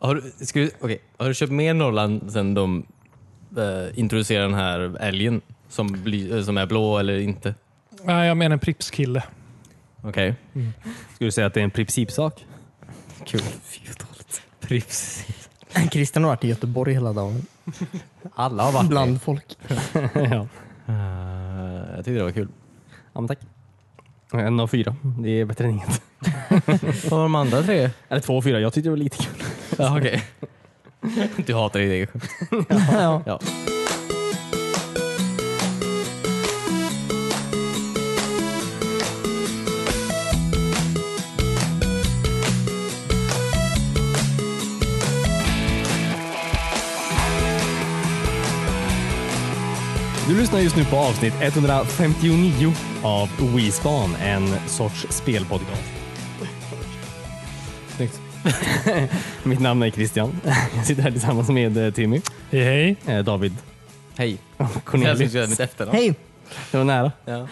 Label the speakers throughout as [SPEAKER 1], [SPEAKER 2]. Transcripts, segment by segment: [SPEAKER 1] Har, du- ska du, okej, har du köpt mer Norrland sen de eh, introducerade den här älgen som, bly, eh, som är blå eller inte?
[SPEAKER 2] Nej, jag menar en Pripps-kille.
[SPEAKER 1] Okej.
[SPEAKER 3] Mm. Skulle du säga att det är en principsak?
[SPEAKER 4] Kul. Prips. Christian har varit i Göteborg hela dagen.
[SPEAKER 1] Alla har varit
[SPEAKER 4] Bland folk.
[SPEAKER 3] ja.
[SPEAKER 1] Eh, Jag tyckte det var kul.
[SPEAKER 3] ja, men tack. En av fyra. Det är bättre än inget.
[SPEAKER 1] Vad var de andra tre?
[SPEAKER 3] Eller två av fyra. Jag tyckte det var lite kul.
[SPEAKER 1] Ja, okej. Du hatar ditt eget skämt.
[SPEAKER 4] ja.
[SPEAKER 1] Ja.
[SPEAKER 3] Du lyssnar just nu på avsnitt 159 av WeSpan, en sorts spelpodcast. Snyggt. Mitt namn är Christian. Jag sitter här tillsammans med eh, Timmy,
[SPEAKER 2] Hej, hej.
[SPEAKER 3] eh, David
[SPEAKER 1] Hej.
[SPEAKER 3] och
[SPEAKER 1] Jag ska
[SPEAKER 3] Cornelius.
[SPEAKER 1] göra mitt efternamn.
[SPEAKER 4] Hej!
[SPEAKER 3] Det var nära.
[SPEAKER 1] Ja.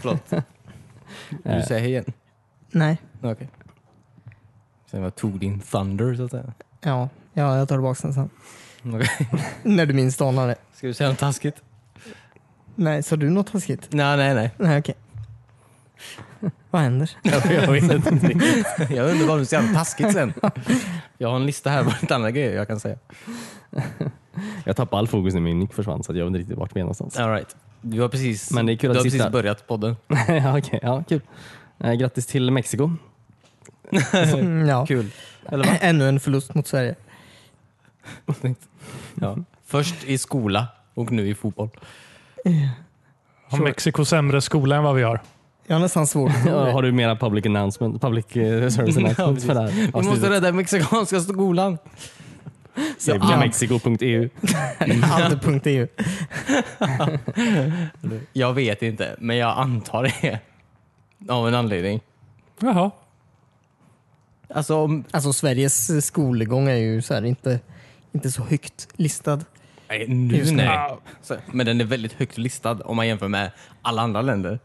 [SPEAKER 1] Förlåt. Du säger hej igen.
[SPEAKER 4] Nej.
[SPEAKER 1] Okej. Okay. Sen jag tog din thunder så att säga.
[SPEAKER 4] Ja. ja, jag tar tillbaka den sen.
[SPEAKER 1] Okej.
[SPEAKER 4] När du minst anar det.
[SPEAKER 1] Ska du säga något taskigt?
[SPEAKER 4] Nej, sa du något taskigt?
[SPEAKER 1] Nej, nej, nej.
[SPEAKER 4] Nej, okej. Vad händer?
[SPEAKER 3] Jag vet inte.
[SPEAKER 1] Jag undrar vad du säger något taskigt sen. Jag har en lista här på lite andra grejer jag kan säga.
[SPEAKER 3] Jag tappade all fokus när min nick försvann så att jag vet inte riktigt vart vi är någonstans.
[SPEAKER 1] All right. Du har precis,
[SPEAKER 3] Men det är kul
[SPEAKER 1] du
[SPEAKER 3] att
[SPEAKER 1] har
[SPEAKER 3] sista-
[SPEAKER 1] precis börjat podden.
[SPEAKER 3] ja, okej. ja, kul. Eh, Grattis till Mexiko.
[SPEAKER 4] Mm, ja.
[SPEAKER 1] Kul.
[SPEAKER 3] Eller vad?
[SPEAKER 4] Ännu en förlust mot Sverige.
[SPEAKER 1] Ja. Först i skola och nu i fotboll.
[SPEAKER 2] Har Mexiko sämre skola än vad vi har?
[SPEAKER 4] Jag har nästan svårt att tro
[SPEAKER 3] Ja,
[SPEAKER 4] det.
[SPEAKER 3] Har du mera public announcement, public eh, service announcement för det här
[SPEAKER 1] Vi måste rädda mexikanska skolan.
[SPEAKER 4] Ja.
[SPEAKER 3] Mexico.eu.
[SPEAKER 4] Allt.eu.
[SPEAKER 1] Jag vet inte, men jag antar det. Av en anledning.
[SPEAKER 2] Jaha.
[SPEAKER 1] Alltså, om,
[SPEAKER 4] Alltså Sveriges skolgång är ju så här inte, inte så högt listad.
[SPEAKER 1] nej, nu
[SPEAKER 4] Just det.
[SPEAKER 1] nej. Så, men den är väldigt högt listad om man jämför med alla andra länder.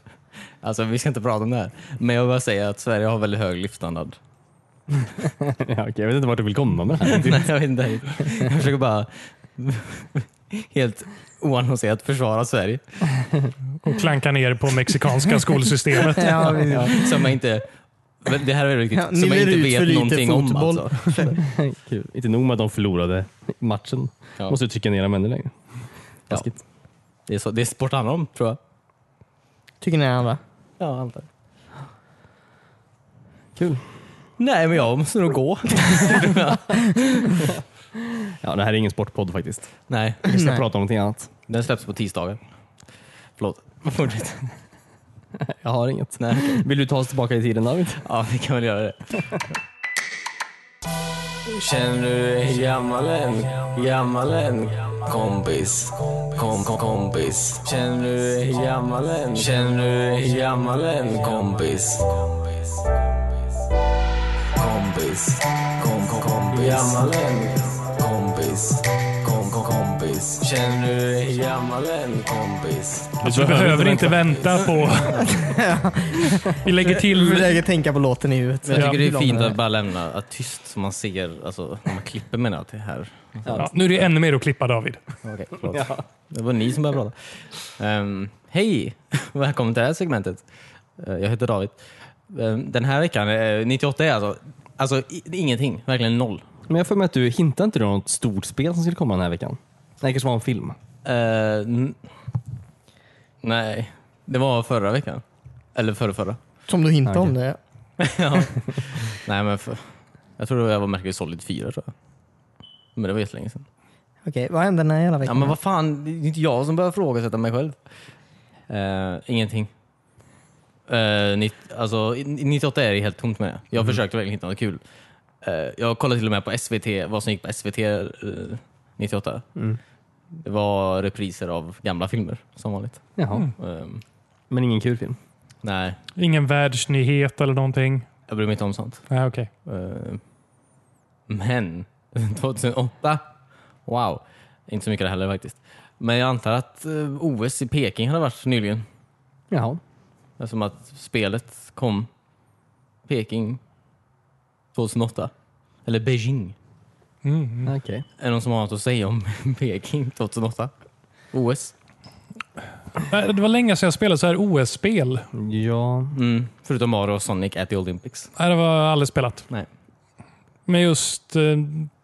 [SPEAKER 1] Alltså, vi ska inte prata om det här. Men jag vill bara säga att Sverige har väldigt hög livsstandard.
[SPEAKER 3] Ja, okej, jag vet inte vart du vill komma med det här.
[SPEAKER 1] Nej, jag vet inte. Jag försöker bara helt oannonserat försvara Sverige.
[SPEAKER 2] Och klankar ner på mexikanska skolsystemet.
[SPEAKER 4] Ja, vi,
[SPEAKER 1] Som jag inte... Det här är riktigt,
[SPEAKER 4] Ja, ni
[SPEAKER 1] som jag
[SPEAKER 4] lär
[SPEAKER 1] inte
[SPEAKER 4] ut för
[SPEAKER 1] vet
[SPEAKER 4] lite
[SPEAKER 1] någonting om.
[SPEAKER 4] fotboll.
[SPEAKER 1] Alltså.
[SPEAKER 3] Kul. Inte nog med att de förlorade matchen.
[SPEAKER 1] Ja.
[SPEAKER 3] Måste ju trycka ner dem ännu längre. Taskigt.
[SPEAKER 1] Det, är så, det är sport handlar om, tror jag.
[SPEAKER 4] Tycker ni andra?
[SPEAKER 1] Ja, antar.
[SPEAKER 3] Kul.
[SPEAKER 1] Nej, men jag måste nog gå.
[SPEAKER 3] Ja, det här är ingen sportpodd faktiskt.
[SPEAKER 1] Nej,
[SPEAKER 3] Vi ska
[SPEAKER 4] Nej.
[SPEAKER 3] prata om någonting annat.
[SPEAKER 1] den släpps på tisdagar. Förlåt. Fortsätt.
[SPEAKER 3] Jag har inget.
[SPEAKER 1] Nej, okej.
[SPEAKER 3] Vill du ta oss tillbaka i tiden David?
[SPEAKER 1] Ja, vi kan väl göra det.
[SPEAKER 5] Känner du dig gammal än? Gammal än? Kompis, kom, kom, kompis. Känner du dig gammal än? Känner du dig gammal än? Kompis. Kompis, kom, kom, kompis. Gammal än? Kompis, kom, kom, kompis. Känner du dig gammal än? Kompis.
[SPEAKER 2] Du behöver inte vänta på... Vi lägger
[SPEAKER 4] Du
[SPEAKER 2] till...
[SPEAKER 4] försöker tänka på låten i huvudet.
[SPEAKER 1] Men jag tycker det
[SPEAKER 4] Ja.
[SPEAKER 1] är fint att bara lämna att tyst så man ser, alltså när man klipper menar jag till här.
[SPEAKER 2] Ja, nu är det ännu mer att klippa David.
[SPEAKER 1] Okej, förlåt. Det var ni som började prata. Ehm, Hej! Välkommen till det här segmentet. Eh, jag heter David. Ehm, den här veckan, uh, 98 är alltså, alltså i, ingenting, verkligen noll.
[SPEAKER 3] Men jag får med att du hintade inte du om något stort spel som skulle komma den här veckan? Nej, det kanske var en film.
[SPEAKER 1] Eh, n- nej, det var förra veckan. Eller förra, förra.
[SPEAKER 4] Som du hintade om det.
[SPEAKER 1] ja. Nej, men för, jag tror det var Mercury Solid 4 tror jag. Men det var jättelänge sedan.
[SPEAKER 4] Okej, vad hände den här jävla
[SPEAKER 1] Ja,
[SPEAKER 4] veckan?
[SPEAKER 1] men vad fan, det är inte jag som börjar frågasätta mig själv. Eh, ingenting. Uh, nit, alltså, i- i 98 är det helt tomt med det. Jag försökte verkligen hitta något kul. Eh, jag kollade till och med på SVT, vad som gick på SVT eh, 98.
[SPEAKER 2] Mm.
[SPEAKER 1] Det var repriser av gamla filmer som vanligt.
[SPEAKER 3] Jaha.
[SPEAKER 2] Mm.
[SPEAKER 1] Eh,
[SPEAKER 3] Men ingen kul film.
[SPEAKER 1] nej,
[SPEAKER 2] Ingen världsnyhet eller någonting.
[SPEAKER 1] jag bryr mig inte om sånt.
[SPEAKER 2] Nej, okej.
[SPEAKER 1] Eh, Men 2008, wow. Inte så mycket det heller faktiskt. Men jag antar att eh, OS i Peking hade varit nyligen.
[SPEAKER 3] Jaha.
[SPEAKER 1] Eftersom att spelet kom Peking 2008. Eller Beijing
[SPEAKER 2] Mm.
[SPEAKER 4] Okej.
[SPEAKER 1] Är det någon som har något att säga om Peking 2008? OS?
[SPEAKER 2] Nej, Det var länge sedan jag spelade så här OS-spel.
[SPEAKER 3] Ja.
[SPEAKER 1] Mm. Förutom Mario och Sonic at the Olympics.
[SPEAKER 2] Nej, det var aldrig spelat.
[SPEAKER 1] Nej.
[SPEAKER 2] Men just, eh,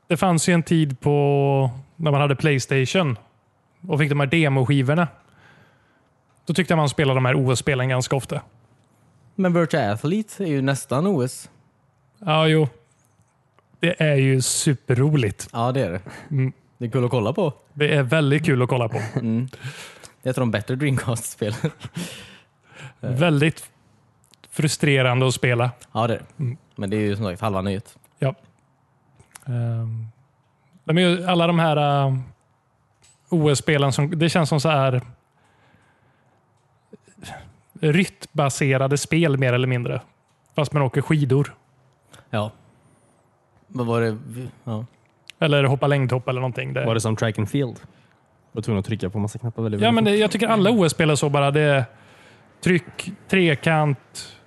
[SPEAKER 2] det fanns ju en tid på när man hade Playstation och fick de här demoskivorna. Då tyckte jag man spelade de här OS-spelen ganska ofta.
[SPEAKER 1] Men Virtua Athlete är ju nästan OS.
[SPEAKER 2] Ja, jo. Det är ju superroligt.
[SPEAKER 1] Ja, det är det.
[SPEAKER 2] Mm.
[SPEAKER 1] Det är kul att kolla på.
[SPEAKER 2] Det är väldigt kul att kolla på.
[SPEAKER 1] Mm. Det är ett av de bättre Dreamcast-spelen.
[SPEAKER 2] väldigt frustrerande att spela.
[SPEAKER 1] Ja, det är det.
[SPEAKER 2] Mm.
[SPEAKER 1] Men det är ju som sagt halva nöjet.
[SPEAKER 2] Ehm, de är ju alla de här eh, OS-spelen, som, det känns som så här ryttbaserade spel mer eller mindre. Fast man åker skidor
[SPEAKER 1] Ja. Vad var det? Ja.
[SPEAKER 2] eller hoppar längdhopp eller någonting. Det,
[SPEAKER 3] Var det som track and field? Var tvungen att trycka på massa knappar väldigt,
[SPEAKER 2] ja, men
[SPEAKER 3] väldigt
[SPEAKER 2] det, jag tycker alla OS-spel är så bara. Det är tryck, trekant,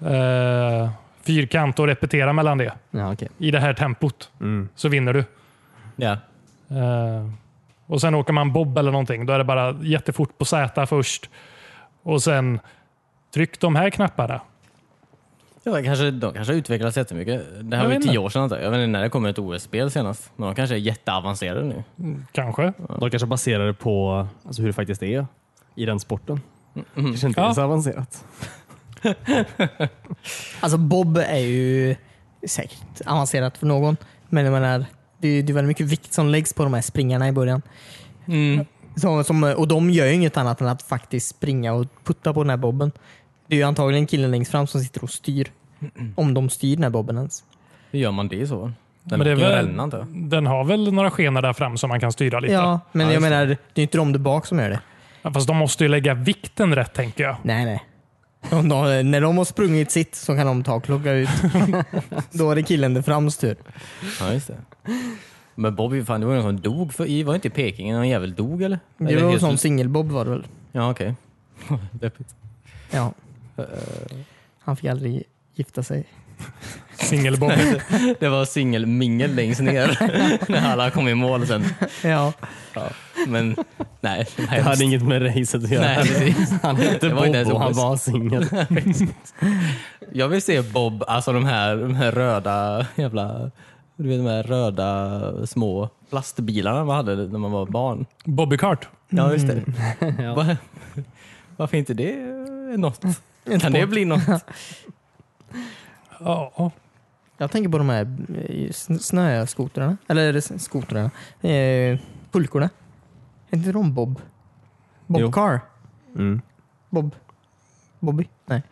[SPEAKER 2] eh, fyrkant och repetera mellan det
[SPEAKER 4] Ja, okej.
[SPEAKER 2] i det här tempot
[SPEAKER 3] fort. Mm.
[SPEAKER 2] så vinner du.
[SPEAKER 1] ja.
[SPEAKER 2] Eh, och sen åker man bob eller någonting. Då är det bara jättefort på Z först. Och sen tryck de här knapparna.
[SPEAKER 1] Ja, kanske, de kanske har utvecklats jättemycket. Det här
[SPEAKER 2] Jag
[SPEAKER 1] var ju
[SPEAKER 2] vet
[SPEAKER 1] tio
[SPEAKER 2] inte.
[SPEAKER 1] år sedan. antar Jag Jag vet inte när det kommer ett OS-spel senast. Men de kanske är jätteavancerade nu.
[SPEAKER 2] Kanske.
[SPEAKER 3] De kanske baserar det på alltså, hur det faktiskt är i den sporten. Kanske inte
[SPEAKER 2] Mm. Ja.
[SPEAKER 3] är så avancerat.
[SPEAKER 4] Alltså Bob är ju säkert avancerat för någon. Men jag menar, det är, det är väldigt mycket vikt som läggs på de här springarna i början.
[SPEAKER 1] Mm.
[SPEAKER 4] Som, som, och de gör ju inget annat än att faktiskt springa och putta på den här bobben. Det är ju antagligen killen längst fram som sitter och styr. Om de styr den här bobben ens.
[SPEAKER 1] Hur gör man det i så fall? Den
[SPEAKER 2] Men det är
[SPEAKER 1] åker ju
[SPEAKER 2] väl-
[SPEAKER 1] rännan, antar jag.
[SPEAKER 2] Den har väl några skenor där fram som man kan styra lite.
[SPEAKER 4] Ja, men
[SPEAKER 1] Ja,
[SPEAKER 4] jag
[SPEAKER 1] just det.
[SPEAKER 4] menar, det är ju inte de där bak som gör det.
[SPEAKER 2] Ja, Fast de måste ju lägga vikten rätt tänker jag.
[SPEAKER 4] Nej, nej. Om de, när de har sprungit sitt så kan de ta och klocka ut. Då är det killen där frams tur.
[SPEAKER 1] Ja, just det. Men Bobby, fan, det var ju någon som dog för, i, var det inte i Peking någon jävel dog eller?
[SPEAKER 4] Det
[SPEAKER 1] eller
[SPEAKER 4] var
[SPEAKER 1] helt-
[SPEAKER 4] som singelbob var det väl?
[SPEAKER 1] Ja, okej. Deppigt.
[SPEAKER 4] Ja. Han fick aldrig gifta sig.
[SPEAKER 2] Singelbob.
[SPEAKER 1] det var singelmingel längst ner när alla kom i mål sen.
[SPEAKER 4] Ja.
[SPEAKER 1] Ja. Men nej, det var
[SPEAKER 3] Det
[SPEAKER 1] hemskt.
[SPEAKER 3] hade inget med racet att göra.
[SPEAKER 1] Nej, precis.
[SPEAKER 3] Han hette
[SPEAKER 1] Det var inte ens
[SPEAKER 3] Bob och han
[SPEAKER 1] OS.
[SPEAKER 3] var singel.
[SPEAKER 1] Jag vill se Bob, alltså de här, de här röda jävla, du vet de här röda små plastbilarna man hade när man var barn.
[SPEAKER 2] Bobbycart.
[SPEAKER 1] Ja, just det.
[SPEAKER 3] Ja.
[SPEAKER 1] Va- Varför inte det är något? Kan det bli något?
[SPEAKER 2] Ja, ja.
[SPEAKER 4] Jag tänker på de här eh, sn- snöskotrarna. Eller är det s- skotrarna? Eh, pulkorna. Är inte de Bob?
[SPEAKER 3] Jo.
[SPEAKER 4] Bob Car?
[SPEAKER 3] Mm.
[SPEAKER 4] Bob? Bobby? Nej.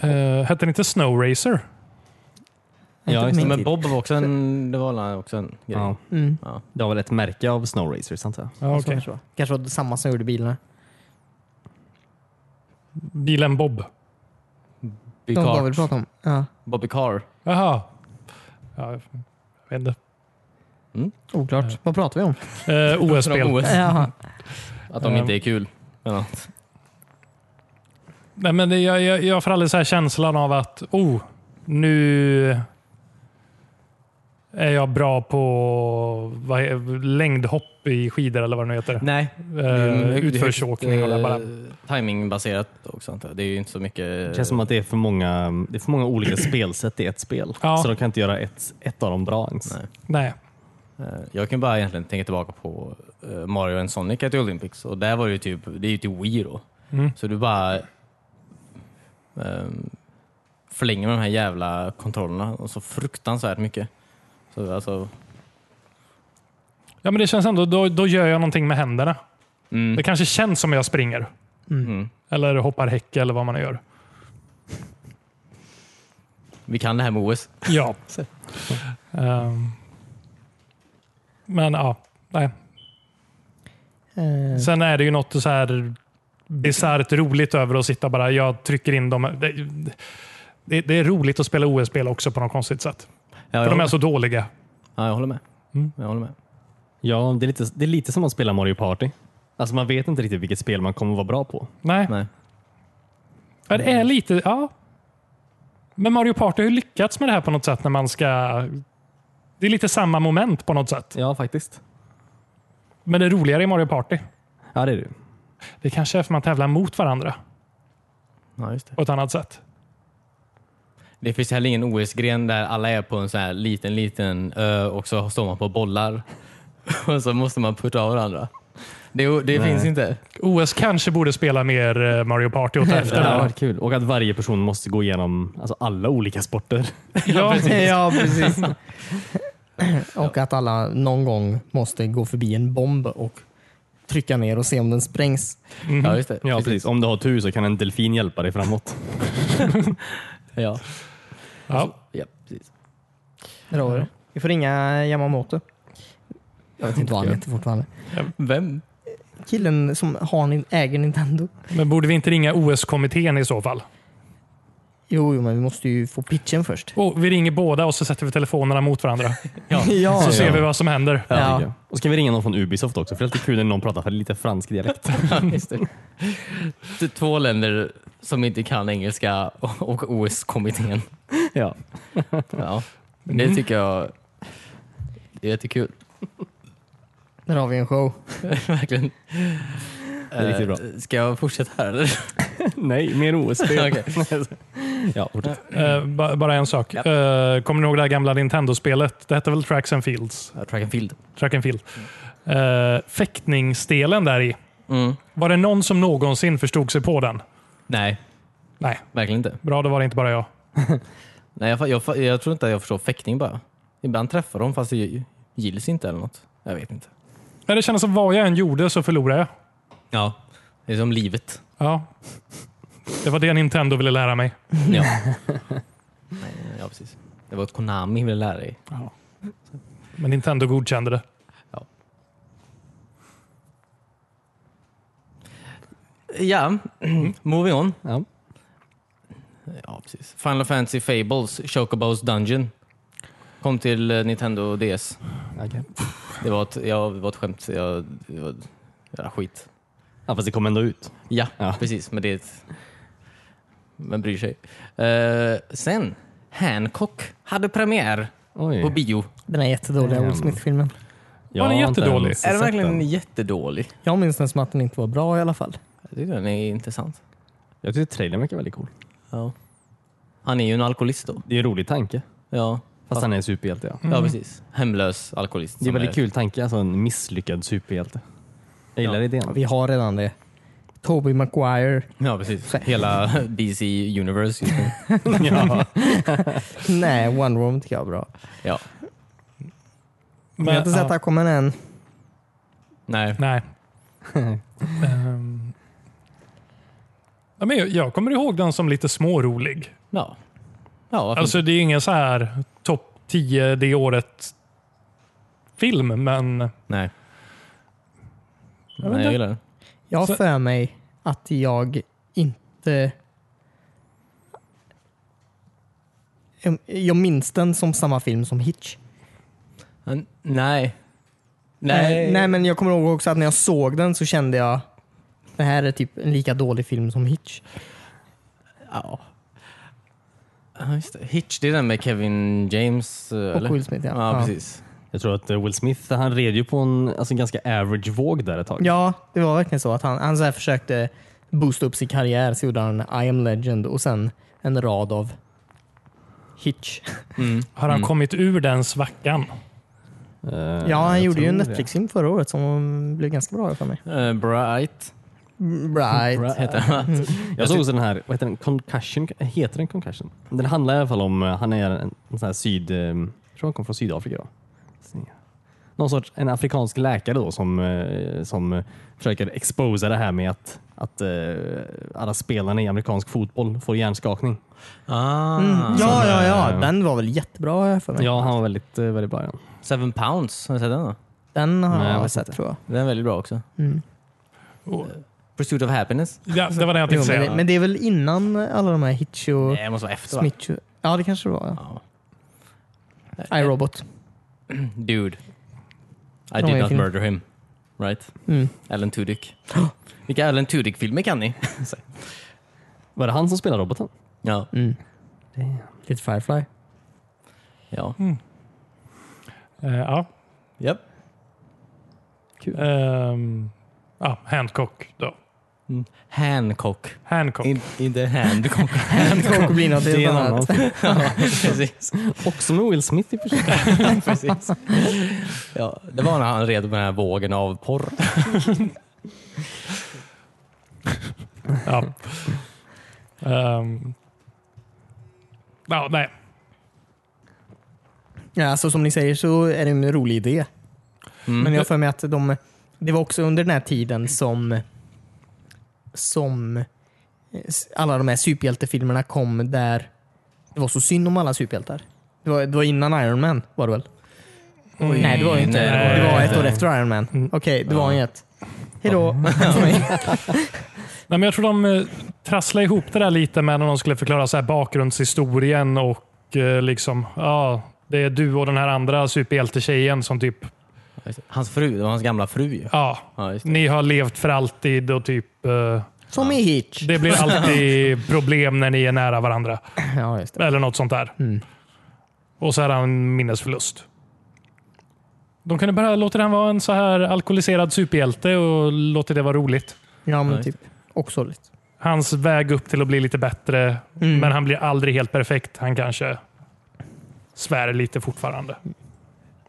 [SPEAKER 2] Eh, hette den inte Snow Racer?
[SPEAKER 3] Ja,
[SPEAKER 4] Inte
[SPEAKER 3] just det.
[SPEAKER 4] min
[SPEAKER 1] Men
[SPEAKER 4] tid.
[SPEAKER 1] Bob var också en, det var också en grej.
[SPEAKER 3] Ja.
[SPEAKER 4] Mm.
[SPEAKER 3] Det var väl ett märke av Snow Racers antar jag.
[SPEAKER 2] Ja,
[SPEAKER 4] Så
[SPEAKER 2] okej.
[SPEAKER 4] kanske det var. Kanske var det samma som gjorde bilarna.
[SPEAKER 2] Bilen Bob.
[SPEAKER 1] Bobby
[SPEAKER 4] De
[SPEAKER 1] Car.
[SPEAKER 4] David pratade om. Ja.
[SPEAKER 1] Bobby Car.
[SPEAKER 2] Jaha. Ja, jag vet inte.
[SPEAKER 4] Oklart. Vad pratar vi om?
[SPEAKER 2] Eh,
[SPEAKER 1] Från
[SPEAKER 2] OS-spel.
[SPEAKER 1] OS.
[SPEAKER 4] Jaha.
[SPEAKER 1] Att de inte är kul. Men att,
[SPEAKER 2] Nej, men det, jag, jag, jag får aldrig så här känslan av att oh, nu är jag bra på vad, he- längdhopp i skidor eller vad det nu heter.
[SPEAKER 1] nej.
[SPEAKER 2] Eh, utförsåkning
[SPEAKER 1] eh,
[SPEAKER 2] och bara.
[SPEAKER 1] Timingbaserat också antar jag. Det är ju inte så mycket...
[SPEAKER 3] Det känns som att det är för många, det är för många olika spelsätt i ett spel.
[SPEAKER 2] Ja.
[SPEAKER 3] Så de kan inte göra ett, ett av dem bra ens.
[SPEAKER 1] Nej.
[SPEAKER 2] Nej.
[SPEAKER 1] Eh, Jag kan bara egentligen tänka tillbaka på eh, Mario and Sonic at the Olympics och där var det ju typ, det är ju till Wii då.
[SPEAKER 2] Mm.
[SPEAKER 1] Så du bara ehm, förlänger med de här jävla kontrollerna och så fruktansvärt mycket. Så alltså,
[SPEAKER 2] Ja, men det känns ändå, då, då gör jag någonting med händerna.
[SPEAKER 1] mm,
[SPEAKER 2] Det kanske känns som jag springer
[SPEAKER 1] mm.
[SPEAKER 2] eller hoppar häck eller vad man nu gör.
[SPEAKER 1] Vi kan det här med OS.
[SPEAKER 2] Ja. Ehm, men ja, nej.
[SPEAKER 1] Mm.
[SPEAKER 4] Eh,
[SPEAKER 2] Sen är det ju något så här bisarrt roligt över att sitta bara, jag trycker in dem. Det, det, det är roligt att spela OS-spel också på något konstigt sätt.
[SPEAKER 1] Ja,
[SPEAKER 2] För
[SPEAKER 1] jag,
[SPEAKER 2] de är
[SPEAKER 1] håller,
[SPEAKER 2] så dåliga.
[SPEAKER 1] ja, jag håller med.
[SPEAKER 2] Mm.
[SPEAKER 1] Jag håller med.
[SPEAKER 3] Ja, det är, lite, det är lite som att spela Mario Party. Alltså man vet inte riktigt vilket spel man kommer vara bra på.
[SPEAKER 2] Nej,
[SPEAKER 1] Nej.
[SPEAKER 2] Ja, det är lite, ja. Men Mario Party har ju lyckats med det här på något sätt när man ska Det är lite samma moment på något sätt.
[SPEAKER 3] Ja, faktiskt.
[SPEAKER 2] Men det är roligare i Mario Party.
[SPEAKER 3] Ja, det är det.
[SPEAKER 2] Det kanske är för man tävlar mot varandra
[SPEAKER 1] Ja, just det.
[SPEAKER 2] på ett annat sätt.
[SPEAKER 1] det finns heller ingen OS-gren där alla är på en sån här liten, liten ö och så står man på bollar och så måste man putta av varandra. Det, det
[SPEAKER 3] Nej.
[SPEAKER 1] finns inte.
[SPEAKER 2] OS kanske borde spela mer eh, Mario Party åt
[SPEAKER 3] Det hade
[SPEAKER 2] efter.
[SPEAKER 3] varit kul. Och att varje person måste gå igenom alltså, alla olika sporter.
[SPEAKER 2] ja,
[SPEAKER 4] ja, precis. och att alla någon gång måste gå förbi en bomb och trycka ner och se om den sprängs.
[SPEAKER 2] mhm.
[SPEAKER 1] Ja, just det.
[SPEAKER 3] Ja, precis. Om du har tur så kan en delfin hjälpa dig framåt.
[SPEAKER 1] Ja,
[SPEAKER 2] Ja.
[SPEAKER 1] ja, precis.
[SPEAKER 4] Eller vad var det? Vi får ringa Yamamoto. Jag vet inte vad han heter fortfarande.
[SPEAKER 1] Vem?
[SPEAKER 4] Killen som har, äger Nintendo.
[SPEAKER 2] Men borde vi inte ringa OS-kommittén i så fall?
[SPEAKER 4] Jo, jo, men vi måste ju få pitchen först.
[SPEAKER 2] Och vi ringer båda och så sätter vi telefonerna mot varandra.
[SPEAKER 1] Ja.
[SPEAKER 4] ja.
[SPEAKER 2] Så ser vi vad som händer.
[SPEAKER 3] Ja.
[SPEAKER 4] Ja.
[SPEAKER 3] tycker jag. Och ska vi ringa någon från Ubisoft också? För det är alltid kul när någon pratar för lite fransk dialekt.
[SPEAKER 1] Ja, just det. T- Två länder som inte kan engelska och- och OS-kommittén.
[SPEAKER 3] ja.
[SPEAKER 1] Ja. Det tycker jag det är jättekul.
[SPEAKER 4] Där har vi en show.
[SPEAKER 1] Verkligen.
[SPEAKER 3] är riktigt bra.
[SPEAKER 1] Eh, Ska jag fortsätta här eller?
[SPEAKER 3] Nej, mer OS-spel.
[SPEAKER 1] Okej.
[SPEAKER 3] ja, fortsätt.
[SPEAKER 2] Eh, ba- bara en sak.
[SPEAKER 1] Ja.
[SPEAKER 2] Eh, kommer ni ihåg det här gamla Nintendo-spelet? Det hette väl Tracks and Fields?
[SPEAKER 1] Track and field.
[SPEAKER 2] Track and Field. Eh, fäktningsdelen där i.
[SPEAKER 1] Mm.
[SPEAKER 2] Var det någon som någonsin förstod sig på den?
[SPEAKER 1] Nej,
[SPEAKER 2] Nej,
[SPEAKER 1] verkligen inte.
[SPEAKER 2] bra då var det inte bara jag.
[SPEAKER 1] Nej, jag, fa- jag, fa- jag tror inte att jag förstår fäktning bara. Ibland träffar de fast det gi- gills inte eller något. Jag vet inte.
[SPEAKER 2] Men det kändes som vad jag än gjorde så förlorade jag.
[SPEAKER 1] Ja. Det är som livet.
[SPEAKER 2] Ja. Det var det Nintendo ville lära mig.
[SPEAKER 1] Ja, Nej, ja precis. Det var ett Konami ville lära dig.
[SPEAKER 2] Men Nintendo godkände det.
[SPEAKER 1] Ja, moving on.
[SPEAKER 3] Ja.
[SPEAKER 1] Ja, precis. Final Fantasy Fables, Chocobos Dungeon. Kom till eh, Nintendo DS.
[SPEAKER 3] Okay.
[SPEAKER 1] Det var ett, ja, det var ett skämt. Jag, det var, det var skit.
[SPEAKER 3] ja, fast det kom ändå ut.
[SPEAKER 1] Ja,
[SPEAKER 3] Ja.
[SPEAKER 1] precis. Men det är ett... Vem bryr sig? Eh, sen, Hancock hade premiär
[SPEAKER 3] Oj.
[SPEAKER 1] på bio.
[SPEAKER 4] Den här jättedåliga
[SPEAKER 3] Damn.
[SPEAKER 4] Will Smith-filmen.
[SPEAKER 3] Jag
[SPEAKER 2] Var den
[SPEAKER 3] har inte
[SPEAKER 2] jättedålig?
[SPEAKER 3] ens
[SPEAKER 1] Är den
[SPEAKER 3] sett
[SPEAKER 1] verkligen
[SPEAKER 3] den.
[SPEAKER 1] jättedålig?
[SPEAKER 4] Jag minns den som att den inte var bra i alla fall.
[SPEAKER 1] Jag tycker den är intressant.
[SPEAKER 3] Jag tyckte trailern verkar väldigt cool.
[SPEAKER 1] Ja. Han är ju en alkoholist då.
[SPEAKER 3] Det är en rolig tanke.
[SPEAKER 1] Ja,
[SPEAKER 3] Fast han är en superhjälte. Ja.
[SPEAKER 1] ja precis. Hemlös alkoholist.
[SPEAKER 3] Det är
[SPEAKER 1] som
[SPEAKER 3] en väldigt kul tanke, alltså en misslyckad superhjälte. Jag gillar
[SPEAKER 1] Ja.
[SPEAKER 4] Ja,
[SPEAKER 3] idén.
[SPEAKER 4] vi har redan det. Toby Maguire.
[SPEAKER 1] Ja, precis. Hela DC Universe just nu.
[SPEAKER 3] ja.
[SPEAKER 4] Nej, Wonder Woman tycker jag är bra.
[SPEAKER 1] Ja.
[SPEAKER 4] Men, jag har inte sett
[SPEAKER 2] ja.
[SPEAKER 4] här kommer än.
[SPEAKER 1] Nej.
[SPEAKER 2] Nej. Ehm. ja, men jag, jag kommer ihåg den som lite smårolig.
[SPEAKER 1] Ja. Ja, varför
[SPEAKER 2] Alltså det är ju ingen så här topp 10 det året film, men
[SPEAKER 1] inte? Nej.
[SPEAKER 2] vet
[SPEAKER 1] Nej,
[SPEAKER 2] inte.
[SPEAKER 1] jag gillar den.
[SPEAKER 4] Jag har
[SPEAKER 2] Så-
[SPEAKER 4] för mig att jag inte... Jag- Jag minns den som samma film som Hitch.
[SPEAKER 1] Men, Nej. Nej.
[SPEAKER 4] Eh, Nej, men jag kommer ihåg också att när jag såg den så kände jag det här är typ en lika dålig film som Hitch.
[SPEAKER 1] Ja. Ja, Just det. Hitch, det är den med Kevin James, eh,
[SPEAKER 4] Och
[SPEAKER 1] eller?
[SPEAKER 4] Will Smith, ja.
[SPEAKER 1] Ja,
[SPEAKER 4] Ja.
[SPEAKER 1] precis.
[SPEAKER 3] Jag tror att eh, Will Smith han red ju på en alltså, en ganska average våg där ett tag.
[SPEAKER 4] Ja, det var verkligen så att han, han så här försökte boosta upp sin karriär. Så gjorde han I am legend och sen en rad av Hitch.
[SPEAKER 1] Mm.
[SPEAKER 2] har han kommit ur den svackan?
[SPEAKER 3] Eh,
[SPEAKER 4] Ja, han
[SPEAKER 3] jag
[SPEAKER 4] gjorde ju en
[SPEAKER 3] tror det.
[SPEAKER 4] Netflix-film förra året som blev ganska bra för mig.
[SPEAKER 1] Eh, Bright
[SPEAKER 4] Right.
[SPEAKER 1] heter den.
[SPEAKER 3] Jag såg också den här, vad heter den? Concussion? Heter den Concussion? Den handlar i alla fall om, eh, han är en, en sån här syd, eh, jag tror han kom från Sydafrika då. Någon sorts, en afrikansk läkare då som, eh, som eh, försöker exposa det här med att, att eh, alla spelarna i amerikansk fotboll får hjärnskakning.
[SPEAKER 1] Ah.
[SPEAKER 4] Mm. Ja, ja, ja.
[SPEAKER 3] eh,
[SPEAKER 4] Den var väl jättebra har jag för mig.
[SPEAKER 3] Ja, han var väldigt, eh, väldigt bra i den.
[SPEAKER 1] Seven Pounds, har du sett den då?
[SPEAKER 4] Den har
[SPEAKER 3] Nej, jag
[SPEAKER 4] jag
[SPEAKER 3] vet
[SPEAKER 4] sett
[SPEAKER 3] inte.
[SPEAKER 4] tror jag.
[SPEAKER 1] Den är väldigt bra också.
[SPEAKER 4] Mm.
[SPEAKER 2] Och-
[SPEAKER 1] Pursuit of Happiness.
[SPEAKER 2] Ja, det var den jag
[SPEAKER 4] Jo,
[SPEAKER 2] tänkte
[SPEAKER 4] men, det,
[SPEAKER 2] säga.
[SPEAKER 4] men det är väl innan alla de här Hitch och
[SPEAKER 1] Nej, det måste vara efter va?
[SPEAKER 4] Smith. Ja, det kanske det var.
[SPEAKER 1] Ja.
[SPEAKER 4] Ja. iRobot.
[SPEAKER 1] Dude. I
[SPEAKER 4] Ja,
[SPEAKER 1] did
[SPEAKER 4] jag
[SPEAKER 1] not
[SPEAKER 4] film.
[SPEAKER 1] murder him. Right?
[SPEAKER 4] Mm.
[SPEAKER 1] Alan Tudyk. Vilka Alan Tudyk-filmer kan ni?
[SPEAKER 3] Var det han som spelade roboten?
[SPEAKER 1] ja.
[SPEAKER 4] Mm. Lite Firefly.
[SPEAKER 1] ja.
[SPEAKER 2] Eh, ja.
[SPEAKER 1] Japp.
[SPEAKER 3] Kul.
[SPEAKER 2] Ehm, ja, Hancock då.
[SPEAKER 1] Hancock.
[SPEAKER 2] Hancock.
[SPEAKER 1] In, inte handcock.
[SPEAKER 4] Hancock blir något
[SPEAKER 3] Det är en
[SPEAKER 4] helt
[SPEAKER 3] annan
[SPEAKER 4] annat.
[SPEAKER 3] film.
[SPEAKER 1] ja, precis.
[SPEAKER 3] Också med Will Smith i och för sig.
[SPEAKER 1] precis. Ja, det var när han red på den här vågen av porr.
[SPEAKER 2] Ja. Ehm, ja, nej.
[SPEAKER 4] Ja, alltså, som ni säger så är det en rolig idé.
[SPEAKER 1] Mm.
[SPEAKER 4] Men jag har för mig att de, det var också under den här tiden som, som eh, alla de här superhjältefilmerna kom där det var så synd om alla superhjältar. Det var, det var innan Iron Man var det väl?
[SPEAKER 2] Mm.
[SPEAKER 4] Nej, det var ju inte. Mm.
[SPEAKER 1] nej,
[SPEAKER 4] det var
[SPEAKER 1] nej,
[SPEAKER 4] ett år
[SPEAKER 1] nej.
[SPEAKER 4] efter Iron Man. Okej, det var inget. Hejdå.
[SPEAKER 2] Nej, men jag tror de eh, trasslade ihop det där lite med när de skulle förklara så här bakgrundshistorien och eh, liksom, ja, det är du och den här andra superhjältetjejen som typ,
[SPEAKER 1] Hans fru, det var hans gamla fru ju.
[SPEAKER 2] ja,
[SPEAKER 1] Ja, just det.
[SPEAKER 2] ni har levt för alltid och typ, eh,
[SPEAKER 4] Som i Hitch.
[SPEAKER 2] det blir alltid problem när ni är nära varandra.
[SPEAKER 4] Ja, just det.
[SPEAKER 2] Eller något sånt där.
[SPEAKER 4] Mm.
[SPEAKER 2] Och så är han minnesförlust. De kunde bara låta den vara en så här alkoholiserad superhjälte och låta det vara roligt.
[SPEAKER 4] Ja,
[SPEAKER 1] Ja,
[SPEAKER 4] men
[SPEAKER 1] just
[SPEAKER 4] typ. Också lite.
[SPEAKER 2] Hans väg upp till att bli lite bättre,
[SPEAKER 4] Mm.
[SPEAKER 2] men han blir aldrig helt perfekt. Han kanske svär lite fortfarande.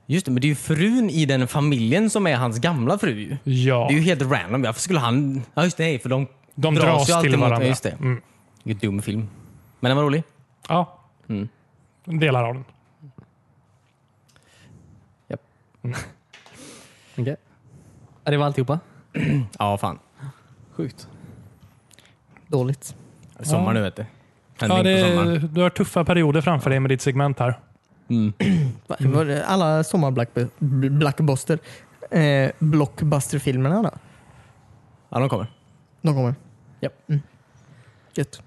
[SPEAKER 1] Just det, men det är ju frun i den familjen som är hans gamla fru ju.
[SPEAKER 2] Ja,
[SPEAKER 1] Det är ju helt random. Varför skulle han... Ja, just det. Nej, för de...
[SPEAKER 2] de
[SPEAKER 1] dras ju
[SPEAKER 2] dras,
[SPEAKER 1] alltid
[SPEAKER 2] till
[SPEAKER 1] mot-
[SPEAKER 2] varandra.
[SPEAKER 1] ja, just det.
[SPEAKER 2] Mm.
[SPEAKER 1] Vilken dum film. Men den var rolig.
[SPEAKER 2] Ja.
[SPEAKER 1] Mm.
[SPEAKER 2] Delar av den.
[SPEAKER 3] Okej. Ja, Det var alltihopa.
[SPEAKER 1] Ja, fan.
[SPEAKER 3] Sjukt.
[SPEAKER 4] Dåligt.
[SPEAKER 1] Det är Sommar nu vet du. Händer
[SPEAKER 2] Ja,
[SPEAKER 1] inget på sommaren.
[SPEAKER 2] det, du har tuffa perioder framför dig med ditt segment här.
[SPEAKER 1] Mm.
[SPEAKER 4] Va- var det Alla sommar-blockbuster. Eh, blockbusterfilmerna då?
[SPEAKER 1] Ja, de kommer.
[SPEAKER 4] De kommer.
[SPEAKER 1] Japp.
[SPEAKER 4] Mm. Gött.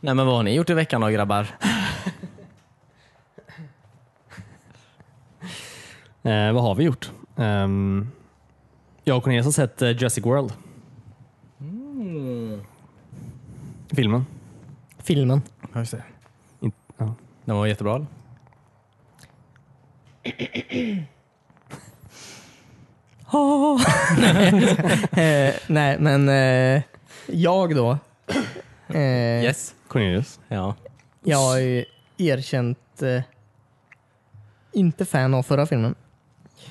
[SPEAKER 1] Nej, men vad har ni gjort i veckan då grabbar?
[SPEAKER 3] Eh, vad har vi gjort? Ehm, jag och Cornelius har sett eh, Jurassic World. Mm. Filmen.
[SPEAKER 4] Filmen.
[SPEAKER 1] Ja, just det.
[SPEAKER 3] In- ja.
[SPEAKER 1] Den var jättebra. eller?
[SPEAKER 4] Eh, nej, men eh, jag då. Eh,
[SPEAKER 1] Yes.
[SPEAKER 3] Cornelius.
[SPEAKER 1] Ja.
[SPEAKER 4] Jag har ju erkänt eh, inte fan av förra filmen.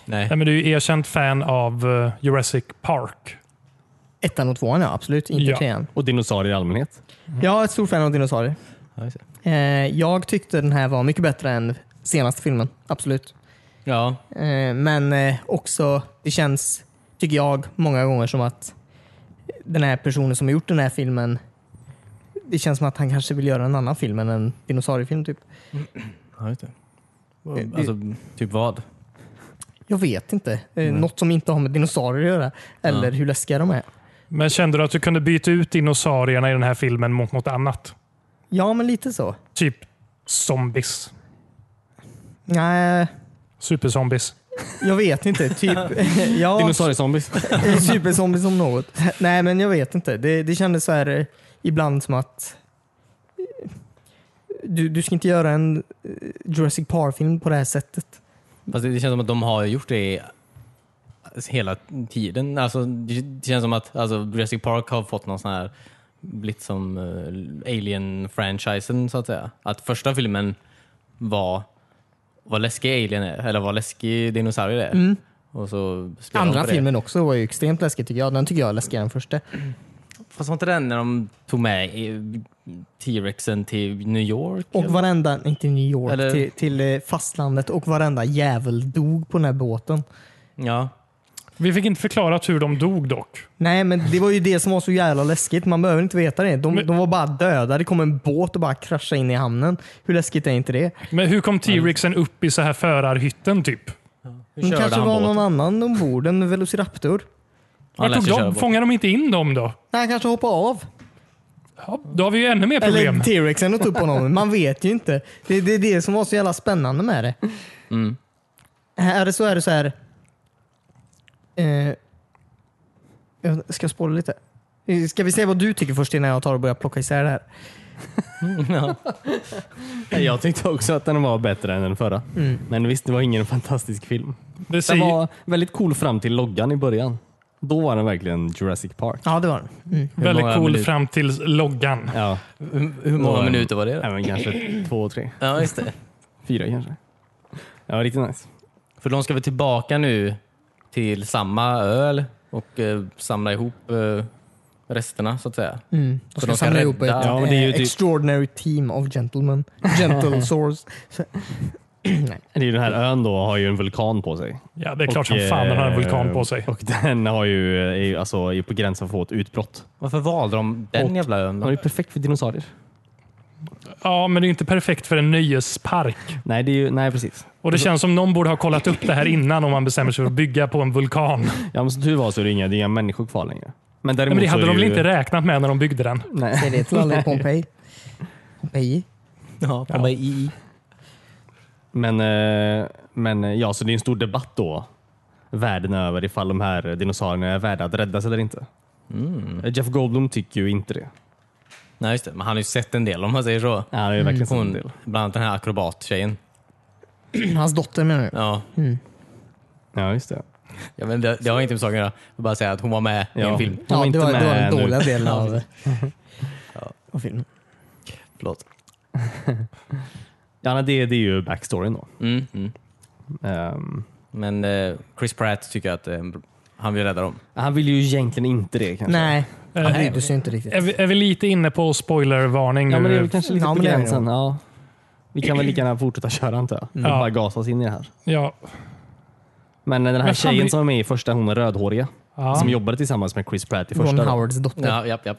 [SPEAKER 1] Nej.
[SPEAKER 2] Nej, men du är ju erkänt fan av eh, Jurassic Park.
[SPEAKER 4] Ettan och tvåan ja, absolut. Inte
[SPEAKER 2] Ja.
[SPEAKER 4] trean.
[SPEAKER 3] Och dinosaurier i allmänhet.
[SPEAKER 4] Jag är ett stort fan av dinosaurier.
[SPEAKER 1] Ja, just det.
[SPEAKER 4] Eh, jag tyckte den här var mycket bättre än senaste filmen. Absolut.
[SPEAKER 1] ja.
[SPEAKER 4] Eh, men eh, också, det känns, tycker jag, många gånger som att den här personen som har gjort den här filmen, det känns som att han kanske vill göra en annan film än en dinosauriefilm. Typ.
[SPEAKER 1] ja just det.
[SPEAKER 4] det-
[SPEAKER 1] Alltså, typ vad?
[SPEAKER 4] Jag vet inte. Eh, Något som inte har med dinosaurier att göra. Eller hur läskiga de är.
[SPEAKER 2] Men kände du att du kunde byta ut dinosaurierna i den här filmen mot något annat?
[SPEAKER 4] Ja, men lite så.
[SPEAKER 2] Typ zombies.
[SPEAKER 4] Nej,
[SPEAKER 2] Superzombies.
[SPEAKER 4] jag vet inte. Typ, ja,
[SPEAKER 3] Dinosauriezombies.
[SPEAKER 4] superzombie som något. Nej, men jag vet inte. Det, det kändes så här eh, ibland som att eh, du, du ska inte göra en eh, Jurassic Park-film på det här sättet.
[SPEAKER 1] Fast det, det känns som att de har gjort det i- alltså, hela tiden. Alltså, det, det känns som att alltså, Jurassic Park har fått någon sån här blivit som eh, Alien-franchisen så att säga. Att första filmen var vad läskig Alien är, eller vad läskig dinosaurier är. Och så spelar de
[SPEAKER 4] Andra
[SPEAKER 1] på det.
[SPEAKER 4] filmen också var ju extremt läskig tycker jag. Den tycker jag är läskigare än första.
[SPEAKER 1] Fast var inte den när de tog med eh, T-rexen till New York?
[SPEAKER 4] Och
[SPEAKER 1] eller?
[SPEAKER 4] varenda, inte New York,
[SPEAKER 1] Eller-
[SPEAKER 4] till, till eh, fastlandet och varenda jävel dog på den här båten.
[SPEAKER 1] Ja.
[SPEAKER 2] Vi fick inte förklarat hur de dog dock.
[SPEAKER 4] Nej, men det var ju det som var så jävla läskigt. Man behöver inte veta det. De,
[SPEAKER 2] Men-
[SPEAKER 4] de var bara döda. Det kom en båt och bara kraschade in i hamnen. Hur läskigt är inte det?
[SPEAKER 2] Men hur kom T-rexen upp i så här förarhytten typ?
[SPEAKER 1] Hur
[SPEAKER 4] Det
[SPEAKER 1] körde
[SPEAKER 4] kanske
[SPEAKER 1] han
[SPEAKER 4] var
[SPEAKER 1] båten?
[SPEAKER 4] någon annan ombord, en velociraptor.
[SPEAKER 1] Han
[SPEAKER 2] Vart
[SPEAKER 1] lät
[SPEAKER 2] tog
[SPEAKER 1] sig köra
[SPEAKER 2] de,
[SPEAKER 1] båt.
[SPEAKER 2] fångade de inte in dem då?
[SPEAKER 4] Nej, han kanske hoppade av.
[SPEAKER 2] Ja, då har vi ju ännu mer problem.
[SPEAKER 4] Eller T-rexen åt upp honom. Man vet ju inte. Det är det, är det som var så jävla spännande med det.
[SPEAKER 1] Mm.
[SPEAKER 4] Är det så är det så här. Eh, jag ska spola lite. Ska vi se vad du tycker först innan jag tar och börjar plocka isär det här?
[SPEAKER 1] ja.
[SPEAKER 3] Jag tyckte också att den var bättre än den förra.
[SPEAKER 4] Mm.
[SPEAKER 3] Men visst, det var ingen fantastisk film.
[SPEAKER 2] Det
[SPEAKER 3] Den
[SPEAKER 2] säger,
[SPEAKER 3] var väldigt cool fram till loggan i början. Då var den verkligen Jurassic Park.
[SPEAKER 4] Ja, det var den. Mm.
[SPEAKER 1] Hur
[SPEAKER 2] väldigt
[SPEAKER 1] många
[SPEAKER 2] cool
[SPEAKER 1] minuter-
[SPEAKER 2] fram till loggan.
[SPEAKER 3] Ja,
[SPEAKER 1] Hur hur många
[SPEAKER 3] Mm.
[SPEAKER 1] minuter var det då?
[SPEAKER 3] även kanske två, tre,
[SPEAKER 1] Ja, just det.
[SPEAKER 3] fyra kanske. Ja, riktigt nice.
[SPEAKER 1] För de ska väl tillbaka nu till samma öl och eh, samla ihop eh, resterna så att säga.
[SPEAKER 4] Mm.
[SPEAKER 1] Så
[SPEAKER 4] De
[SPEAKER 1] de
[SPEAKER 4] ska
[SPEAKER 1] ska
[SPEAKER 4] samla ihop ett
[SPEAKER 1] rädda-
[SPEAKER 3] Ja, men det är ju
[SPEAKER 4] eh,
[SPEAKER 3] typ-
[SPEAKER 4] extraordinary team of gentlemen. Gentle source.
[SPEAKER 3] Det är ju Den här ön då har ju en vulkan på sig.
[SPEAKER 2] Ja, det är
[SPEAKER 3] Och,
[SPEAKER 2] klart som fan den har en
[SPEAKER 3] eh,
[SPEAKER 2] vulkan på sig.
[SPEAKER 3] Och den har ju, är ju alltså, är ju på gränsen för att få ett utbrott.
[SPEAKER 1] Varför valde de den
[SPEAKER 3] Och-
[SPEAKER 1] jävla ön
[SPEAKER 3] Den är
[SPEAKER 1] då?
[SPEAKER 3] ju perfekt för dinosaurier.
[SPEAKER 2] Ja, men det är ju inte perfekt för en nöjespark.
[SPEAKER 3] Nej, det är ju, nej precis.
[SPEAKER 2] Och det känns som någon borde ha kollat upp det här innan om man bestämmer sig för att bygga på en vulkan. Nej,
[SPEAKER 3] Ja, men som tur var så är det inga, det är inga människor kvar längre. Men, däremot
[SPEAKER 2] men det
[SPEAKER 3] så
[SPEAKER 2] hade
[SPEAKER 3] är
[SPEAKER 2] de väl
[SPEAKER 3] ju-
[SPEAKER 2] inte räknat med när de byggde den?
[SPEAKER 4] Säg
[SPEAKER 3] Nej.
[SPEAKER 4] det till alla i Pompeji. Pompeji.
[SPEAKER 1] Ja,
[SPEAKER 2] Ja.
[SPEAKER 1] i, i.
[SPEAKER 3] Men, eh, men eh, ja, så det är en stor debatt då världen över ifall de här dinosaurierna är värda att räddas eller inte. Eh, Jeff Goldblum tycker ju inte det.
[SPEAKER 1] Nej, just det. Men han har ju sett en del om man säger så.
[SPEAKER 3] Han är ju verkligen sån
[SPEAKER 1] Hon,
[SPEAKER 3] del.
[SPEAKER 1] bland annat den här akrobattjejen.
[SPEAKER 4] Hans dotter menar du?
[SPEAKER 1] Ja.
[SPEAKER 3] Ja, just det.
[SPEAKER 1] Ja, men det, det har inte med saken att göra. Jag vill bara säga att hon var med i en
[SPEAKER 3] Ja.
[SPEAKER 1] film.
[SPEAKER 3] De är
[SPEAKER 4] Ja, det
[SPEAKER 3] inte
[SPEAKER 4] var, det var
[SPEAKER 3] med
[SPEAKER 4] den
[SPEAKER 3] nu.
[SPEAKER 4] dåliga delen av, av filmen.
[SPEAKER 1] Förlåt.
[SPEAKER 3] Ja, nej, det, det är ju backstoryn då.
[SPEAKER 1] Mm, mm.
[SPEAKER 3] Ehm,
[SPEAKER 1] Men eh, Chris Pratt tycker att eh, han vill rädda dem.
[SPEAKER 3] han vill ju egentligen inte det kanske.
[SPEAKER 4] Nej, han
[SPEAKER 2] Eh,
[SPEAKER 4] brydde sig inte riktigt.
[SPEAKER 2] Är vi, är vi lite inne på spoilervarning
[SPEAKER 3] Ja, men det är
[SPEAKER 2] nu?
[SPEAKER 3] väl kanske lite
[SPEAKER 4] Ja,
[SPEAKER 3] på
[SPEAKER 4] men det är det
[SPEAKER 3] gränsen. Ja. Vi kan väl lika gärna fortsätta köra antar jag.
[SPEAKER 2] Ja.
[SPEAKER 4] Mm.
[SPEAKER 3] Och bara gasa oss in i det här.
[SPEAKER 2] Ja.
[SPEAKER 3] Men den här
[SPEAKER 2] Men fan,
[SPEAKER 3] tjejen
[SPEAKER 2] vi-
[SPEAKER 3] som är med i första, hon är rödhåriga,
[SPEAKER 2] Ja.
[SPEAKER 3] som jobbade tillsammans med Chris Pratt i första.
[SPEAKER 4] Ron
[SPEAKER 3] då.
[SPEAKER 4] Howards dotter.
[SPEAKER 1] Ja, japp, japp.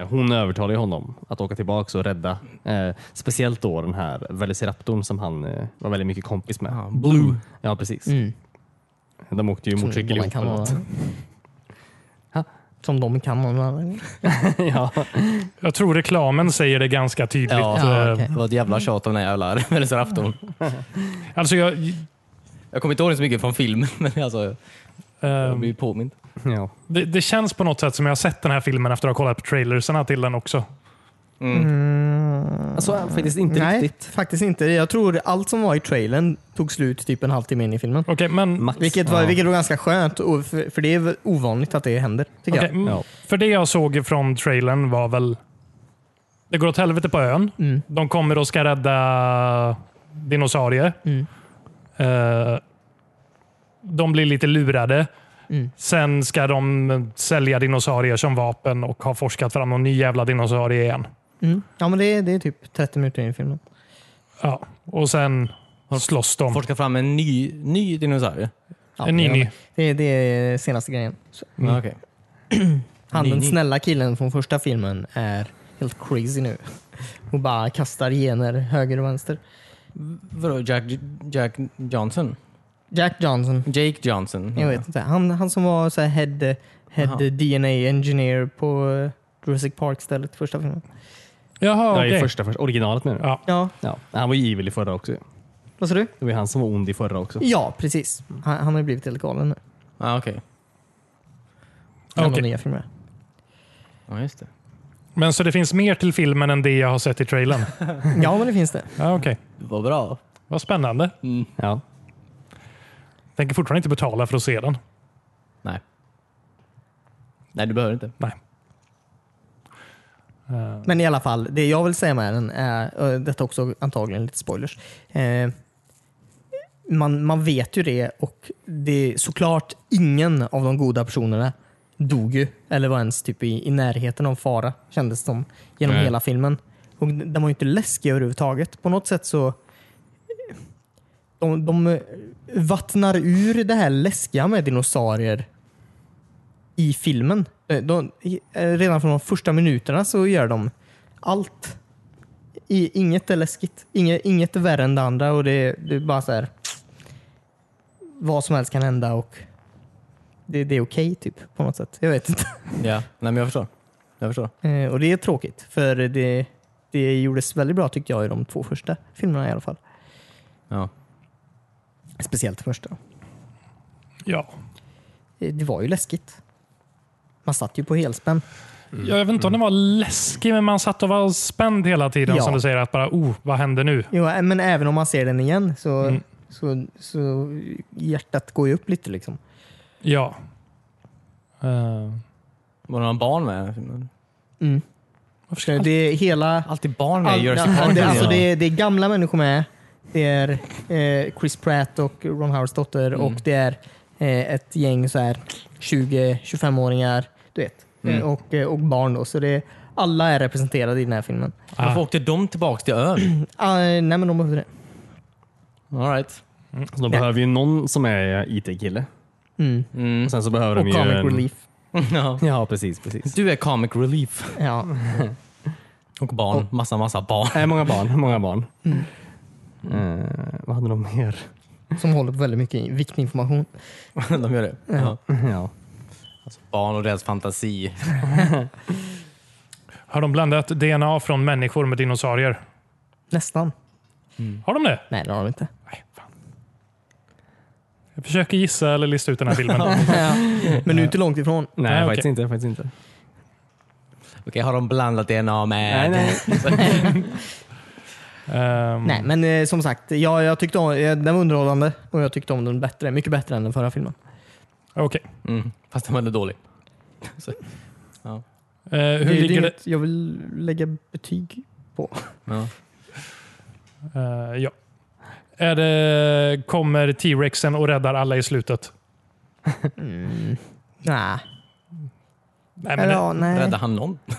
[SPEAKER 3] Eh, Hon övertalar ju honom att åka tillbaka och rädda eh, speciellt då den här Velociraptorn som han eh, var väldigt mycket kompis med.
[SPEAKER 1] Ah, Blue.
[SPEAKER 3] Ja, precis.
[SPEAKER 4] Mm.
[SPEAKER 3] De åkte ju
[SPEAKER 4] Som
[SPEAKER 3] motorcykel
[SPEAKER 4] de
[SPEAKER 3] ihop.
[SPEAKER 4] kan
[SPEAKER 3] eller
[SPEAKER 4] ha-
[SPEAKER 3] något. Ha?
[SPEAKER 4] Som de kan ha-
[SPEAKER 3] ja.
[SPEAKER 2] Jag tror reklamen säger det ganska tydligt.
[SPEAKER 1] Ja,
[SPEAKER 2] Eh,
[SPEAKER 4] okej.
[SPEAKER 1] Det var ett jävla tjat om den här jävla rensarafton.
[SPEAKER 2] Alltså jag,
[SPEAKER 1] Jag kommer inte ihåg så mycket från filmen, men alltså, jag
[SPEAKER 2] eh,
[SPEAKER 1] blir påmind.
[SPEAKER 3] ja.
[SPEAKER 2] det, det känns på något sätt som jag har sett den här filmen efter att ha kollat på trailerserna till den också.
[SPEAKER 1] Mm.
[SPEAKER 3] Alltså faktiskt inte
[SPEAKER 4] Nej,
[SPEAKER 3] riktigt.
[SPEAKER 4] faktiskt inte. Jag tror allt som var i trailern tog slut typ en halvtimme in i filmen.
[SPEAKER 2] Okej, men
[SPEAKER 3] Max.
[SPEAKER 4] Vilket var,
[SPEAKER 3] ja.
[SPEAKER 4] vilket var ganska skönt, och för, för det är väl ovanligt att det händer. Tycker
[SPEAKER 2] okej,
[SPEAKER 4] jag.
[SPEAKER 2] mm,
[SPEAKER 3] Ja.
[SPEAKER 2] för det jag såg från trailern var väl... Det går åt helvete på ön.
[SPEAKER 4] Mm.
[SPEAKER 2] De kommer och ska rädda dinosaurier.
[SPEAKER 4] Mm.
[SPEAKER 2] Eh, de blir lite lurade.
[SPEAKER 4] Mm.
[SPEAKER 2] Sen ska de sälja dinosaurier som vapen och har forskat fram någon ny jävla dinosaurie igen.
[SPEAKER 4] Mm. Ja, men det, det är typ 30 minuter in i filmen.
[SPEAKER 2] Ja. Och sen slåss de.
[SPEAKER 1] Forska fram en ny, ny dinosaurie.
[SPEAKER 4] Ja,
[SPEAKER 2] en nini. Mm.
[SPEAKER 4] Det, det är senaste grejen. Så,
[SPEAKER 1] Ja, okej.
[SPEAKER 4] han den
[SPEAKER 1] Nini.
[SPEAKER 4] snälla killen från första filmen är helt crazy nu. Och bara kastar gener höger och vänster.
[SPEAKER 1] Vadå, Jack, Jack Johnson?
[SPEAKER 4] Jack Johnson.
[SPEAKER 1] Jake Johnson?
[SPEAKER 4] Jag vet inte. Han, han som var så här head,
[SPEAKER 1] Aha.
[SPEAKER 4] head DNA engineer på eh, Jurassic Park-stället första filmen.
[SPEAKER 2] Jaha,
[SPEAKER 3] Ja, i
[SPEAKER 2] okej.
[SPEAKER 3] första, första, originalet menar du?
[SPEAKER 2] Ja.
[SPEAKER 4] Ja,
[SPEAKER 3] Ja. Han var ju evil i förra också.
[SPEAKER 4] vad sa du?
[SPEAKER 3] Det var ju han som var ond i förra också.
[SPEAKER 4] Ja, precis. Han, han har ju blivit helt galen nu.
[SPEAKER 1] Ah, okej.
[SPEAKER 4] Bland
[SPEAKER 2] Okej.
[SPEAKER 4] de nya filmerna.
[SPEAKER 1] Ja, just det.
[SPEAKER 2] Men så det finns mer till filmen än det jag har sett i trailern?
[SPEAKER 4] Ja, men det finns det.
[SPEAKER 2] Ja, okej.
[SPEAKER 1] Vad bra.
[SPEAKER 2] Vad spännande.
[SPEAKER 3] Ja.
[SPEAKER 2] Tänker fortfarande inte betala för att se den.
[SPEAKER 1] Nej. Nej, du behöver inte.
[SPEAKER 2] Eh,
[SPEAKER 4] Men i alla fall, det jag vill säga med den är, och detta också antagligen lite spoilers. Eh, man, man vet ju det och det är såklart ingen av de goda personerna dog ju. Eller var ens typ i, i närheten av fara kändes det som genom
[SPEAKER 1] Nej.
[SPEAKER 4] hela filmen. Och den var ju inte läskig överhuvudtaget. På något sätt så de, de vattnar ur det här läskiga med dinosaurier i filmen. Eh, De, i- eh, redan från de första minuterna så gör de allt. I, inget är läskigt. Inget, inget är värre än det andra och det, det är bara så här. Vad som helst kan hända och det, det är okej typ på något sätt. Jag vet inte.
[SPEAKER 1] Ja, nej men jag förstår. Jag förstår.
[SPEAKER 4] Eh, och det är tråkigt för det, det gjordes väldigt bra tyckte jag i de två första filmerna i alla fall.
[SPEAKER 1] Ja.
[SPEAKER 4] Speciellt första. Eh,
[SPEAKER 2] ja.
[SPEAKER 4] Det, det var ju läskigt. Man satt ju på helspänn.
[SPEAKER 2] Mm. Jag vet inte om den var läskig, men man satt och var spänd hela tiden.
[SPEAKER 4] Ja.
[SPEAKER 2] Som du säger, att bara oh, vad händer nu?
[SPEAKER 4] Jo, ä- men även om man ser den igen så,
[SPEAKER 2] Mm.
[SPEAKER 4] så, så hjärtat går ju upp lite. Liksom.
[SPEAKER 2] Ja. Eh,
[SPEAKER 1] Var det några barn med i den här filmen?
[SPEAKER 4] Mm.
[SPEAKER 2] varför
[SPEAKER 4] Så
[SPEAKER 2] ska jag-
[SPEAKER 4] Det är hela...
[SPEAKER 1] Alltid barn med
[SPEAKER 4] All,
[SPEAKER 1] i Jurassic
[SPEAKER 4] ja,
[SPEAKER 1] Park.
[SPEAKER 4] det, alltså
[SPEAKER 1] Ja.
[SPEAKER 4] det, är, det är gamla människor med. Det är eh, Chris Pratt och Ron Howards dotter och det är eh, ett gäng så här 20-25-åringar. Du vet.
[SPEAKER 1] Mm.
[SPEAKER 4] Eh, Och, eh, och barn då. Så det är, alla är representerade i den här filmen.
[SPEAKER 1] Varför
[SPEAKER 2] Ah,
[SPEAKER 1] åkte de tillbaka till ön?
[SPEAKER 4] Ah, nej men de behövde det.
[SPEAKER 1] All right.
[SPEAKER 3] Så de behöver ju någon som är IT-kille.
[SPEAKER 4] Mm.
[SPEAKER 1] Mm.
[SPEAKER 3] Och sen så behöver de eh,
[SPEAKER 4] Och comic
[SPEAKER 3] ju... en-
[SPEAKER 4] relief.
[SPEAKER 1] Ja.
[SPEAKER 3] Ja, precis. precis.
[SPEAKER 1] Du är comic relief.
[SPEAKER 4] Ja.
[SPEAKER 1] Och barn. Massa, massa barn.
[SPEAKER 3] Äh, många barn. Många barn.
[SPEAKER 4] Mm.
[SPEAKER 3] Eh, vad hade de mer?
[SPEAKER 4] Som håller på väldigt mycket viktig information.
[SPEAKER 1] De gör det. Ja.
[SPEAKER 3] ja.
[SPEAKER 1] Alltså barn och deras fantasi.
[SPEAKER 2] har de blandat DNA från människor med dinosaurier?
[SPEAKER 4] Nästan.
[SPEAKER 2] Har de det?
[SPEAKER 4] Nej det har de inte.
[SPEAKER 2] Nej, fan. Jag försöker gissa eller lista ut den här filmen.
[SPEAKER 4] Men du är inte långt ifrån.
[SPEAKER 3] Nej,
[SPEAKER 2] Nej,
[SPEAKER 3] faktiskt
[SPEAKER 2] okej.
[SPEAKER 3] inte. Faktiskt
[SPEAKER 4] Eh,
[SPEAKER 3] inte.
[SPEAKER 1] Okej, har de blandat DNA med...
[SPEAKER 3] Nej,
[SPEAKER 2] Ehm,
[SPEAKER 4] Nej men eh, som sagt, ja, jag tyckte om, eh, den var underhållande och jag tyckte om den bättre. Mycket bättre än den förra filmen.
[SPEAKER 2] Okej.
[SPEAKER 1] Mm. Fast den var ändå dålig.
[SPEAKER 2] Eh, hur
[SPEAKER 4] det, är
[SPEAKER 2] ligger det?
[SPEAKER 4] inget Jag vill lägga betyg på.
[SPEAKER 1] Ja.
[SPEAKER 2] Eh, ja. Är det, kommer T-rexen och räddar alla i slutet?
[SPEAKER 4] Nej.
[SPEAKER 2] Nej, men
[SPEAKER 4] Mm. Eller, ja, nej.
[SPEAKER 1] Räddade han någon?
[SPEAKER 4] Ja.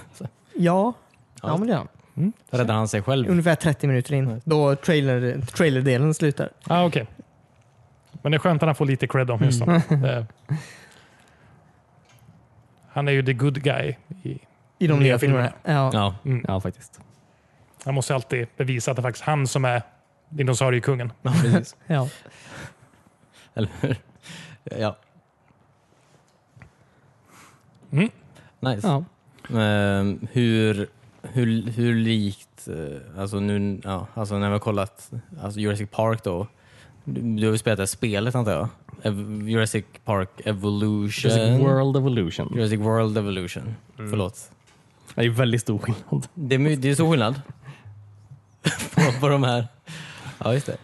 [SPEAKER 1] Ja.
[SPEAKER 4] Ja, men det gör han.
[SPEAKER 1] Räddade han sig själv?
[SPEAKER 4] Ungefär 30 minuter in. Då trailer, trailerdelen slutar.
[SPEAKER 2] Ah, okej. Men det är skönt att han får lite cred om just
[SPEAKER 4] Mm.
[SPEAKER 2] Han är ju the good guy. i-
[SPEAKER 4] I de
[SPEAKER 2] Nya
[SPEAKER 4] nya filmerna. Ja.
[SPEAKER 1] Ja.
[SPEAKER 3] Ja, faktiskt.
[SPEAKER 2] Han måste alltid bevisa att det är faktiskt han som är dinosauriekungen.
[SPEAKER 1] ja, precis.
[SPEAKER 4] Ja.
[SPEAKER 1] Eller hur? Ja.
[SPEAKER 2] Mm.
[SPEAKER 1] Nice.
[SPEAKER 3] Ja.
[SPEAKER 1] Ehm, hur, hur, hur likt, eh, alltså nu, ja, alltså när vi har kollat alltså Jurassic Park då. Du, du har ju spelat det här spelet antar jag? Ev- Jurassic Park Evolution?
[SPEAKER 3] Jurassic World Evolution.
[SPEAKER 1] Jurassic World Evolution. Förlåt.
[SPEAKER 3] Det är ju väldigt stor skillnad.
[SPEAKER 1] Det är, my- det är så skillnad på, på de här. Ja, just det.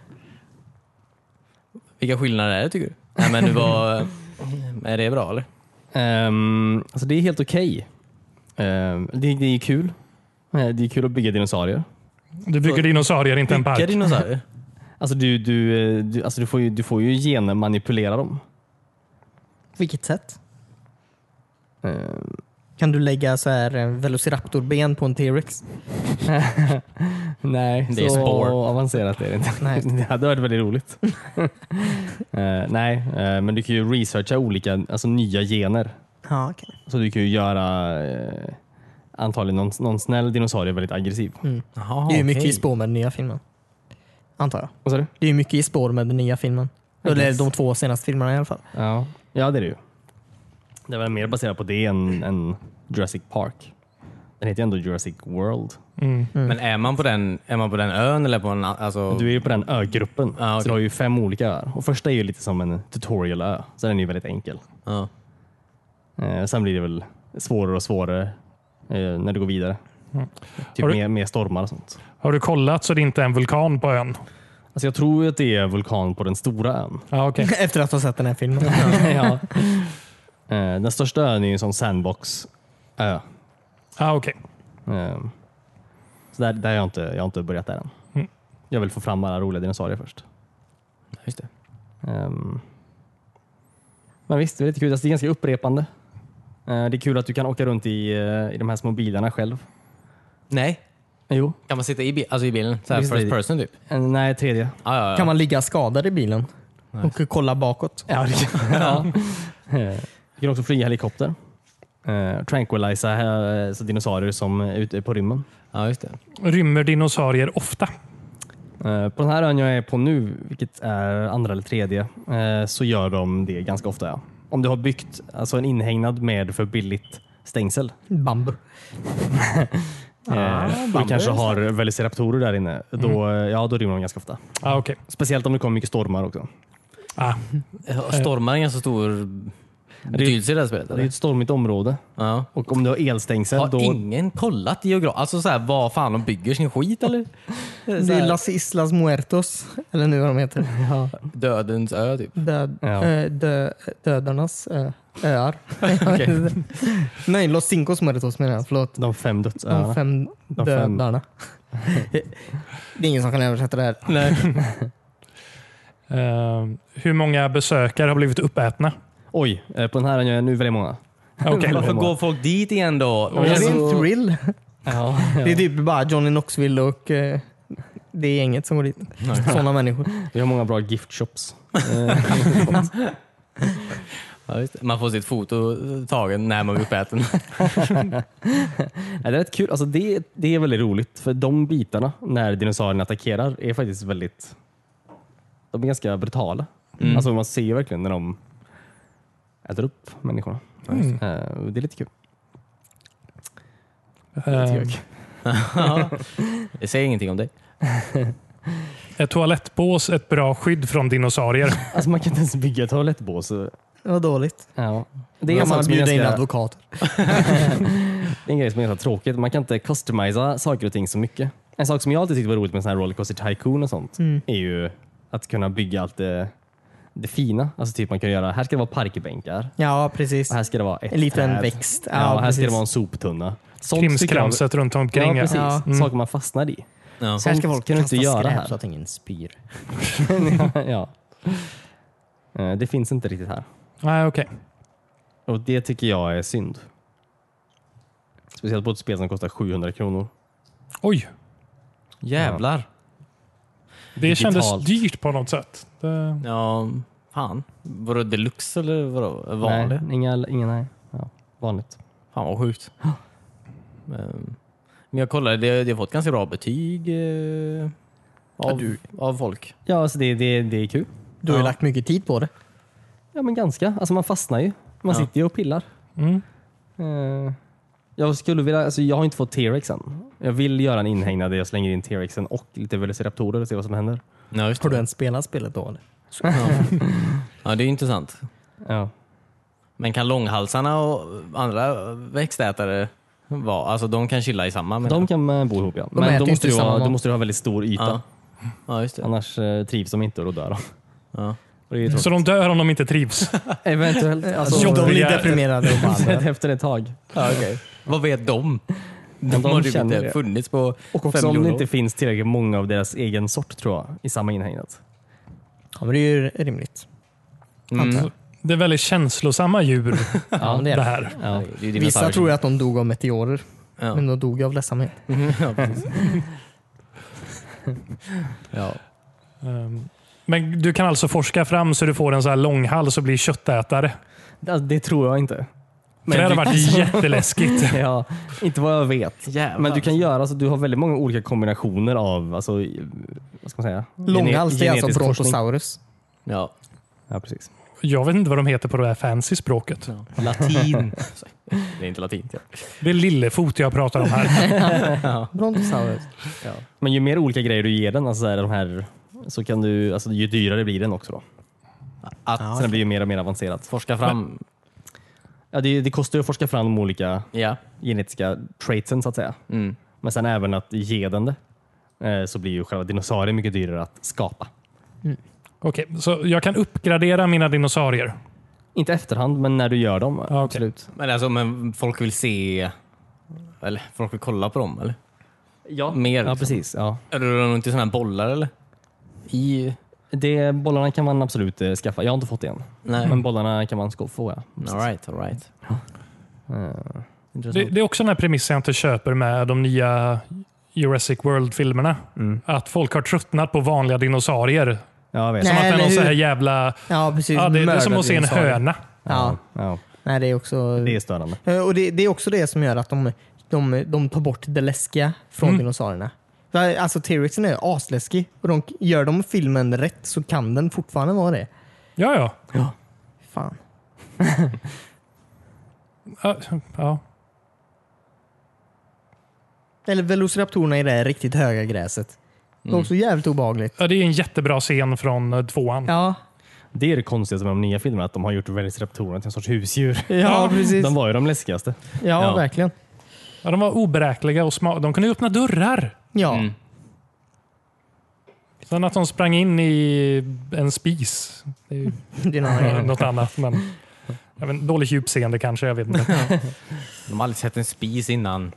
[SPEAKER 1] Vilka skillnader är det tycker du? Nej, men det var, är det bra eller?
[SPEAKER 3] Ehm, alltså det är helt okej. Ehm, det, det är kul. Eh, det är kul att bygga dinosaurier.
[SPEAKER 2] Du bygger dinosaurier, inte en
[SPEAKER 1] Vilka
[SPEAKER 2] park.
[SPEAKER 1] dinosaurier?
[SPEAKER 3] Alltså du, du, eh, du, alltså du, får, ju, du får ju genmanipulera dem.
[SPEAKER 4] På vilket sätt?
[SPEAKER 3] Ehm,
[SPEAKER 4] Kan du lägga så här eh, velociraptorben på en T-rex?
[SPEAKER 3] nej,
[SPEAKER 1] Det är
[SPEAKER 3] så
[SPEAKER 1] spår.
[SPEAKER 3] avancerat är det inte.
[SPEAKER 4] Nej.
[SPEAKER 3] Det hade varit väldigt roligt. Ehm, nej, eh, men du kan ju researcha olika, alltså nya gener.
[SPEAKER 4] Ja, okej.
[SPEAKER 3] Så du kan ju göra eh, antagligen någon, någon snäll dinosaurie väldigt aggressiv.
[SPEAKER 1] Mm. Jaha,
[SPEAKER 4] Det är ju mycket
[SPEAKER 1] okej.
[SPEAKER 4] i spår med den nya filmen. Antar jag.
[SPEAKER 3] Vad sa du?
[SPEAKER 4] Det är ju mycket i spår med den nya filmen.
[SPEAKER 3] I
[SPEAKER 4] Eller
[SPEAKER 3] guess.
[SPEAKER 4] de två senaste filmerna i alla fall.
[SPEAKER 3] Ja. ja, det är det ju. Det är väl mer baserat på det än, än Jurassic Park. Den heter ju ändå Jurassic World.
[SPEAKER 2] Mm.
[SPEAKER 1] Men är man på den, är man på den ön eller på en a- alltså,
[SPEAKER 3] Du är ju på den ögruppen.
[SPEAKER 1] Ja,
[SPEAKER 3] Så
[SPEAKER 1] okej.
[SPEAKER 3] du har ju fem olika öar. Och första är ju lite som en tutorial-ö, så den är ju väldigt enkel.
[SPEAKER 1] ja.
[SPEAKER 3] Eh, sen blir det väl svårare och svårare eh, när du går vidare. Typ
[SPEAKER 2] Har du-
[SPEAKER 3] mer, mer stormar och sånt.
[SPEAKER 2] Har du kollat så det inte är en vulkan på ön?
[SPEAKER 3] Alltså jag tror ju att det är vulkan på den stora ön.
[SPEAKER 2] Ja, okej.
[SPEAKER 4] Efter att ha sett den här filmen.
[SPEAKER 3] ja. Eh, den största ön är ju en sån sandbox-ö.
[SPEAKER 2] Ah, okej.
[SPEAKER 3] Eh, så där, där har jag, inte, jag har inte börjat där än.
[SPEAKER 2] Mm.
[SPEAKER 3] Jag vill få fram alla roliga dinosaurier först.
[SPEAKER 1] Just det.
[SPEAKER 3] Ehm, Men visst, det är lite kul. Alltså, det är ganska upprepande. Eh, Det är kul att du kan åka runt i, eh, i de här små bilarna själv.
[SPEAKER 1] Nej,
[SPEAKER 3] Jo.
[SPEAKER 1] kan man sitta i, bi- alltså i bilen? Så här
[SPEAKER 3] Visst,
[SPEAKER 1] first
[SPEAKER 3] det-
[SPEAKER 1] person typ?
[SPEAKER 3] Eh, Nej, tredje.
[SPEAKER 1] Ah, ja, ja.
[SPEAKER 4] Kan man ligga skadad i bilen och kolla bakåt?
[SPEAKER 3] Ja, det kan. ja. Eh, Du kan också flyga helikopter. Eh, Tranquiliza eh, så dinosaurier som är ute på rymmen.
[SPEAKER 1] ja, just det.
[SPEAKER 2] Rymmer dinosaurier ofta?
[SPEAKER 3] Eh, På den här ön jag är på nu, vilket är andra eller tredje, eh, så gör de det ganska ofta. Ja. Om du har byggt alltså en inhägnad med för billigt stängsel.
[SPEAKER 4] Bambu. Ah,
[SPEAKER 3] eh, och du kanske har velociraptorer där inne. Då,
[SPEAKER 4] Mm.
[SPEAKER 3] eh, ja, då rymmer de ganska ofta.
[SPEAKER 2] Ah, okej.
[SPEAKER 3] Speciellt om det kommer mycket stormar också.
[SPEAKER 2] Ah.
[SPEAKER 1] Stormar är en ganska stor betydelse i det här spelet?
[SPEAKER 3] Det är ju
[SPEAKER 1] Eller?
[SPEAKER 3] ett stormigt område.
[SPEAKER 1] Ja.
[SPEAKER 3] Och om du har elstängsel
[SPEAKER 1] Har
[SPEAKER 3] då...
[SPEAKER 1] ingen kollat geograf? Alltså så här, vad fan, de bygger sin skit eller? Så
[SPEAKER 4] Det är
[SPEAKER 1] här,
[SPEAKER 4] Las Islas Muertos, eller nu vad de heter.
[SPEAKER 3] Ja.
[SPEAKER 1] Dödens ö typ.
[SPEAKER 4] Död,
[SPEAKER 3] Ja.
[SPEAKER 4] eh, dö, dödarnas ö, öar. Nej, Los Cinco Muertos menar jag. Förlåt.
[SPEAKER 3] De fem
[SPEAKER 4] De
[SPEAKER 3] dödsöarna.
[SPEAKER 4] fem
[SPEAKER 3] De fem.
[SPEAKER 4] dödarna. det är ingen som kan översätta det här.
[SPEAKER 2] Eh, hur många besökare har blivit uppätna?
[SPEAKER 3] Oj, eh, på den här gör jag nu väldigt många.
[SPEAKER 2] Okej.
[SPEAKER 1] Varför går folk dit igen då?
[SPEAKER 2] Ja,
[SPEAKER 4] Det är
[SPEAKER 3] alltså-
[SPEAKER 4] en thrill.
[SPEAKER 3] Ja,
[SPEAKER 4] Det är typ bara Johnny Knoxville och eh, det är gänget som går dit. Sådana människor.
[SPEAKER 3] Vi har många bra gift shops. Eh,
[SPEAKER 1] Ja, just det. Man får sitt foto eh, tagen när man blir uppäten.
[SPEAKER 3] Ja, det är rätt kul. Alltså det, det är väldigt roligt för de bitarna när dinosaurierna attackerar är faktiskt väldigt... De är ganska brutala. Alltså man ser ju verkligen när de äter upp människorna.
[SPEAKER 2] Mm.
[SPEAKER 3] Eh, och Det är lite kul.
[SPEAKER 2] Eh,
[SPEAKER 1] Det säger ingenting om dig.
[SPEAKER 2] ett toalettbås ett bra skydd från dinosaurier?
[SPEAKER 3] Alltså man kan inte ens bygga ett toalettbås. så-
[SPEAKER 4] Det var dåligt.
[SPEAKER 3] Ja. Det
[SPEAKER 4] Det
[SPEAKER 3] är
[SPEAKER 4] är
[SPEAKER 3] en sak
[SPEAKER 4] man
[SPEAKER 3] som är
[SPEAKER 4] bjuder in
[SPEAKER 3] ganska-
[SPEAKER 4] advokater.
[SPEAKER 3] Det är en grej som är ganska tråkigt. Man kan inte customisa saker och ting så mycket. En sak som jag alltid tyckte var roligt med sån här rollercoaster tycoon och sånt är ju att kunna bygga allt det, det fina. Alltså typ man kan göra, här ska det vara parkbänkar.
[SPEAKER 4] Ja, precis.
[SPEAKER 3] Och här ska det vara ett
[SPEAKER 4] En liten
[SPEAKER 3] träd.
[SPEAKER 4] växt.
[SPEAKER 3] Ja,
[SPEAKER 4] Ja,
[SPEAKER 3] och här ska
[SPEAKER 4] precis.
[SPEAKER 3] det vara en soptunna. Sånt tycker jag-
[SPEAKER 2] Krimskramset runt omkring.
[SPEAKER 3] Ja, precis.
[SPEAKER 4] Ja.
[SPEAKER 2] Mm.
[SPEAKER 3] Saker man fastnar i.
[SPEAKER 1] Ja.
[SPEAKER 4] Så här ska
[SPEAKER 3] Sånt
[SPEAKER 4] folk
[SPEAKER 3] kan du
[SPEAKER 4] kasta
[SPEAKER 3] inte göra
[SPEAKER 4] skräp
[SPEAKER 3] här.
[SPEAKER 4] så att ingen spyr.
[SPEAKER 3] ja. Eh, Det finns inte riktigt här.
[SPEAKER 2] Nej, okej.
[SPEAKER 3] Och det tycker jag är synd. Speciellt på ett spel som kostar 700 kronor.
[SPEAKER 2] Oj,
[SPEAKER 1] Jävlar.
[SPEAKER 2] det
[SPEAKER 3] Digitalt.
[SPEAKER 2] kändes dyrt på något sätt. Det, mm.
[SPEAKER 1] Ja, fan. Var det deluxe eller vadå? Vanlig?
[SPEAKER 3] Nej, inga, inga, nej. Ja, vanligt.
[SPEAKER 1] Fan vad sjukt. Men men jag kollade, det, det har fått ganska bra betyg eh, av, av folk.
[SPEAKER 3] Ja, alltså det, det, det är kul.
[SPEAKER 4] Du har ju
[SPEAKER 1] Ja.
[SPEAKER 4] lagt mycket tid på det.
[SPEAKER 3] Ja, men ganska. Alltså man fastnar ju.
[SPEAKER 1] Ja.
[SPEAKER 3] Man sitter ju och pillar.
[SPEAKER 2] mm.
[SPEAKER 3] Eh, Jag skulle vilja, alltså jag har inte fått T-rexen. Jag vill göra en inhägnad där jag slänger in T-rexen och lite velociraptorer och se vad som händer.
[SPEAKER 1] Ja, just
[SPEAKER 4] Har du
[SPEAKER 1] det.
[SPEAKER 4] ens spelat spelet då? Eller?
[SPEAKER 1] Ja. ja, det är ju intressant.
[SPEAKER 3] Ja.
[SPEAKER 1] Men kan långhalsarna och andra växtätare vara, alltså de kan chilla i samma? menar
[SPEAKER 3] De
[SPEAKER 1] jag.
[SPEAKER 3] kan eh, bo ihop ja.
[SPEAKER 4] De
[SPEAKER 3] Men
[SPEAKER 4] äter
[SPEAKER 3] då
[SPEAKER 4] ju inte
[SPEAKER 3] måste, du ha,
[SPEAKER 4] samma
[SPEAKER 3] då
[SPEAKER 4] mat.
[SPEAKER 3] måste du ha väldigt stor yta.
[SPEAKER 1] Ja. ja, just det.
[SPEAKER 3] Annars eh, trivs de inte och då dör de.
[SPEAKER 1] Ja.
[SPEAKER 3] Och det är ju tråkigt.
[SPEAKER 2] Så de dör om de inte trivs.
[SPEAKER 3] Eventuellt.
[SPEAKER 4] Alltså,
[SPEAKER 3] Alltså,
[SPEAKER 4] de blir
[SPEAKER 2] jobbiga-
[SPEAKER 4] deprimerade. Och bara,
[SPEAKER 3] efter ett tag.
[SPEAKER 1] Ja, okay. Vad vet de? De,
[SPEAKER 3] de
[SPEAKER 1] har typ
[SPEAKER 3] känner
[SPEAKER 1] inte
[SPEAKER 3] det.
[SPEAKER 1] funnits på
[SPEAKER 3] Och
[SPEAKER 1] fem
[SPEAKER 3] också om det
[SPEAKER 1] miljoner
[SPEAKER 3] inte
[SPEAKER 1] år.
[SPEAKER 3] finns tillräckligt många av deras egen sort tror jag, i samma inhägnad.
[SPEAKER 4] ja, men det är ju rimligt.
[SPEAKER 1] Mm.
[SPEAKER 4] antar jag.
[SPEAKER 2] Det är väldigt känslosamma djur
[SPEAKER 4] Ja, men det är
[SPEAKER 2] det
[SPEAKER 4] det.
[SPEAKER 2] här.
[SPEAKER 1] Det
[SPEAKER 3] Ja.
[SPEAKER 1] är ju
[SPEAKER 4] Vissa
[SPEAKER 1] dinosaurier.
[SPEAKER 4] tror ju att de dog av meteorer,
[SPEAKER 1] Ja.
[SPEAKER 4] men de dog av ledsamhet.
[SPEAKER 1] ja, precis. ja.
[SPEAKER 2] Ehm, Men du kan alltså forska fram så du får en så här långhals och blir köttätare.
[SPEAKER 3] Alltså, det tror jag inte.
[SPEAKER 2] För det hade varit jätteläskigt.
[SPEAKER 3] ja, inte vad jag vet.
[SPEAKER 1] Jävlar.
[SPEAKER 3] Men du kan göra, alltså, du har väldigt många olika kombinationer av, alltså, vad ska man säga?
[SPEAKER 4] Långhals, det är alltså
[SPEAKER 3] Genetisk forskning.
[SPEAKER 4] brontosaurus.
[SPEAKER 1] Ja.
[SPEAKER 3] Ja, precis.
[SPEAKER 2] Jag vet inte vad de heter på det här fancy språket.
[SPEAKER 1] Latin. det är inte latin. Ja.
[SPEAKER 2] Det är lillefot jag pratar om här.
[SPEAKER 4] Brontosaurus.
[SPEAKER 3] Men ju mer olika grejer du ger den, alltså, så här, de här, så kan du, alltså, ju dyrare blir den också. Då.
[SPEAKER 1] Att
[SPEAKER 3] Så den blir ju mer och mer avancerad.
[SPEAKER 1] forska fram.
[SPEAKER 3] Ja, det, det kostar ju att forska fram de olika
[SPEAKER 1] Ja.
[SPEAKER 3] genetiska traitsen så att säga.
[SPEAKER 1] Mm.
[SPEAKER 3] Men sen även att ge den det eh, så blir ju själva dinosaurien mycket dyrare att skapa.
[SPEAKER 2] Okej, så jag kan uppgradera mina dinosaurier.
[SPEAKER 3] Inte efterhand, men när du gör dem.
[SPEAKER 2] okej.
[SPEAKER 3] Absolut.
[SPEAKER 1] Men, alltså, men folk vill se... Eller folk vill kolla på dem, eller?
[SPEAKER 3] Ja,
[SPEAKER 1] Mer,
[SPEAKER 3] ja
[SPEAKER 1] liksom.
[SPEAKER 3] precis. Ja.
[SPEAKER 1] Eller rullar de inte i såna här bollar, eller? I...
[SPEAKER 3] Det, bollarna kan man absolut eh, skaffa. Jag har inte fått det än.
[SPEAKER 1] Nej.
[SPEAKER 3] Men bollarna kan man sko- få. Ja.
[SPEAKER 1] All right, all right.
[SPEAKER 3] Eh,
[SPEAKER 2] Det,
[SPEAKER 1] Intressant.
[SPEAKER 2] det är också den här premissen jag inte köper med de nya Jurassic World-filmerna.
[SPEAKER 4] Mm.
[SPEAKER 2] Att folk har tröttnat på vanliga dinosaurier.
[SPEAKER 3] Ja, jag vet.
[SPEAKER 2] Som
[SPEAKER 4] Nej,
[SPEAKER 2] att det är
[SPEAKER 4] men
[SPEAKER 2] någon så här
[SPEAKER 4] hur-
[SPEAKER 2] jävla...
[SPEAKER 4] Ja, precis.
[SPEAKER 2] Ja, det, det är som att se en
[SPEAKER 4] Mördardinosaurie.
[SPEAKER 2] höna.
[SPEAKER 4] Ja.
[SPEAKER 3] Ja,
[SPEAKER 4] Nej, det är också...
[SPEAKER 3] det är störande.
[SPEAKER 4] Eh, Och det, det är också det som gör att de, de, de tar bort det läskiga från
[SPEAKER 2] Mm.
[SPEAKER 4] dinosaurierna. Va- Alltså T-rexen är asläskig och de, gör de filmen rätt så kan den fortfarande vara det.
[SPEAKER 2] Ja, ja.
[SPEAKER 4] Fan.
[SPEAKER 2] Ja, ja.
[SPEAKER 4] Eller velociraptorerna i det här riktigt
[SPEAKER 3] Mm.
[SPEAKER 4] höga gräset. Det är också jävligt obehagligt.
[SPEAKER 2] ja. Det är en jättebra scen från eh, tvåan.
[SPEAKER 4] Ja,
[SPEAKER 3] Det är det konstigaste med de nya filmerna, att de har gjort Velociraptorerna till en sorts husdjur.
[SPEAKER 4] Ja, precis.
[SPEAKER 3] De var ju de läskigaste.
[SPEAKER 4] Ja,
[SPEAKER 3] Ja.
[SPEAKER 4] verkligen.
[SPEAKER 2] Ja, de var oberäkneliga och smarta. De kunde ju öppna dörrar.
[SPEAKER 4] Ja.
[SPEAKER 1] Mm.
[SPEAKER 2] Sen att de sprang in i en spis. Det är ju
[SPEAKER 4] Det är någon annan grej.
[SPEAKER 2] något annat. Men, jag vet, inte, dåligt djupseende kanske. Jag vet inte.
[SPEAKER 1] De har aldrig sett en spis innan.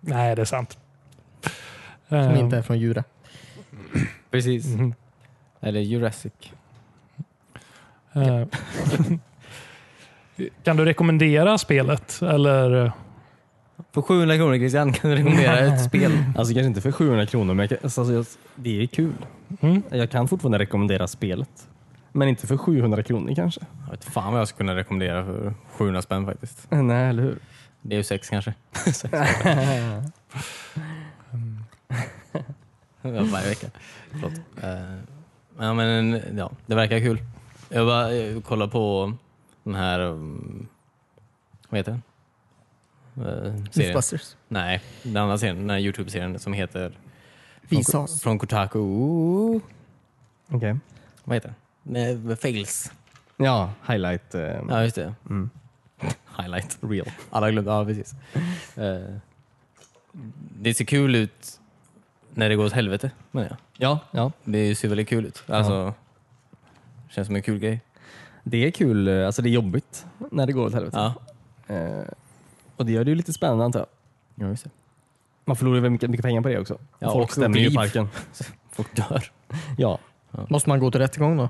[SPEAKER 2] Nej, det är sant.
[SPEAKER 4] Som
[SPEAKER 2] Ehm,
[SPEAKER 4] inte är från Jura.
[SPEAKER 1] Precis.
[SPEAKER 2] mhm.
[SPEAKER 1] Eller Jurassic.
[SPEAKER 2] Ehm. Kan du rekommendera spelet? Eller?
[SPEAKER 1] För 700 kronor Christian kan du rekommendera ett spel.
[SPEAKER 3] Alltså kanske inte för 700 kronor, men jag, kan- alltså, jag, det är kul.
[SPEAKER 2] Mm.
[SPEAKER 3] Jag kan fortfarande rekommendera spelet. Men inte för 700 kronor kanske.
[SPEAKER 1] Jag vet fan vad jag skulle kunna rekommendera för 700 spänn faktiskt.
[SPEAKER 3] Nej, eller hur?
[SPEAKER 1] Det är ju sex kanske. Mm. Ja, Varje vecka. Förlåt. Eh, Ja, men, ja, det verkar kul. Jag bara eh, kollar på den här... mm, Vad heter den? Eh, Serien.
[SPEAKER 4] Mythbusters.
[SPEAKER 1] Nej, den andra serien. Den här Youtube-serien som heter...
[SPEAKER 4] Vi sa oss.
[SPEAKER 1] Från Kotaku.
[SPEAKER 3] Okej.
[SPEAKER 1] Vad heter den? Nej, Fails.
[SPEAKER 3] Ja, highlight eh,
[SPEAKER 1] Ja, just det.
[SPEAKER 3] Mm.
[SPEAKER 1] Highlight.
[SPEAKER 3] real.
[SPEAKER 1] Alla glömde, ja precis. Eh, det ser kul ut när det går åt helvete menar jag.
[SPEAKER 3] Ja, ja.
[SPEAKER 1] Det ser väldigt kul ut. Alltså, Känns som en kul grej.
[SPEAKER 3] Det är kul. eh, Alltså det är jobbigt när det går åt helvete.
[SPEAKER 1] Ja.
[SPEAKER 3] Eh, och det gör det ju lite spännande antar jag.
[SPEAKER 1] Ja, just det.
[SPEAKER 3] Man förlorar ju väldigt mycket, mycket pengar på det också.
[SPEAKER 1] Ja,
[SPEAKER 3] Folk
[SPEAKER 1] och
[SPEAKER 3] stämmer ju
[SPEAKER 1] liv.
[SPEAKER 3] i parken.
[SPEAKER 1] Folk dör.
[SPEAKER 3] Ja,
[SPEAKER 4] Måste man gå till rättegång då?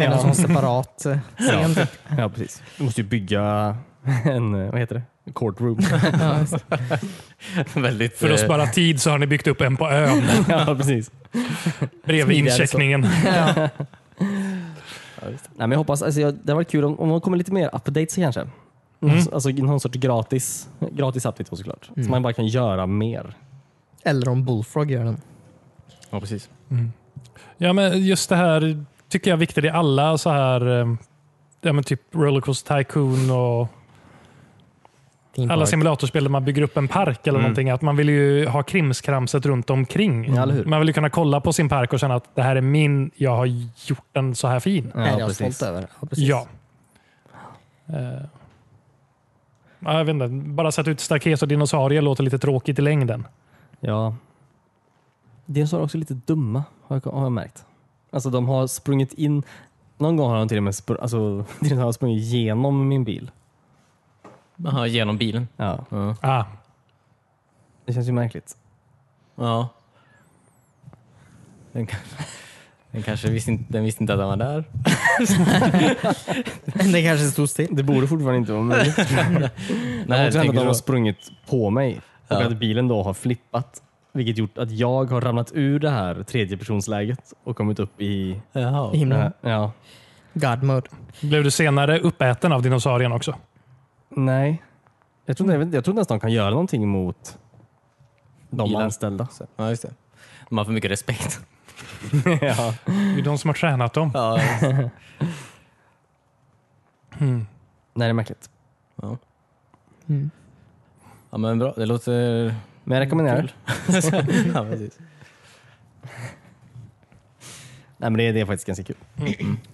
[SPEAKER 4] Eller som separat eh, scen? typ.
[SPEAKER 3] ja, precis. Du måste ju bygga en, eh, vad heter det? En Courtroom.
[SPEAKER 4] Ja, just det.
[SPEAKER 1] väldigt...
[SPEAKER 2] För att
[SPEAKER 1] eh,
[SPEAKER 2] spara tid så har ni byggt upp en på ön
[SPEAKER 3] ja, precis.
[SPEAKER 2] bredvid
[SPEAKER 3] Smidigare så.
[SPEAKER 2] incheckningen.
[SPEAKER 3] Nej, men jag hoppas, alltså, jag, det hade varit kul om, om det kommer lite mer updates kanske.
[SPEAKER 1] Mm.
[SPEAKER 3] Alltså, alltså någon sorts gratis, gratis update då, såklart. Så man bara kan göra mer.
[SPEAKER 4] Eller om Bullfrog gör den.
[SPEAKER 1] Ja, precis.
[SPEAKER 2] Ja, men just det här tycker jag är viktigt i alla så här, eh, ja, men typ Rollercoaster Tycoon och
[SPEAKER 4] Theme
[SPEAKER 2] alla
[SPEAKER 4] park.
[SPEAKER 2] simulatorspel där man bygger upp en park
[SPEAKER 3] Mm.
[SPEAKER 2] eller någonting. Att man vill ju ha krimskramset runt omkring.
[SPEAKER 3] Ja, eller hur?
[SPEAKER 2] Man vill ju kunna kolla på sin park och känna att det här är min, jag har gjort den så här fin.
[SPEAKER 4] är jag
[SPEAKER 3] precis.
[SPEAKER 4] stolt över. Ja, precis.
[SPEAKER 2] Ja. Eh, ja, jag vet inte. Bara sätta ut staket och dinosaurier låter lite tråkigt i längden.
[SPEAKER 3] Ja. Dinosaurier är också lite dumma har jag, har jag märkt. Alltså de har sprungit in. Någon gång har de till och med spr- alltså, dinosaurier har sprungit genom min bil.
[SPEAKER 1] Aha, genom bilen.
[SPEAKER 3] Ja,
[SPEAKER 1] Ja.
[SPEAKER 2] Ah,
[SPEAKER 3] det känns ju märkligt.
[SPEAKER 1] ja. Den, kan- den kanske visste inte, den visste inte att den var där.
[SPEAKER 4] Men det kanske stod still.
[SPEAKER 3] Det borde fortfarande inte vara möjligt. Det har
[SPEAKER 1] Nej,
[SPEAKER 3] också
[SPEAKER 1] jag
[SPEAKER 3] hänt att de
[SPEAKER 1] tänker
[SPEAKER 3] har
[SPEAKER 1] så.
[SPEAKER 3] sprungit på mig och
[SPEAKER 1] Ja.
[SPEAKER 3] att bilen då har flippat. Vilket gjort att jag har ramlat ur det här tredjepersonsläget och kommit upp i...
[SPEAKER 1] Jaha.
[SPEAKER 4] I himlen.
[SPEAKER 3] Äh, ja.
[SPEAKER 4] God mode.
[SPEAKER 2] blev du senare uppäten av dinosaurien också?
[SPEAKER 3] Nej. Jag tror, inte- jag tror nästan de kan göra någonting mot de
[SPEAKER 1] Bilar.
[SPEAKER 3] anställda.
[SPEAKER 1] Ja, just det. De har för mycket respekt.
[SPEAKER 3] ja.
[SPEAKER 2] Det är ju de som har tränat dem.
[SPEAKER 1] Ja,
[SPEAKER 3] Nej, det är märkligt.
[SPEAKER 1] ja.
[SPEAKER 4] Mm.
[SPEAKER 1] ja men bra. Det låter...
[SPEAKER 3] Men jag rekommenderar det.
[SPEAKER 1] ja, precis.
[SPEAKER 3] Nej, men det, är- det är faktiskt ganska kul.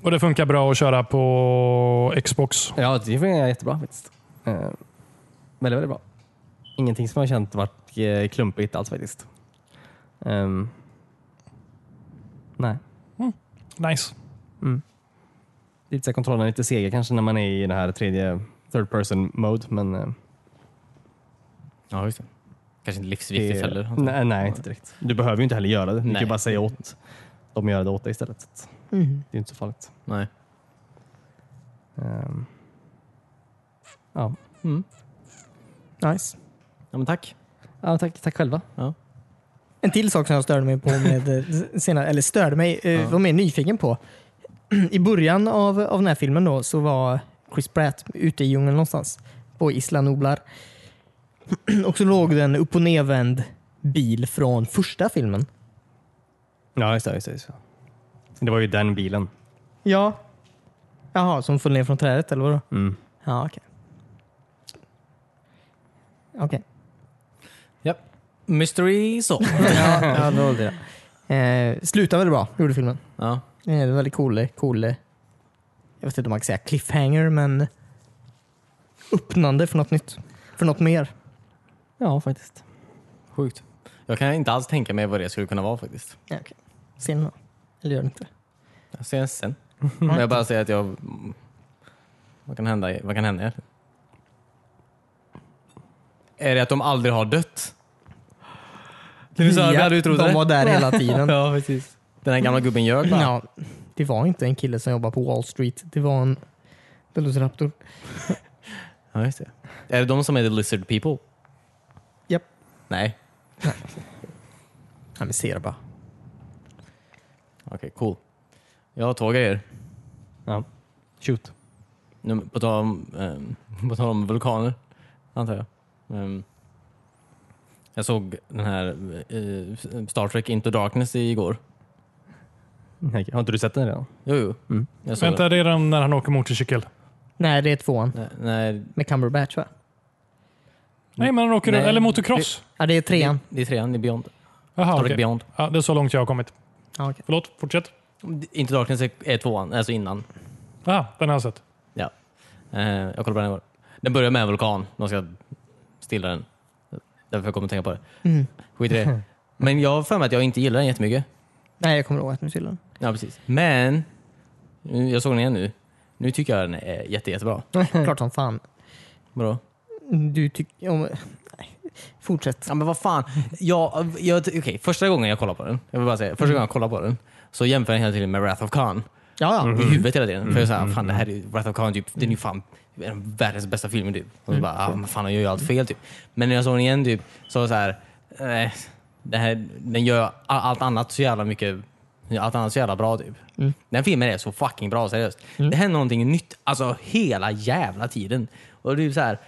[SPEAKER 2] Och det funkar bra att köra på Xbox.
[SPEAKER 3] Ja, det fungerar jättebra faktiskt. Eh, väldigt, väldigt bra. Ingenting som jag har känt varit eh, klumpigt alls faktiskt. Ehm, nej.
[SPEAKER 2] Nice.
[SPEAKER 3] Lite så här kontrollen är lite sega kanske när man är i den här tredje third person mode. Men eh,
[SPEAKER 1] Ja, just det. Kanske inte livsviktigt
[SPEAKER 3] det,
[SPEAKER 1] heller. alltså. antar jag.
[SPEAKER 3] nej, nej, inte direkt. Du behöver ju inte heller göra det. Du kan ju
[SPEAKER 1] Nej.
[SPEAKER 3] bara säga åt dem att göra det åt dig istället. Så att
[SPEAKER 4] Mm.
[SPEAKER 3] Det är inte så farligt.
[SPEAKER 1] Nej.
[SPEAKER 3] Ehm, ja.
[SPEAKER 4] Nice.
[SPEAKER 1] Ja, men tack.
[SPEAKER 3] ja, tack, tack själva.
[SPEAKER 4] En till sak som jag störde mig på med eh, senare, eller störde mig, eh,
[SPEAKER 1] Ja.
[SPEAKER 4] var mer nyfiken på. I början av, av den här filmen då så var Chris Pratt ute i djungeln någonstans på Isla Nublar. Och så låg det en upp och nedvänd bil från första filmen.
[SPEAKER 3] Ja, just det, just det, just det. Det var ju den bilen.
[SPEAKER 4] Ja. Jaha, som föll ner från trädet eller vadå?
[SPEAKER 3] Mm.
[SPEAKER 4] Ja, okej. Okej.
[SPEAKER 1] Ja. Mystery så.
[SPEAKER 4] Ja, ja, det var det. Eh, slutade väldigt bra, gjorde filmen.
[SPEAKER 1] Ja.
[SPEAKER 4] Det är en väldigt cool, cool, eh, jag vet inte om man kan säga cliffhanger, men öppnande för något nytt. För något mer.
[SPEAKER 3] Ja, faktiskt.
[SPEAKER 1] Sjukt. Jag kan inte alls tänka mig vad det skulle kunna vara faktiskt.
[SPEAKER 4] Ja, okay. Ser ni något? Eller gör ni inte det?
[SPEAKER 1] Jag ser sen. Men jag bara säger att jag... Vad kan hända? Vad kan hända egentligen? Är det att de aldrig har dött? Det är så här vi
[SPEAKER 4] Ja,
[SPEAKER 1] hade utrotat
[SPEAKER 4] De
[SPEAKER 1] det.
[SPEAKER 4] var där hela tiden.
[SPEAKER 1] Ja, precis. Den här gamla gubben ljög bara.
[SPEAKER 4] Ja, det var inte en kille som jobbar på Wall Street. Det var en Velociraptor.
[SPEAKER 1] Ja, just det. Är det de som är the lizard people?
[SPEAKER 4] Japp.
[SPEAKER 1] Nej.
[SPEAKER 4] Ja, men ser bara.
[SPEAKER 1] Okej, cool. Jag har två grejer.
[SPEAKER 3] Ja. Shoot.
[SPEAKER 1] Nu, på, tal om, eh, på tal om vulkaner, antar jag. Ehm, jag såg den här eh, Star Trek Into Darkness igår.
[SPEAKER 3] Nej, Mm. har inte du sett den redan?
[SPEAKER 1] Jo, jo.
[SPEAKER 3] Mm.
[SPEAKER 1] Jag såg Mm.
[SPEAKER 2] Vänta, det är den när han åker motorcykel.
[SPEAKER 4] Nej, det är tvåan.
[SPEAKER 1] den. Nej,
[SPEAKER 4] Med Cumberbatch va?
[SPEAKER 2] Nej, men han åker...
[SPEAKER 1] Nej,
[SPEAKER 2] eller motocross.
[SPEAKER 4] Ja, det är trean.
[SPEAKER 1] nej, det är trean. Det är Beyond.
[SPEAKER 2] Jaha,
[SPEAKER 1] Star Trek
[SPEAKER 2] Ah, okej.
[SPEAKER 1] Beyond.
[SPEAKER 2] Ja, det är så långt jag har kommit.
[SPEAKER 4] Ja, okej.
[SPEAKER 2] Förlåt, fortsätt.
[SPEAKER 1] Into Darkness är, är tvåan, alltså innan.
[SPEAKER 2] Jaha, den har jag sett.
[SPEAKER 1] Ja. Eh, jag kollade på den igår. Den börjar med en vulkan. De ska stilla den. Därför jag kommer att tänka på det.
[SPEAKER 4] Mm.
[SPEAKER 1] Skit i det. Men jag har för mig att jag inte gillar den jättemycket.
[SPEAKER 4] Nej, jag kommer ihåg att nu till den.
[SPEAKER 1] Ja, precis. Men, nu- jag såg den igen nu. Nu tycker jag den är jätte, jättebra.
[SPEAKER 4] Klart som fan.
[SPEAKER 1] Bra.
[SPEAKER 4] Du tycker... Om... Nej. Fortsätt.
[SPEAKER 1] Ja, men vad fan. Jag, jag, okej, första gången jag kollade på den, jag vill bara säga, första gången jag kollade på den så jämför jag hela tiden med Wrath of Khan.
[SPEAKER 4] Ja, ja. Mm,
[SPEAKER 1] I huvudet hela tiden. För jag är såhär, fan det här är ju- Wrath of Khan, typ, den är ju fan en av världens bästa filmer typ. Och så
[SPEAKER 4] Mm.
[SPEAKER 1] bara, ah, men fan han gör ju allt fel typ. Men när jag såg den igen typ, så var jag såhär, eh, det här, den gör all- allt annat så jävla mycket, allt annat så jävla bra typ.
[SPEAKER 4] Mm.
[SPEAKER 1] Den filmen är så fucking bra seriöst. Det händer någonting nytt, alltså hela jävla tiden. Och det är ju såhär,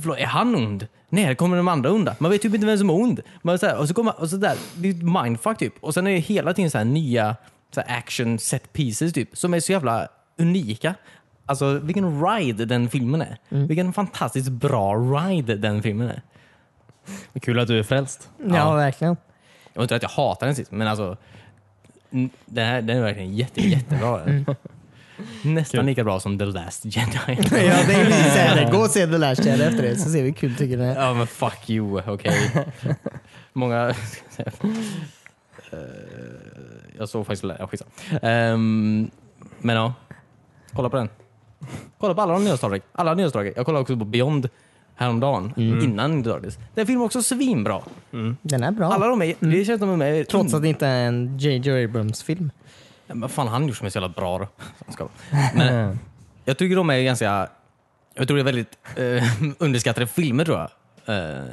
[SPEAKER 1] Förlåt, är han ond? När kommer de andra onda? Man vet typ inte vem som är ond. Man är så här, och så kommer, och så där, det är ett mindfuck typ. Och sen är det hela tiden så här nya så här action set pieces typ, som är så jävla unika. Alltså vilken ride den filmen är.
[SPEAKER 3] Mm.
[SPEAKER 1] Vilken fantastiskt bra ride den filmen är.
[SPEAKER 3] Kul att du är frälst.
[SPEAKER 4] Ja,
[SPEAKER 1] Ja.
[SPEAKER 4] verkligen.
[SPEAKER 1] Jag vet inte att jag hatar den sist, men alltså n- den, här, den är verkligen jätte, jättebra.
[SPEAKER 3] Mm.
[SPEAKER 1] Nästan lika bra som The Last Jedi.
[SPEAKER 4] ja, det är precis så här. Gå och se The Last Jedi efter det så ser vi hur kul tycker det är.
[SPEAKER 1] Ja men fuck you, okej. Många... Eh, jag såg faktiskt... Ja, skitsamma. Ehm, men ja, kolla på den. Kolla på alla de nya Star Trek. Alla nya Star Trek. Jag kollade också på Beyond häromdagen,
[SPEAKER 4] Mm.
[SPEAKER 1] innan Into Darkness. Den filmen är också svinbra.
[SPEAKER 4] Den är bra.
[SPEAKER 1] Alla de är, det känns som de är med
[SPEAKER 4] Trots att det inte är en J.J. Abrams-film.
[SPEAKER 1] Ja, Men fan han gjort som är så jävla bra då. Jag skojar. Men jag tycker de är ganska... Jag tror det är väldigt eh, underskattade filmer tror jag. Eh,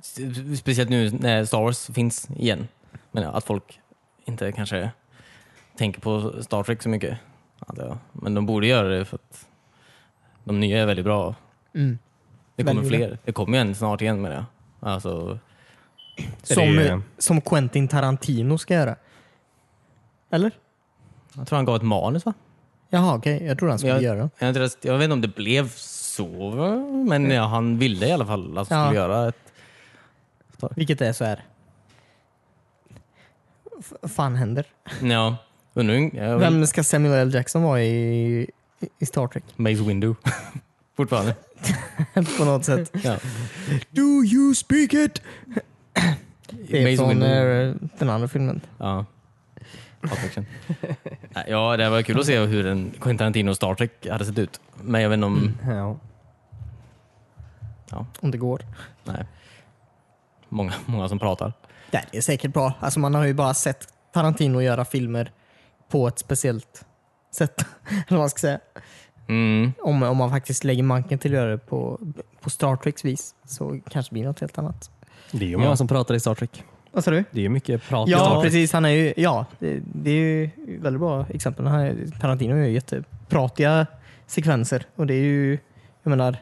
[SPEAKER 1] s- speciellt nu när Star Wars finns igen. Men ja, att folk inte kanske tänker på Star Trek så mycket. antar jag. Men de borde göra det för att de nya är väldigt bra.
[SPEAKER 4] Mm.
[SPEAKER 1] Det kommer
[SPEAKER 4] Välgjorda.
[SPEAKER 1] fler. Det kommer ju en snart igen med det. Alltså,
[SPEAKER 3] det
[SPEAKER 4] Som,
[SPEAKER 3] ju-
[SPEAKER 4] som Quentin Tarantino ska göra. Eller?
[SPEAKER 1] jag tror han gav ett manus va?
[SPEAKER 4] Jaha, okej. Jag tror han skulle
[SPEAKER 1] Jag-
[SPEAKER 4] göra den.
[SPEAKER 1] Jag, har inte rest- jag vet inte om det blev så, va? men ja, han ville i alla fall att han
[SPEAKER 4] Ja.
[SPEAKER 1] skulle göra ett...
[SPEAKER 4] Vilket är så här. F- fan händer?
[SPEAKER 1] Ja, undrar hur- jag vet-
[SPEAKER 4] Vem ska Samuel L. Jackson vara i, i Star Trek?
[SPEAKER 1] Maze Window. Fortfarande.
[SPEAKER 4] På något sätt.
[SPEAKER 1] Ja.
[SPEAKER 4] Do you speak it? Det är
[SPEAKER 1] Maze
[SPEAKER 4] från
[SPEAKER 1] Window.
[SPEAKER 4] eh, den andra filmen.
[SPEAKER 1] Ja. Pulp Fiction. Nej, ja, det var kul att se hur en Quentin Tarantino Star Trek hade sett ut. Men jag vet inte om...
[SPEAKER 4] Mm.
[SPEAKER 3] Ja.
[SPEAKER 4] Om det går.
[SPEAKER 1] Nej. Många, många som pratar.
[SPEAKER 4] Nej, Det är säkert bra. Alltså man har ju bara sett Tarantino göra filmer på ett speciellt sätt. Eller vad man ska säga.
[SPEAKER 1] Mm.
[SPEAKER 4] Om, om man faktiskt lägger manken till att göra det på, på Star Treks vis så kanske det blir något helt annat.
[SPEAKER 3] Det är ju många som pratar i Star Trek.
[SPEAKER 4] Vad sa du?
[SPEAKER 3] Det är ju mycket prat i
[SPEAKER 4] Ja,
[SPEAKER 3] Star Trek.
[SPEAKER 4] precis. Han är ju, ja, det, det är ju väldigt bra exempel. Han är, Tarantino gör ju jättepratiga sekvenser och det är ju, jag menar,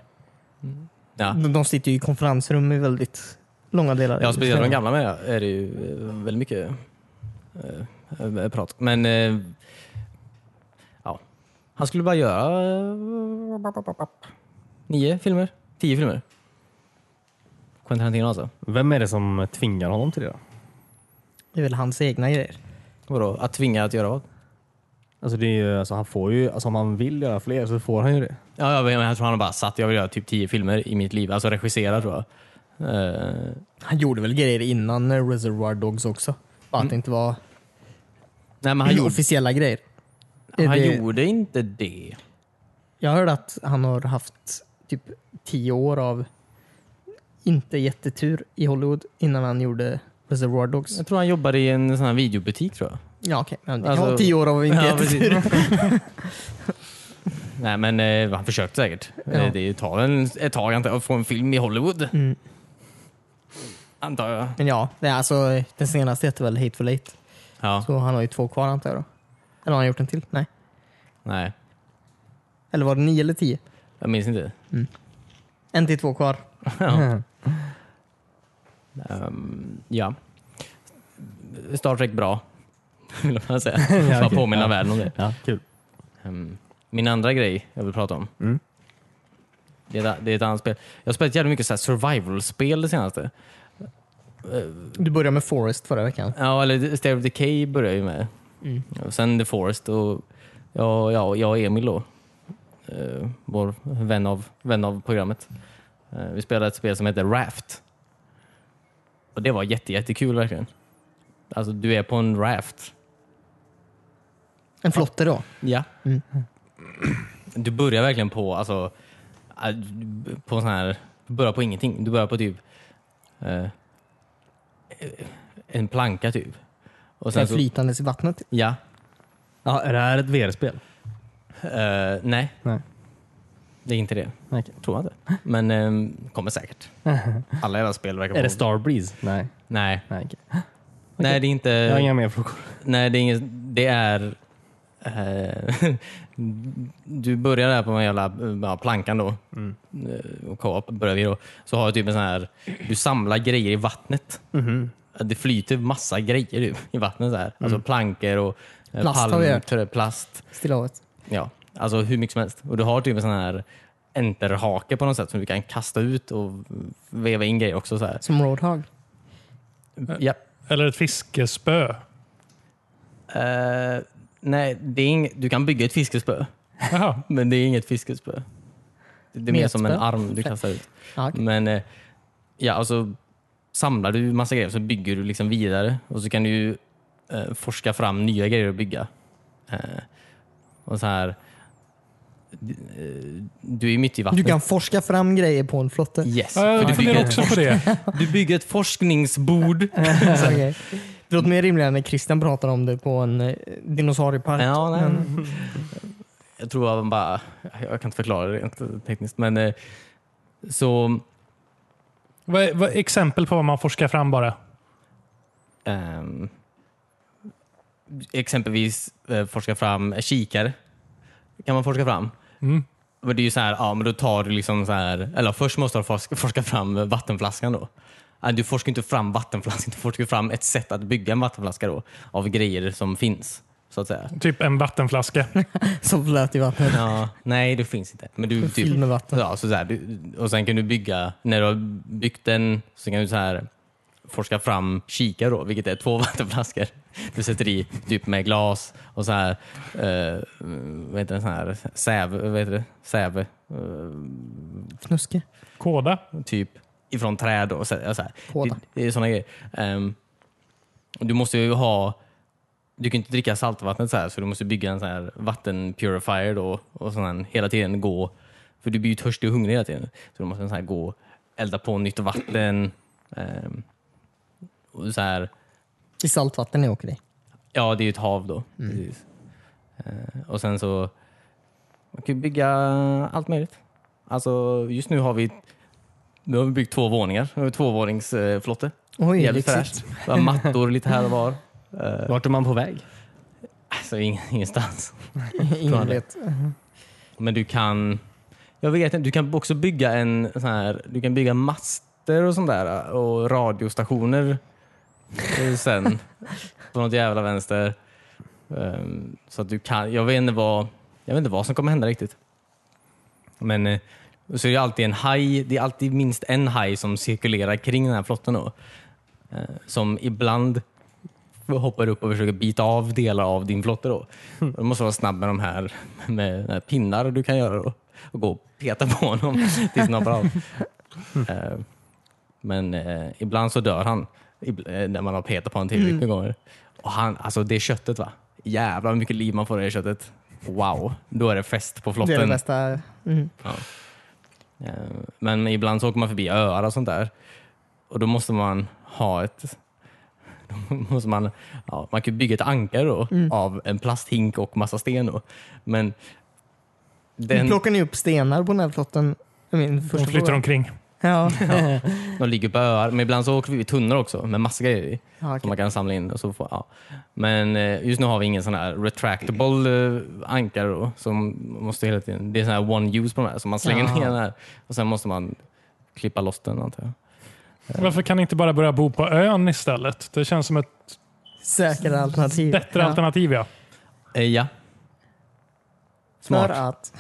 [SPEAKER 1] Ja.
[SPEAKER 4] de, de sitter ju i konferensrum i väldigt långa delar.
[SPEAKER 1] Ja, speciellt de gamla med är det ju eh, väldigt mycket eh, eh, prat. Men eh, ja, han skulle bara göra eh, nio filmer, tio filmer. Quentin Tarantino alltså.
[SPEAKER 3] Vem är det som tvingar honom till det då?
[SPEAKER 4] Det är väl hans egna grejer.
[SPEAKER 1] Vadå? Att tvinga att göra vad?
[SPEAKER 3] Alltså, det är ju, alltså, han får ju, alltså, om han vill göra fler så får han ju det.
[SPEAKER 1] Ja, jag, vet, men jag tror han har bara satt, jag vill göra typ tio filmer i mitt liv. Alltså regissera tror jag. Eh,
[SPEAKER 4] Han gjorde väl grejer innan eh, Reservoir Dogs också? Bara att det inte var
[SPEAKER 1] nej, Mm. men han, gjorde,
[SPEAKER 4] officiella grejer. Är
[SPEAKER 1] han
[SPEAKER 4] det-
[SPEAKER 1] gjorde inte det.
[SPEAKER 4] Jag hörde att han har haft typ tio år av inte jättetur i Hollywood innan han gjorde Reservoir Dogs.
[SPEAKER 1] Jag tror han jobbade i en sån här videobutik tror jag.
[SPEAKER 4] Ja okej, men det
[SPEAKER 1] Alltså-
[SPEAKER 4] kan vara tio år av inte
[SPEAKER 1] Ja,
[SPEAKER 4] jättetur.
[SPEAKER 1] Nej, men eh, han försökte säkert.
[SPEAKER 4] Ja.
[SPEAKER 1] Eh, det tar väl ett tag antar jag, att få en film i Hollywood.
[SPEAKER 4] Mm.
[SPEAKER 1] Antar jag.
[SPEAKER 4] Men ja, det är alltså, den senaste heter väl Hateful Eight.
[SPEAKER 1] Ja,
[SPEAKER 4] Så han har ju två kvar antar jag då. Eller har han gjort en till? Nej.
[SPEAKER 1] nej.
[SPEAKER 4] Eller var det nio eller tio?
[SPEAKER 1] Jag minns inte.
[SPEAKER 4] En till två kvar.
[SPEAKER 1] ja. Ehm, ja. Star Trek bra. Vill jag bara säga. Bara
[SPEAKER 3] okej.
[SPEAKER 1] påminna
[SPEAKER 3] Ja.
[SPEAKER 1] världen om det.
[SPEAKER 3] Ja, kul.
[SPEAKER 1] Ehm, min andra grej jag vill prata om.
[SPEAKER 3] Mm.
[SPEAKER 1] Det, är, det är ett annat spel. Jag har spelat jävligt mycket så här survival-spel det senaste.
[SPEAKER 4] Du började med Forest förra veckan.
[SPEAKER 1] Ja, eller Stair of Decay började jag ju med.
[SPEAKER 4] Mm.
[SPEAKER 1] Och sen The Forest och ja, ja, jag och Emil då, eh, vår vän av, vän av programmet. Eh, vi spelade ett spel som heter Raft. Och det var jätte, jättekul verkligen. Alltså du är på en raft.
[SPEAKER 4] En flotte då.
[SPEAKER 1] Ja.
[SPEAKER 4] Mm.
[SPEAKER 1] Du börjar verkligen på, alltså, eh, du- på sån här, du börjar på ingenting. Du börjar på typ eh, en planka typ. Och
[SPEAKER 4] Den
[SPEAKER 1] så-
[SPEAKER 4] flytandes i vattnet.
[SPEAKER 1] Ja.
[SPEAKER 3] Ja, är det här ett VR-spel?
[SPEAKER 1] Eh, nej.
[SPEAKER 3] Nej.
[SPEAKER 1] det är inte det.
[SPEAKER 3] Okej.
[SPEAKER 1] Tror jag inte. Men ehm, kommer säkert. Alla era spel verkar
[SPEAKER 3] Är det
[SPEAKER 1] vara-
[SPEAKER 3] Starbreeze? Nej.
[SPEAKER 1] Nej.
[SPEAKER 3] Nej, okej.
[SPEAKER 1] nej, det är inte...
[SPEAKER 3] Jag har inga mer frågor.
[SPEAKER 1] Nej, det är inget... Det är... eh, du börjar där på den jävla eh, ja, plankan då.
[SPEAKER 3] Mm.
[SPEAKER 1] Eh, Och co-op börjar vi då. Så har du typ en sån här... Du samlar grejer i vattnet.
[SPEAKER 3] Mhm.
[SPEAKER 1] Det flyter massa grejer typ, i vattnet. Så här. Alltså
[SPEAKER 3] Mm.
[SPEAKER 1] plankor och eh,
[SPEAKER 4] Plast har vi hört.
[SPEAKER 1] palmträ- plast.
[SPEAKER 4] Stilla havet.
[SPEAKER 1] Ja, alltså hur mycket som helst. Och du har typ en sån här enterhake på något sätt som du kan kasta ut och veva in grejer också. Så här.
[SPEAKER 4] Som Roadhog.
[SPEAKER 1] Ja.
[SPEAKER 2] Eller ett fiskespö.
[SPEAKER 1] Eh, nej, det är ing- du kan bygga ett fiskespö,
[SPEAKER 2] Jaha.
[SPEAKER 1] men det är inget fiskespö. Det det är mer som en
[SPEAKER 4] Metspö?
[SPEAKER 1] arm du kastar ut.
[SPEAKER 4] Ja, okej.
[SPEAKER 1] Men eh, ja, alltså samlar du massa grejer så bygger du liksom vidare och så kan du ju, eh, forska fram nya grejer att bygga. Eh, och så här, d- eh, du är ju mitt i
[SPEAKER 4] Du
[SPEAKER 1] vattnet.
[SPEAKER 4] kan forska fram grejer på en flotte.
[SPEAKER 1] Yes.
[SPEAKER 2] Ja,
[SPEAKER 1] För
[SPEAKER 2] jag
[SPEAKER 1] du,
[SPEAKER 2] funderar
[SPEAKER 1] bygger,
[SPEAKER 2] också på det.
[SPEAKER 1] du bygger ett forskningsbord.
[SPEAKER 4] Okej. Det låter mer rimligare när Christian pratar om det på en eh, dinosauriepark.
[SPEAKER 1] ja, nej, nej. Jag tror att man bara... Jag kan inte förklara det rent tekniskt. Men, eh, så,
[SPEAKER 2] Vad, är- vad, är exempel på vad man forskar fram bara.
[SPEAKER 1] ehm, exempelvis eh, forska fram kikare. kan man forska fram.
[SPEAKER 2] Mm.
[SPEAKER 1] Men det är ju så här, ja, men då tar du liksom så här, eller först måste du forska, forska fram vattenflaskan då. Ja, Du forskar inte fram vattenflaskan, du forskar fram ett sätt att bygga en vattenflaska då, av grejer som finns. Så att säga.
[SPEAKER 2] Typ en vattenflaska.
[SPEAKER 4] Som flöt i vattnet.
[SPEAKER 1] Ja, nej, det finns inte. Men du, typ-
[SPEAKER 4] Fylld med vatten.
[SPEAKER 1] Ja, så där, du, och sen kan du bygga, när du har byggt den, så kan du så här forska fram kikar då, vilket är två vattenflaskor. Du sätter i typ med glas och så här, eh, vad heter det, så här säve, vad heter det? säve eh,
[SPEAKER 4] Fnuske.
[SPEAKER 2] Kåda.
[SPEAKER 1] typ ifrån träd. Och så, ja, så här.
[SPEAKER 4] Kåda.
[SPEAKER 1] Det, det är sådana grejer. Ehm, och du måste ju ha du kan inte dricka saltvattnet så här, så du måste bygga en sån här vattenpurifier då och sån här, hela tiden gå, för du blir ju törstig och hungrig hela tiden. Så du måste så här gå, elda på nytt vatten. ehm, och så här,
[SPEAKER 4] I saltvatten ni åker i.
[SPEAKER 1] Ja, det är ju ett hav då. Precis. Eh, och sen så, man kan ju bygga allt möjligt. Alltså just nu har vi, nu har vi byggt två våningar, Vi har en tvåvåningsflotte.
[SPEAKER 4] Oj,
[SPEAKER 1] Jävligt
[SPEAKER 4] lyxigt.
[SPEAKER 1] fräscht. Vi har mattor lite här och var. Eh,
[SPEAKER 3] Vart är man på väg?
[SPEAKER 1] alltså ingen, ingenstans.
[SPEAKER 4] Ingen vet.
[SPEAKER 1] Men du kan, jag vet inte, du kan också bygga en sån här, du kan bygga master och sånt där äh, och radiostationer eh, sen på något jävla vänster. Ehm, så att du kan, jag vet inte vad, jag vet inte vad som kommer hända riktigt. Men eh, så är det alltid en haj, det är alltid minst en haj som cirkulerar kring den här flotten då. Eh, som ibland hoppar upp och försöker bita av delar av din flotte. Då.
[SPEAKER 4] Mm.
[SPEAKER 1] Du måste vara snabb med de här, med de här pinnar du kan göra då. och gå och peta på honom tills han hoppar av.
[SPEAKER 4] Mm.
[SPEAKER 1] Eh, Men eh, ibland så dör han ib- eh, när man har petat på honom tillräckligt
[SPEAKER 4] Mm.
[SPEAKER 1] med gånger. Och han, alltså det köttet va? Jävlar vad mycket liv man får i det köttet. Wow, då är det fest på
[SPEAKER 4] Det är det
[SPEAKER 1] flotten.
[SPEAKER 4] bästa. Mm.
[SPEAKER 1] Eh, Men ibland så åker man förbi öar och sånt där. Och då måste man ha ett... Då måste man, ja, man kan ju bygga ett ankare då, av en plasthink och massa sten. Då. Men den,
[SPEAKER 4] Plockar ni upp stenar på den här flotten? Min första
[SPEAKER 2] De flyttar
[SPEAKER 4] fråga.
[SPEAKER 2] omkring.
[SPEAKER 4] Ja.
[SPEAKER 1] de ligger på öar, men ibland så åker vi i tunnor också med massa grejer i.
[SPEAKER 4] ja
[SPEAKER 1] Som
[SPEAKER 4] okej.
[SPEAKER 1] man kan samla in. Och så får, ja. Men eh, just nu har vi ingen sån här retractable eh, ankare då, som måste hela tiden, det är sån här one use på de här, så man slänger
[SPEAKER 4] Ja.
[SPEAKER 1] ner den här och sen måste man klippa loss den antar jag.
[SPEAKER 2] Varför kan ni inte bara börja bo på ön istället? Det känns som ett
[SPEAKER 4] Säkrare alternativ.
[SPEAKER 2] bättre
[SPEAKER 4] ja.
[SPEAKER 2] alternativ. Ja.
[SPEAKER 1] Eh, Ja.
[SPEAKER 4] För
[SPEAKER 1] Smart.
[SPEAKER 4] att.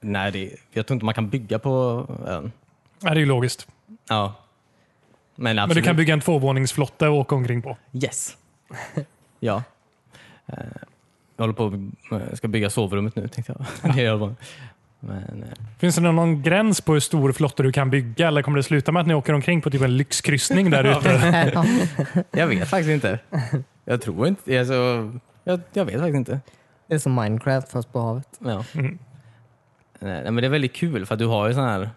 [SPEAKER 1] Nej, det, jag tror inte man kan bygga på ön.
[SPEAKER 2] Ja, Det är ju logiskt.
[SPEAKER 1] Ja. Men absolut.
[SPEAKER 2] Men du kan bygga en tvåvåningsflotte och åka omkring på.
[SPEAKER 1] Yes. ja. Eh, Jag håller på och eh, ska bygga sovrummet nu tänkte jag. det gör man. Men, eh,
[SPEAKER 2] Finns det någon- någon gräns på hur stor flotte du kan bygga eller kommer det sluta med att ni åker omkring på typ en lyxkryssning där ute?
[SPEAKER 4] Ja.
[SPEAKER 1] jag vet faktiskt inte. Jag tror inte... Alltså, jag, jag vet faktiskt inte.
[SPEAKER 4] Det är som Minecraft fast på havet.
[SPEAKER 1] Ja.
[SPEAKER 2] Mm.
[SPEAKER 1] Nej, men det är väldigt kul för att du har ju sån här,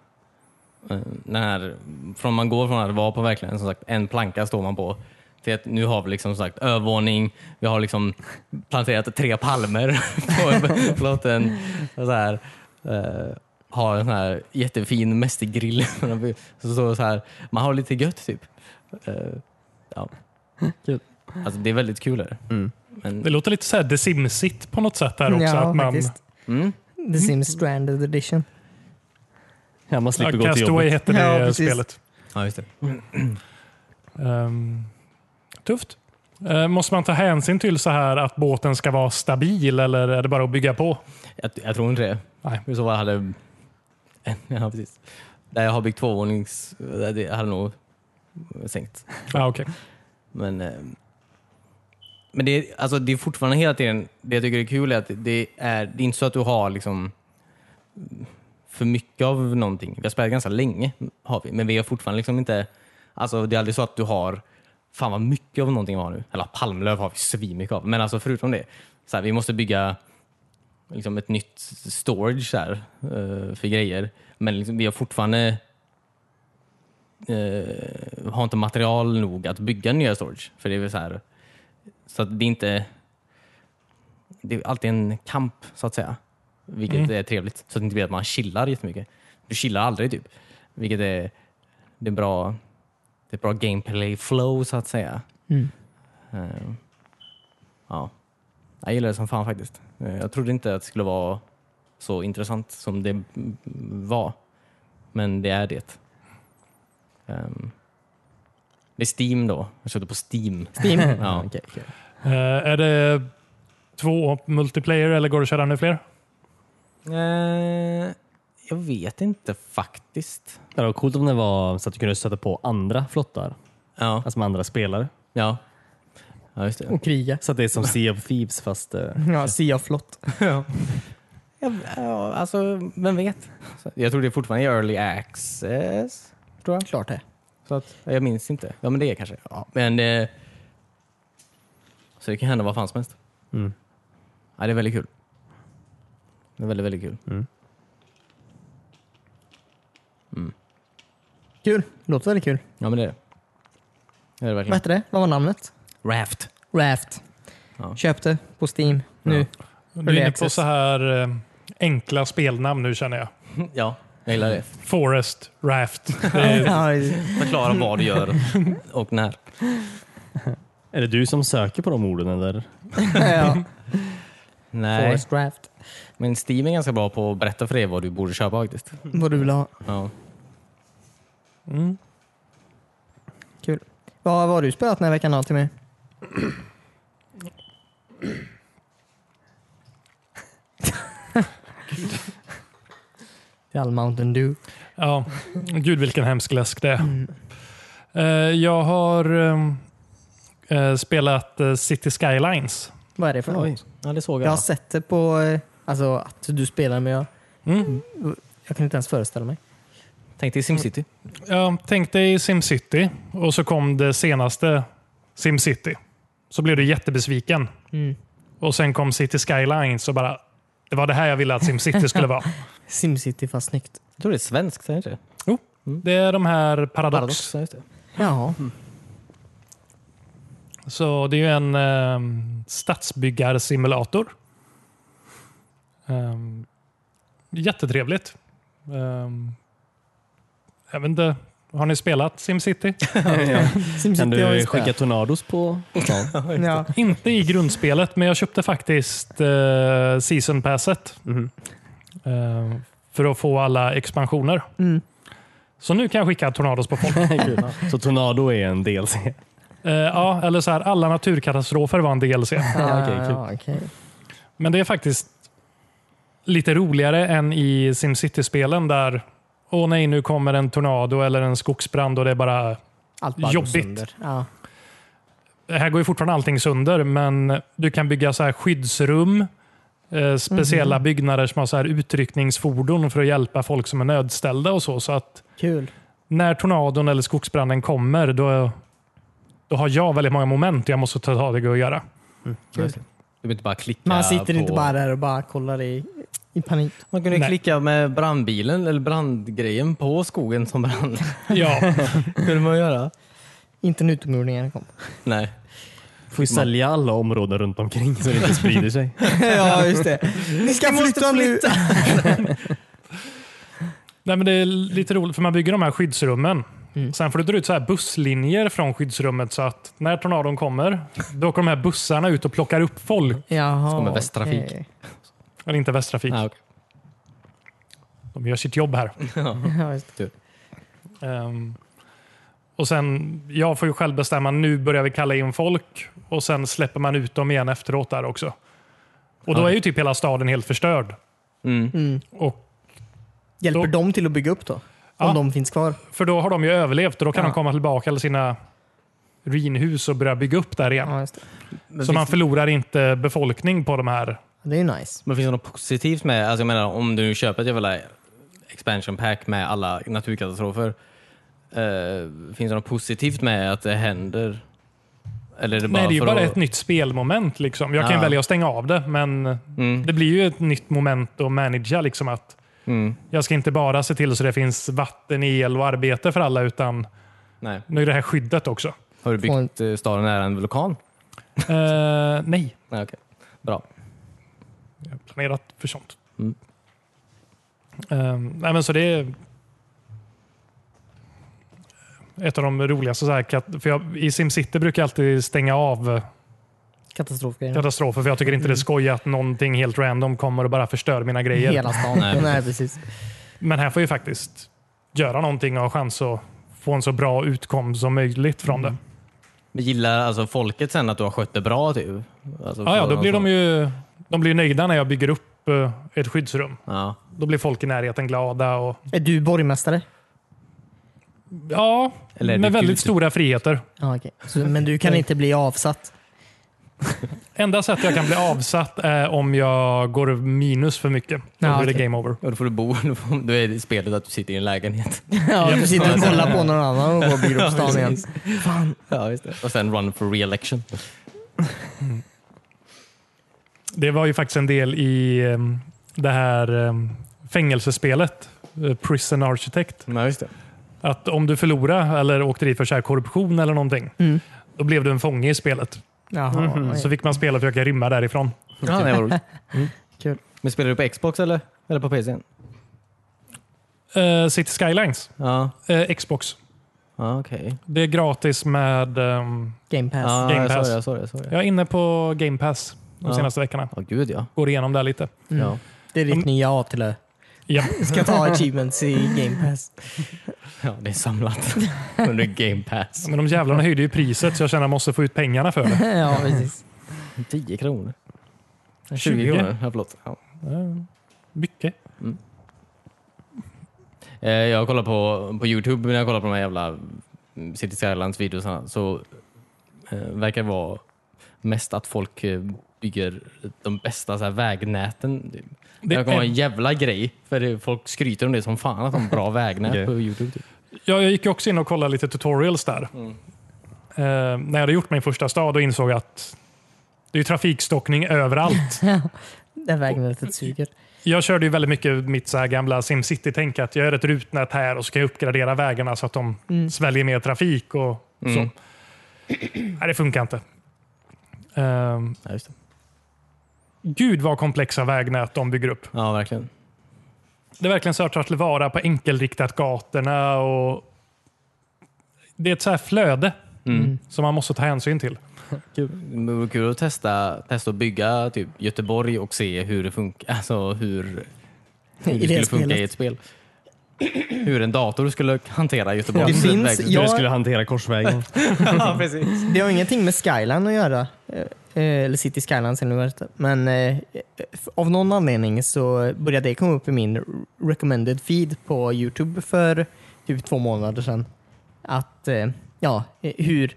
[SPEAKER 1] eh, den här från man går från att vara på verkligen som sagt en planka står man på till att nu har vi liksom som sagt övervåning, vi har liksom planterat tre palmer på flotten och så här eh, har en sån här jättefin mästergrill så, så, så här man har lite gött typ. Eh, ja.
[SPEAKER 3] Kul.
[SPEAKER 1] Alltså det är väldigt kul är det.
[SPEAKER 3] Mm.
[SPEAKER 1] Men,
[SPEAKER 2] Det låter lite så här The Sims-igt på något sätt där också.
[SPEAKER 4] ja,
[SPEAKER 2] att man,
[SPEAKER 4] faktiskt.
[SPEAKER 1] mm,
[SPEAKER 4] The Sims Stranded Edition.
[SPEAKER 3] Ja, man slipper
[SPEAKER 2] ja,
[SPEAKER 3] gå till
[SPEAKER 2] Castaway
[SPEAKER 3] jobbet.
[SPEAKER 2] hette det
[SPEAKER 4] Ja, precis.
[SPEAKER 2] spelet.
[SPEAKER 1] ja, just det.
[SPEAKER 2] Ehm, tufft. Ehm, måste man ta hänsyn till så här att båten ska vara stabil eller är det bara att bygga på?
[SPEAKER 1] Jag, jag tror inte det.
[SPEAKER 2] Nej.
[SPEAKER 1] I så fall hade... Ja, precis. Där jag har byggt tvåvånings... där Det hade nog sänkt.
[SPEAKER 2] Ja, okej.
[SPEAKER 1] Men, eh, men det, är, alltså, det är fortfarande hela tiden... Det jag tycker är kul är att det är, det är inte så att du har liksom för mycket av någonting. Vi har spelat ganska länge, har vi, men vi har fortfarande liksom inte... Alltså, det är aldrig så att du har fan vad mycket av någonting vi har nu. Eller palmlöv har vi svinmycket av. Men alltså förutom det, så här, vi måste bygga liksom ett nytt storage där, eh, för grejer. Men liksom, vi har fortfarande eh, har inte material nog att bygga nya storage. För det är väl så här, så att det är inte... Det är alltid en kamp, så att säga. Vilket
[SPEAKER 2] Mm.
[SPEAKER 1] är trevligt. Så att det inte blir att man chillar jättemycket. Du chillar aldrig, typ. Vilket är, det är bra... Det är bra gameplay flow, så att säga.
[SPEAKER 4] Mm.
[SPEAKER 1] Eh, ja. Jag gillar det som fan faktiskt. Eh, Jag trodde inte att det skulle vara så intressant som det mm, var. Men det är det. Ehm, det är Steam då. Jag köpte på Steam.
[SPEAKER 4] Steam.
[SPEAKER 1] Ja.
[SPEAKER 4] Okej.
[SPEAKER 2] Ehm, är det två multiplayer eller går det att köra ännu fler?
[SPEAKER 1] Eh, jag vet inte faktiskt.
[SPEAKER 3] Ja, Det var coolt om det var så att du kunde stöta på andra flottar,
[SPEAKER 1] Ja,
[SPEAKER 3] alltså med andra spelare.
[SPEAKER 1] ja. ja just det.
[SPEAKER 4] Och kriga.
[SPEAKER 3] Så att det är
[SPEAKER 4] Mm.
[SPEAKER 3] som Sea of Thieves fast eh,
[SPEAKER 4] Ja, Sea of Flott.
[SPEAKER 1] Ja, ja, alltså, vem vet? Så Jag tror det är fortfarande är early access. Tror jag.
[SPEAKER 4] Klart det.
[SPEAKER 1] Så att, jag minns inte. Ja, men det är kanske. Ja. Men, eh, så det kan hända vad fan som helst.
[SPEAKER 3] Mm.
[SPEAKER 1] Ja, det är väldigt kul. Det är väldigt, väldigt kul.
[SPEAKER 4] Kul. Låter väldigt kul.
[SPEAKER 1] Ja, men det är det. Det är det verkligen.
[SPEAKER 4] Vad hette det? Vad var namnet?
[SPEAKER 1] Raft.
[SPEAKER 4] Raft.
[SPEAKER 1] Ja.
[SPEAKER 4] Köpte på Steam nu.
[SPEAKER 2] Du är inne på
[SPEAKER 4] access.
[SPEAKER 2] så här eh, enkla spelnamn nu känner jag.
[SPEAKER 1] Ja, jag gillar det.
[SPEAKER 2] Forest, Raft.
[SPEAKER 4] Ja.
[SPEAKER 1] Förklara vad du gör och när.
[SPEAKER 3] Är det du som söker på de orden eller?
[SPEAKER 4] ja.
[SPEAKER 1] Nej,
[SPEAKER 4] Forest Raft.
[SPEAKER 1] men Steam är ganska bra på att berätta för dig vad du borde köpa faktiskt.
[SPEAKER 4] Vad du vill ha.
[SPEAKER 1] Ja.
[SPEAKER 2] Mm.
[SPEAKER 4] Vad, vad har du spelat den här veckan då till mig? Det är all Mountain Dew.
[SPEAKER 2] Ja, Mm. gud vilken hemsk läsk det är. Eh, Jag har eh, eh, spelat eh, City Skylines.
[SPEAKER 4] Vad är det för
[SPEAKER 3] Oj.
[SPEAKER 4] något?
[SPEAKER 1] Ja, det såg
[SPEAKER 4] Jag har
[SPEAKER 1] jag.
[SPEAKER 4] sett det på... eh, Alltså att du spelar men jag,
[SPEAKER 2] Mm.
[SPEAKER 4] jag kan inte ens föreställa mig.
[SPEAKER 1] Tänkte i Simcity.
[SPEAKER 2] Jag tänkte i SimCity och så kom det senaste SimCity. Så blev du jättebesviken.
[SPEAKER 4] Mm.
[SPEAKER 2] Och sen kom City Skylines och bara, det var det här jag ville att SimCity skulle vara.
[SPEAKER 4] Simcity fast snyggt.
[SPEAKER 1] Jag tror det är svenskt, är det inte det?
[SPEAKER 2] Det är de här Paradox.
[SPEAKER 1] Paradox. ja, just det.
[SPEAKER 4] Jaha.
[SPEAKER 2] Så det är ju en eh, stadsbyggarsimulator. Eh, jättetrevligt. Eh, jag vet inte, har ni spelat SimCity?
[SPEAKER 4] Simcity har
[SPEAKER 3] Kan du
[SPEAKER 4] jag
[SPEAKER 3] skicka
[SPEAKER 4] skickat.
[SPEAKER 3] tornados på stan?
[SPEAKER 4] Ja.
[SPEAKER 2] Inte i grundspelet, men jag köpte faktiskt eh, Season Passet.
[SPEAKER 3] Mhm.
[SPEAKER 2] Eh, för att få alla expansioner.
[SPEAKER 4] Mm.
[SPEAKER 2] Så nu kan jag skicka tornados på folk.
[SPEAKER 3] Kul. så tornado är en DLC?
[SPEAKER 2] Eh, ja, eller så här, alla naturkatastrofer var en DLC.
[SPEAKER 4] Ja,
[SPEAKER 3] okej, kul.
[SPEAKER 4] ja, okej.
[SPEAKER 2] Men det är faktiskt lite roligare än i SimCity-spelen där åh nej, nu kommer en tornado eller en skogsbrand och det är bara
[SPEAKER 4] Allt bara går
[SPEAKER 2] Jobbigt.
[SPEAKER 4] sönder. Ja.
[SPEAKER 2] här går ju fortfarande allting sönder, men du kan bygga så här skyddsrum, eh, speciella byggnader som har så här utryckningsfordon för att hjälpa folk som är nödställda och så. Så att
[SPEAKER 4] Kul.
[SPEAKER 2] när tornadon eller skogsbranden kommer, då, då har jag väldigt många moment jag måste ta tag i och göra.
[SPEAKER 4] kul.
[SPEAKER 1] Du behöver inte bara klicka
[SPEAKER 4] Man sitter
[SPEAKER 1] på...
[SPEAKER 4] inte bara där och bara kollar i, i panik.
[SPEAKER 1] Man kunde ju
[SPEAKER 2] Nej.
[SPEAKER 1] klicka med brandbilen eller brandgrejen på skogen som brann.
[SPEAKER 2] Ja,
[SPEAKER 1] kunde man göra.
[SPEAKER 4] Inte när utomjordingarna kom.
[SPEAKER 1] Nej.
[SPEAKER 3] Får ju sälja alla områden runt omkring så det inte sprider sig.
[SPEAKER 4] ja, just det. Ni ska flytta nu.
[SPEAKER 2] Nej, men det är lite roligt för man bygger de här skyddsrummen.
[SPEAKER 4] Mm.
[SPEAKER 2] Sen får du dra ut så här busslinjer från skyddsrummet så att när tornadon kommer, då åker de här bussarna ut och plockar upp folk.
[SPEAKER 4] Mm. Jaha.
[SPEAKER 1] Som med Västtrafik.
[SPEAKER 4] okej.
[SPEAKER 2] Eller inte Västtrafik.
[SPEAKER 1] Ah, okej.
[SPEAKER 2] De gör sitt jobb här.
[SPEAKER 4] Ja, just det.
[SPEAKER 2] Ehm, och sen, Jag får ju själv bestämma, nu börjar vi kalla in folk och sen släpper man ut dem igen efteråt där också. Och då
[SPEAKER 1] Ja.
[SPEAKER 2] är ju typ hela staden helt förstörd.
[SPEAKER 1] Mm.
[SPEAKER 4] Mm.
[SPEAKER 2] Och,
[SPEAKER 4] Hjälper
[SPEAKER 2] Då-
[SPEAKER 4] de till att bygga upp då? Om
[SPEAKER 2] Ja.
[SPEAKER 4] de finns kvar?
[SPEAKER 2] för då har de ju överlevt och då kan
[SPEAKER 4] Ja.
[SPEAKER 2] de komma tillbaka till sina ruinhus och börja bygga upp där igen.
[SPEAKER 4] Ja, just det.
[SPEAKER 1] Men,
[SPEAKER 2] Så man
[SPEAKER 1] finns,
[SPEAKER 2] förlorar inte befolkning på de här.
[SPEAKER 4] Det är ju nice.
[SPEAKER 1] men finns det något positivt med, alltså jag menar om du nu köper ett jävla expansion pack med alla naturkatastrofer. Eh, finns det något positivt med att det händer? Eller är det bara
[SPEAKER 2] Nej, det är ju
[SPEAKER 1] för
[SPEAKER 2] bara
[SPEAKER 1] att...
[SPEAKER 2] ett nytt spelmoment. Liksom. Jag kan
[SPEAKER 1] Ja.
[SPEAKER 2] ju välja att stänga av det, men
[SPEAKER 1] Mm.
[SPEAKER 2] det blir ju ett nytt moment att managera. Liksom, att
[SPEAKER 1] Mm.
[SPEAKER 2] jag ska inte bara se till så det finns vatten, el och arbete för alla, utan
[SPEAKER 1] Nej.
[SPEAKER 2] nu är det här skyddet också.
[SPEAKER 1] Har du byggt eh, staden nära en vulkan?
[SPEAKER 2] Eh, nej,
[SPEAKER 1] Nej, okej. Bra.
[SPEAKER 2] jag har planerat för sånt.
[SPEAKER 1] Mm.
[SPEAKER 2] Eh, nej, men så det är ett av de roligaste. Så här, kat- för jag, I SimCity brukar jag alltid stänga av eh,
[SPEAKER 4] Katastrofgrejer.
[SPEAKER 2] katastrofer, för jag tycker inte
[SPEAKER 1] Mm.
[SPEAKER 2] det är skoj att någonting helt random kommer och bara förstör mina grejer.
[SPEAKER 4] Hela stan.
[SPEAKER 1] Nej,
[SPEAKER 4] Nej, precis.
[SPEAKER 2] Men här får jag ju faktiskt göra någonting och ha chans att få en så bra utkomst som möjligt från
[SPEAKER 1] Mm.
[SPEAKER 2] det.
[SPEAKER 1] Men gillar alltså folket sen att du har skött det bra? Typ? Alltså,
[SPEAKER 2] Ah, Ja, ja, då
[SPEAKER 1] för-
[SPEAKER 2] blir de ju de blir ju nöjda när jag bygger upp eh, ett skyddsrum.
[SPEAKER 1] Ja.
[SPEAKER 2] Då blir folk i närheten glada. Och,
[SPEAKER 4] Är du borgmästare?
[SPEAKER 2] ja,
[SPEAKER 1] Eller är typ. det
[SPEAKER 2] med väldigt
[SPEAKER 1] gud?
[SPEAKER 2] stora friheter.
[SPEAKER 4] Ja, okej. Så, men du kan inte bli avsatt?
[SPEAKER 2] Enda sättet jag kan bli avsatt är om jag går minus för mycket. Då
[SPEAKER 4] Ja,
[SPEAKER 2] blir det
[SPEAKER 4] okej.
[SPEAKER 2] game over.
[SPEAKER 1] Ja, då får du bo, då får- då är det i spelet att du sitter i en lägenhet.
[SPEAKER 4] Ja, du sitter och kollar på någon annan och går och bygger upp stan igen.
[SPEAKER 1] precis. Ja, just det. Och sen run for re-election.
[SPEAKER 2] Det var ju faktiskt en del i eh, det här eh, fängelsespelet, eh, Prison Architect.
[SPEAKER 1] Ja, just det.
[SPEAKER 2] Att om du förlorade eller åkte dit för så här korruption eller någonting,
[SPEAKER 4] Mm.
[SPEAKER 2] då blev du en fånge i spelet.
[SPEAKER 4] Jaha, oj.
[SPEAKER 2] Mhm. Så fick man spela och försöka rymma därifrån.
[SPEAKER 1] Ja, det var roligt.
[SPEAKER 4] Kul.
[SPEAKER 1] Men spelar du på Xbox eller, eller på PC?
[SPEAKER 2] Uh, City Skylines,
[SPEAKER 1] Ja,
[SPEAKER 2] eh, Xbox.
[SPEAKER 1] ja okej.
[SPEAKER 2] Det är gratis med... ehm,
[SPEAKER 4] Game Pass.
[SPEAKER 1] Ja,
[SPEAKER 2] Game
[SPEAKER 1] jag såg
[SPEAKER 2] Pass.
[SPEAKER 1] det. Jag såg det, jag såg det.
[SPEAKER 2] jag är inne på Game Pass de
[SPEAKER 1] Ja.
[SPEAKER 2] senaste veckorna.
[SPEAKER 1] Ja, gud ja.
[SPEAKER 2] Går igenom där lite.
[SPEAKER 4] Mm.
[SPEAKER 1] Ja.
[SPEAKER 4] Det är ditt nya A till Ö.
[SPEAKER 2] Ja.
[SPEAKER 4] Du ska ta achievements i Game Pass.
[SPEAKER 1] ja, det är samlat under Game Pass.
[SPEAKER 2] Men de jävlarna höjde ju priset så jag känner att jag måste få ut pengarna för det.
[SPEAKER 4] ja, precis.
[SPEAKER 1] 10 kronor. 20,
[SPEAKER 2] 20.
[SPEAKER 1] kronor, ja, förlåt. Ja.
[SPEAKER 2] Eh, Mycket.
[SPEAKER 1] Eh, Jag kollar på, på Youtube, när jag kollar på de här jävla mm, City Skylines videosarna så eh, verkar vara mest att folk eh, bygger de bästa så här, vägnäten. Det,
[SPEAKER 2] Det
[SPEAKER 1] verkar vara
[SPEAKER 2] är-
[SPEAKER 1] en jävla grej, för det, folk skryter om det som fan att de har bra vägnät
[SPEAKER 3] Okej.
[SPEAKER 1] på Youtube. Typ.
[SPEAKER 2] Ja, jag gick ju också in och kollade lite tutorials där. Eh, när jag hade gjort min första stad och insåg att det är ju trafikstockning överallt.
[SPEAKER 4] Det vägnätet suger.
[SPEAKER 2] Jag körde ju väldigt mycket mitt så här gamla SimCity-tänk att jag gör ett rutnät här och så kan jag uppgradera vägarna så att de sväljer mer trafik och så.
[SPEAKER 1] Mm.
[SPEAKER 2] Nej, det funkar inte. Ehm,
[SPEAKER 1] Ja, just det.
[SPEAKER 2] gud vad komplexa vägnät de bygger upp.
[SPEAKER 1] ja, verkligen.
[SPEAKER 2] Det är verkligen så att ta tillvara på enkelriktat gatorna och det är ett så här flöde som man måste ta hänsyn till.
[SPEAKER 1] Det vore kul att testa, testa att bygga typ, Göteborg och se hur det funkar. Alltså hur, hur det
[SPEAKER 4] I det
[SPEAKER 1] skulle funka i
[SPEAKER 4] spelet.
[SPEAKER 1] ett spel. Hur en dator skulle hantera Göteborg.
[SPEAKER 4] Det finns-
[SPEAKER 1] Väg-
[SPEAKER 4] Ja.
[SPEAKER 3] Du skulle hantera korsvägen.
[SPEAKER 1] ja, precis.
[SPEAKER 4] Det har ingenting med Skyline att göra. Eh, Eller City Skyline sen nu Men eh, f- av någon anledning så började det komma upp i min recommended feed på Youtube för typ två månader sedan. Att, eh, ja, eh, hur,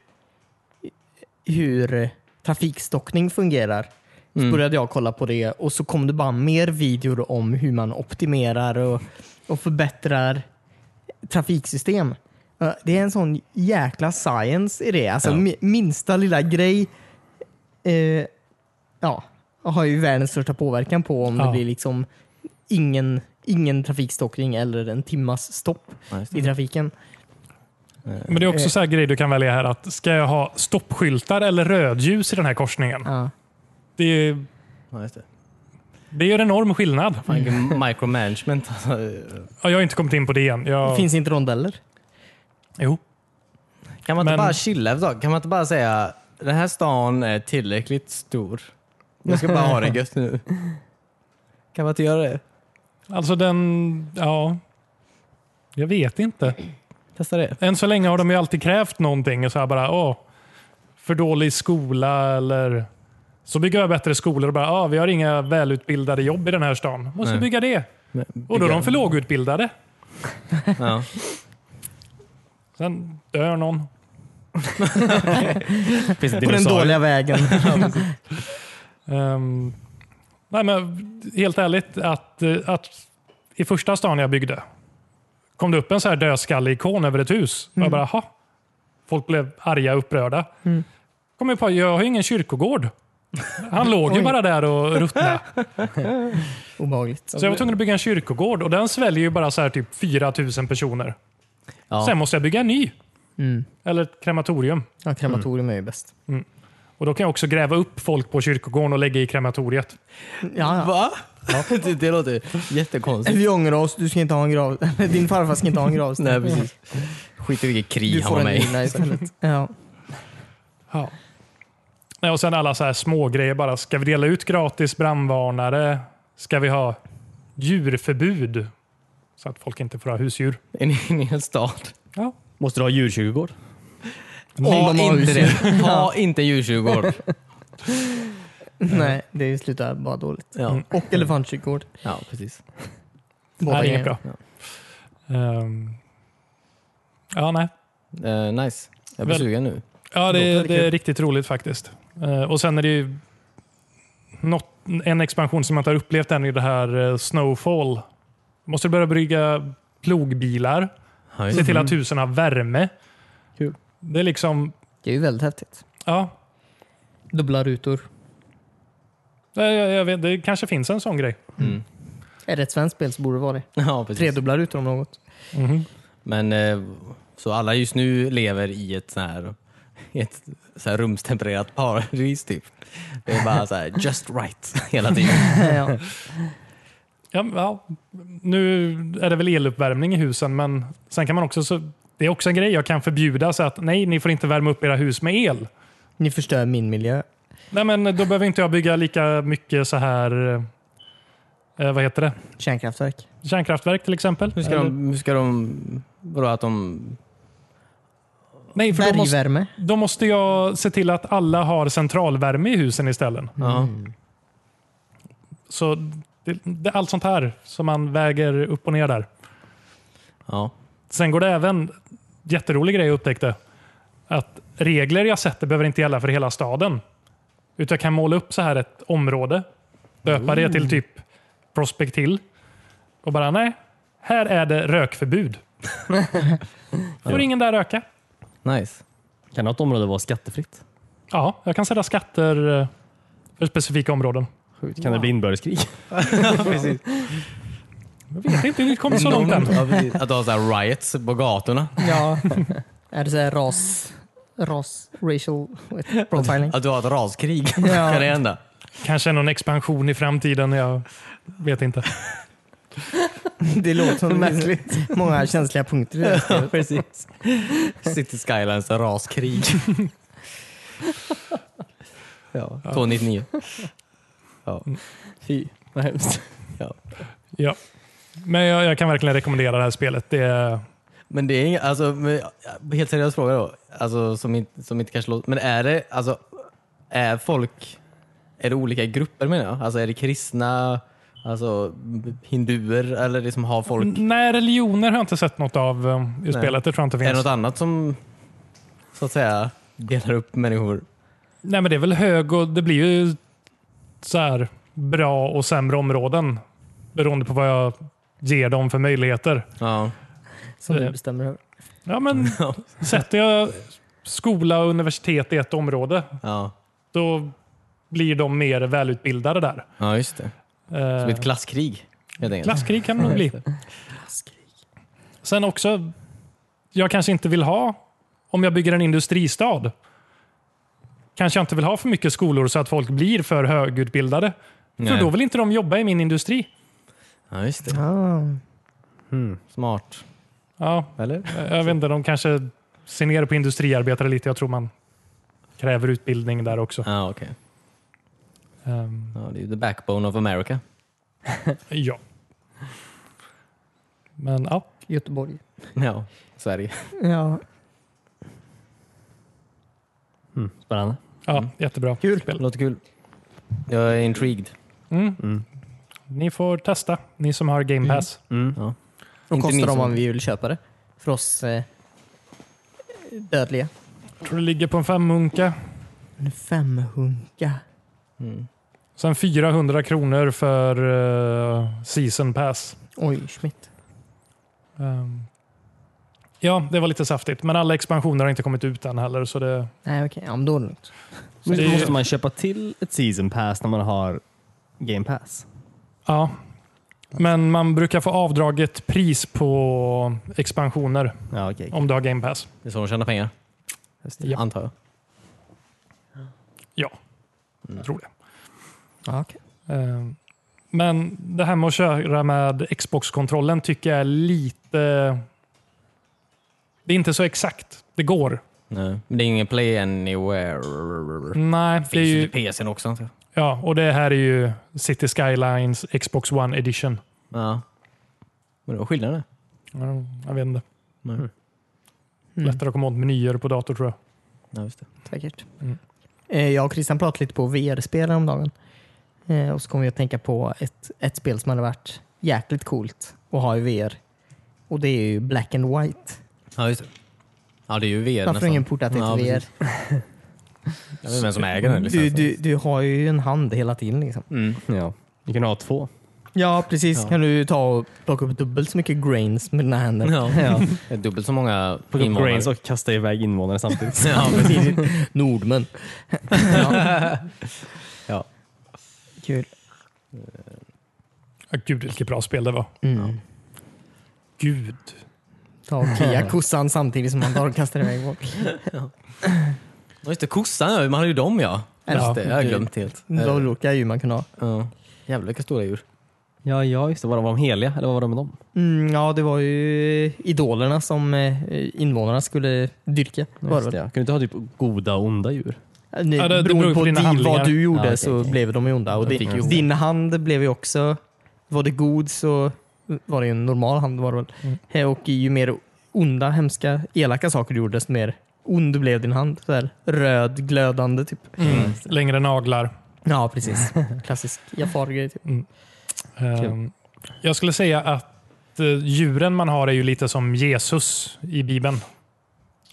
[SPEAKER 4] hur eh, trafikstockning fungerar. Så
[SPEAKER 1] Mm.
[SPEAKER 4] började jag kolla på det och så kom det bara mer videor om hur man optimerar och, och förbättrar trafiksystem. Eh, Det är en sån jäkla science i det. Alltså
[SPEAKER 1] Ja.
[SPEAKER 4] mi- minsta lilla grej eh, ja, har ju världens största påverkan på om
[SPEAKER 2] Ja.
[SPEAKER 4] det blir liksom ingen, ingen trafikstockning eller en timmas stopp
[SPEAKER 1] Ja, just
[SPEAKER 4] i trafiken.
[SPEAKER 2] Men det är också
[SPEAKER 4] Eh.
[SPEAKER 2] så här grej du kan välja här att ska jag ha stoppskyltar eller rödljus i den här korsningen?
[SPEAKER 4] Ja.
[SPEAKER 2] Det, är-
[SPEAKER 1] Ja, just det.
[SPEAKER 2] det gör enorm skillnad.
[SPEAKER 1] Fan, vilken micromanagement. Alltså,
[SPEAKER 2] Ja, jag har inte kommit in på det än.
[SPEAKER 4] Det
[SPEAKER 2] Jag,
[SPEAKER 4] finns inte rondeller.
[SPEAKER 2] Jo.
[SPEAKER 1] Kan man inte
[SPEAKER 2] Men-
[SPEAKER 1] bara chilla ett tag? Kan man inte bara säga den här stan är tillräckligt stor. Jag ska bara ha det gött nu. Kan man inte göra det?
[SPEAKER 2] Alltså den... Ja. Jag vet inte.
[SPEAKER 1] Testa det.
[SPEAKER 2] Än så länge har de ju alltid krävt någonting. Så här bara, åh, för dålig skola eller... Så bygger jag bättre skolor och bara, ah, vi har inga välutbildade jobb i den här stan. Måste
[SPEAKER 1] Nej.
[SPEAKER 2] bygga det. Och då är de för lågutbildade.
[SPEAKER 1] Ja.
[SPEAKER 2] Sen dör någon.
[SPEAKER 1] Finns det
[SPEAKER 4] På den
[SPEAKER 1] dinosaurier?
[SPEAKER 4] dåliga vägen.
[SPEAKER 2] Ehm, nej men helt ärligt, att, eh, att i första stan jag byggde kom det upp en så här dödskalle-ikon över ett hus. Och jag bara, aha. Folk blev arga och upprörda. Kom jag på, jag har ju ingen kyrkogård. Han låg ju bara där och ruttnade.
[SPEAKER 4] Obehagligt.
[SPEAKER 2] Så jag var tvungen att bygga en kyrkogård och den sväljer ju bara så här typ 4 000 personer.
[SPEAKER 1] Ja.
[SPEAKER 2] Sen måste jag bygga en ny.
[SPEAKER 4] Mm.
[SPEAKER 2] Eller ett krematorium.
[SPEAKER 4] Ja, krematorium är ju bäst.
[SPEAKER 2] Och då kan jag också gräva upp folk på kyrkogården och lägga i krematoriet.
[SPEAKER 4] Ja, ja.
[SPEAKER 1] Va? det, det låter jättekonstigt.
[SPEAKER 4] Vi ångrar oss, du ska inte ha en grav... Din farfar ska inte ha en gravsten.
[SPEAKER 1] Nej, precis. Skit i vilket
[SPEAKER 4] Du
[SPEAKER 1] krig han
[SPEAKER 4] får
[SPEAKER 1] var
[SPEAKER 4] en
[SPEAKER 1] med i.
[SPEAKER 4] urna istället. Ja.
[SPEAKER 2] Ja. Nej, och sen alla så här små grejer bara. Ska vi dela ut gratis brandvarnare? Ska vi ha djurförbud? Så att folk inte får ha husdjur.
[SPEAKER 1] En, en hel stad.
[SPEAKER 2] Ja.
[SPEAKER 3] Måste du ha djurkyrkogård?
[SPEAKER 1] Ha
[SPEAKER 4] de har
[SPEAKER 1] inte
[SPEAKER 4] husdjur.
[SPEAKER 1] det. Ha inte djurkyrkogård.
[SPEAKER 4] Nej, det slutar bara dåligt.
[SPEAKER 1] Ja.
[SPEAKER 2] Mm.
[SPEAKER 4] Och elefantkyrkogård.
[SPEAKER 1] ja, precis.
[SPEAKER 2] Nej,
[SPEAKER 4] Båda
[SPEAKER 2] det är
[SPEAKER 4] grejerna.
[SPEAKER 2] bra. Ehm. Ja, nej.
[SPEAKER 1] Eh, nice. Jag blir
[SPEAKER 2] Väl-
[SPEAKER 1] sugen nu.
[SPEAKER 2] Ja,
[SPEAKER 1] Låter
[SPEAKER 2] det,
[SPEAKER 1] väldigt
[SPEAKER 2] det är
[SPEAKER 1] kul.
[SPEAKER 2] riktigt roligt faktiskt. Eh, och sen är det ju något, en expansion som jag inte har upplevt än i det här eh, Snowfall. Måste du börja brygga plogbilar,
[SPEAKER 1] Ja, just
[SPEAKER 2] se
[SPEAKER 1] det.
[SPEAKER 2] till att husen har värme.
[SPEAKER 3] Kul.
[SPEAKER 2] Det är liksom,
[SPEAKER 4] Det är ju väldigt häftigt.
[SPEAKER 2] ja,
[SPEAKER 4] Dubbla rutor.
[SPEAKER 2] jag, jag, jag vet, det kanske finns en sån grej.
[SPEAKER 1] Mm.
[SPEAKER 4] Är det ett svenskt spel så borde det vara det.
[SPEAKER 1] Ja, precis.
[SPEAKER 4] Tredubbla rutor om något.
[SPEAKER 1] Mhm. Men eh, så alla just nu lever i ett sån här, i ett så här rumstempererat paradis typ. Det är bara så här just right hela tiden.
[SPEAKER 4] ja.
[SPEAKER 2] Ja, men, ja, nu är det väl eluppvärmning i husen, men sen kan man också, så, det är också en grej jag kan förbjuda, så att nej, ni får inte värma upp era hus med el.
[SPEAKER 4] Ni förstör min miljö.
[SPEAKER 2] Nej, men då behöver inte jag bygga lika mycket så här, eh, vad heter det,
[SPEAKER 4] Kärnkraftverk.
[SPEAKER 2] kärnkraftverk till exempel.
[SPEAKER 1] Hur ska
[SPEAKER 2] Eller-
[SPEAKER 1] de, hur ska de, vadå att de,
[SPEAKER 2] Nej, för då måste,
[SPEAKER 4] Bergvärme.
[SPEAKER 2] då måste jag se till att alla har centralvärme i husen istället.
[SPEAKER 1] ja.
[SPEAKER 2] Så det, det, allt sånt här som man väger upp och ner där.
[SPEAKER 1] ja.
[SPEAKER 2] Sen går det även, jätterolig grej jag upptäckte, att regler jag sätter behöver inte gälla för hela staden. Utan jag kan måla upp så här ett område, döpa det till typ Prospect Hill och bara nej, här är det rökförbud. Får ingen där röka.
[SPEAKER 1] Nice.
[SPEAKER 3] Kan något område vara skattefritt?
[SPEAKER 2] Ja, jag kan sätta skatter eh, för specifika områden.
[SPEAKER 3] Sjukt. Kan det bli inbördeskrig?
[SPEAKER 2] Jag vet inte, vi kommer så långt än.
[SPEAKER 1] Att ha så här riots på gatorna.
[SPEAKER 4] Ja. är det så här ras, ras, racial profiling?
[SPEAKER 1] Att du har ett raskrig.
[SPEAKER 4] Ja.
[SPEAKER 1] Kan det hända?
[SPEAKER 2] Kanske någon expansion i framtiden, jag vet inte.
[SPEAKER 4] Det låter som märkligt. Många känsliga punkter i det. här.
[SPEAKER 1] Precis. City Skylines raskrig. ja, 299. Ja.
[SPEAKER 3] Fy, vad hemskt.
[SPEAKER 2] Ja. Men jag, jag kan verkligen rekommendera det här spelet. Det är,
[SPEAKER 1] Men det är inga, alltså, men, helt seriös fråga då, alltså, som, inte, som inte kanske låter, men är det, alltså, är folk, är det olika grupper menar jag? Alltså är det kristna, alltså hinduer eller det som har folk?
[SPEAKER 2] nej, religioner har jag inte sett något av eh, i spelet. Det tror jag inte
[SPEAKER 1] Är det
[SPEAKER 2] finns.
[SPEAKER 1] något annat som, så att säga, delar upp människor?
[SPEAKER 2] Nej, men det är väl hög och det blir ju så här bra och sämre områden beroende på vad jag ger dem för möjligheter.
[SPEAKER 1] Ja.
[SPEAKER 4] Som du bestämmer över.
[SPEAKER 2] Ja, men sätter jag skola och universitet i ett område,
[SPEAKER 1] Ja,
[SPEAKER 2] då blir de mer välutbildade där.
[SPEAKER 1] ja just det. Som
[SPEAKER 2] Eh,
[SPEAKER 1] ett klasskrig helt enkelt.
[SPEAKER 2] Klasskrig kan det nog bli. Sen också, jag kanske inte vill ha, om jag bygger en industristad, kanske jag inte vill ha för mycket skolor så att folk blir för högutbildade. För
[SPEAKER 1] Nej.
[SPEAKER 2] då vill inte de jobba i min industri.
[SPEAKER 1] Ja, just det.
[SPEAKER 4] Ah.
[SPEAKER 1] Smart.
[SPEAKER 2] Ja,
[SPEAKER 1] Eller?
[SPEAKER 2] jag vet inte, de kanske ser ner på industriarbetare lite. Jag tror man kräver utbildning där också.
[SPEAKER 1] Ja, okej.
[SPEAKER 2] Ehm,
[SPEAKER 1] Ja, det är ju the backbone of America.
[SPEAKER 2] ja. Men ja,
[SPEAKER 4] Göteborg.
[SPEAKER 1] Ja, Sverige.
[SPEAKER 4] Ja.
[SPEAKER 3] Mm. Spännande.
[SPEAKER 2] ja jättebra.
[SPEAKER 4] Kul.
[SPEAKER 2] Spel.
[SPEAKER 1] Låter kul. Jag är intrigued.
[SPEAKER 2] Mm. Ni får testa, ni som har Game Pass.
[SPEAKER 3] Mm.
[SPEAKER 1] Ja.
[SPEAKER 4] De
[SPEAKER 1] Inte minst
[SPEAKER 4] kostar de
[SPEAKER 1] om-
[SPEAKER 4] om vi vill köpa det. För oss eh, dödliga.
[SPEAKER 2] Jag tror det ligger på en femmunka.
[SPEAKER 4] En femhunka.
[SPEAKER 1] Mm.
[SPEAKER 2] Sen 400 kronor för eh, season pass.
[SPEAKER 4] Oj, Schmidt.
[SPEAKER 2] Ehm, ja, det var lite saftigt. Men alla expansioner har inte kommit ut än heller. Så det,
[SPEAKER 4] Nej, okej. Ja, men då är det lugnt.
[SPEAKER 2] så det är-
[SPEAKER 3] Måste man köpa till ett season pass när man har game pass?
[SPEAKER 2] ja. Men man brukar få avdraget pris på expansioner
[SPEAKER 3] Ja, okej.
[SPEAKER 2] om du har game pass.
[SPEAKER 1] Det är så de tjänar pengar,
[SPEAKER 2] Ja,
[SPEAKER 1] antar jag.
[SPEAKER 2] ja. jag tror det.
[SPEAKER 4] Ja, okej.
[SPEAKER 2] Eh, Men det här med att köra med Xbox-kontrollen tycker jag är lite... Det är inte så exakt. Det går.
[SPEAKER 1] Nej. Men det är ingen play anywhere.
[SPEAKER 2] Nej, det är
[SPEAKER 1] Finns ju
[SPEAKER 2] ju,
[SPEAKER 1] till PCn också antar jag.
[SPEAKER 2] ja, och det här är ju City Skylines Xbox One Edition.
[SPEAKER 1] Ja. Men det var skillnaden.
[SPEAKER 2] Ja, Jag vet inte.
[SPEAKER 1] Nej.
[SPEAKER 4] Mm.
[SPEAKER 2] Lättare att komma åt menyer på dator tror jag.
[SPEAKER 1] Ja, just det.
[SPEAKER 4] Säkert.
[SPEAKER 2] Mm.
[SPEAKER 4] Eh, Jag och Christian pratade lite på VR-spel häromdagen. Eh, Och så kom vi att tänka på ett, ett spel som hade varit jäkligt coolt att ha i VR. Och det är ju Black and White.
[SPEAKER 1] Ja, just det. Ja, det är ju VR
[SPEAKER 4] Varför har ingen portat det till
[SPEAKER 1] Ja,
[SPEAKER 4] VR?
[SPEAKER 1] precis. Jag vet vem som äger den
[SPEAKER 4] Mm. Du,
[SPEAKER 1] licensen.
[SPEAKER 4] du, du har ju en hand hela tiden. Liksom.
[SPEAKER 1] Mm.
[SPEAKER 3] Ja. Du kan ha två.
[SPEAKER 4] Ja, precis.
[SPEAKER 1] Ja.
[SPEAKER 4] Kan du ta och plocka upp dubbelt så mycket grains med den här handen?
[SPEAKER 1] Ja. Det är dubbelt så många
[SPEAKER 3] På
[SPEAKER 1] invånare.
[SPEAKER 3] grains och kasta iväg invånare samtidigt.
[SPEAKER 1] Ja, men-
[SPEAKER 4] precis. Nordmän. ja.
[SPEAKER 1] Ja.
[SPEAKER 4] Kul.
[SPEAKER 2] Ja, gud vilket bra spel det var.
[SPEAKER 4] Mm.
[SPEAKER 2] Gud.
[SPEAKER 4] Ta och klia kossan samtidigt som man tar och kastar iväg folk.
[SPEAKER 1] Ja, just det, kossan ja. Man hade ju dem ja.
[SPEAKER 2] Ja.
[SPEAKER 1] Just det, jag har glömt helt. Eh.
[SPEAKER 4] Det var olika djur man kan ha.
[SPEAKER 1] Ja. Jävlar vilka stora djur.
[SPEAKER 3] ja, ja, just det. Var de, var de heliga eller vad var de med dem?
[SPEAKER 4] Mm, ja, det var ju idolerna som eh, invånarna skulle dyrka. Var
[SPEAKER 3] Just
[SPEAKER 4] det.
[SPEAKER 3] det,
[SPEAKER 4] väl?
[SPEAKER 3] ja. Kan du inte ha typ goda och onda djur?
[SPEAKER 4] Nej,
[SPEAKER 2] Ja, det- det beror
[SPEAKER 4] beroende
[SPEAKER 2] ju på
[SPEAKER 4] Eh, på,
[SPEAKER 2] dina
[SPEAKER 4] din-
[SPEAKER 2] handlingar.
[SPEAKER 4] vad du gjorde
[SPEAKER 3] Ja, okej,
[SPEAKER 4] så
[SPEAKER 3] okej.
[SPEAKER 4] blev de ju onda. Och
[SPEAKER 3] De fick ju
[SPEAKER 4] din,
[SPEAKER 3] onda.
[SPEAKER 4] din hand blev ju också... Var det god så var det ju en normal hand. Var det väl.
[SPEAKER 3] Mm.
[SPEAKER 4] Eh, Och ju mer onda, hemska, elaka saker du gjorde desto mer ond blev din hand. Så här, röd, glödande typ.
[SPEAKER 2] Mm. Längre naglar.
[SPEAKER 4] Ja, precis. Klassisk Jafar-grej. Typ.
[SPEAKER 2] Ehm, jag skulle säga att eh, djuren man har är ju lite som Jesus i Bibeln.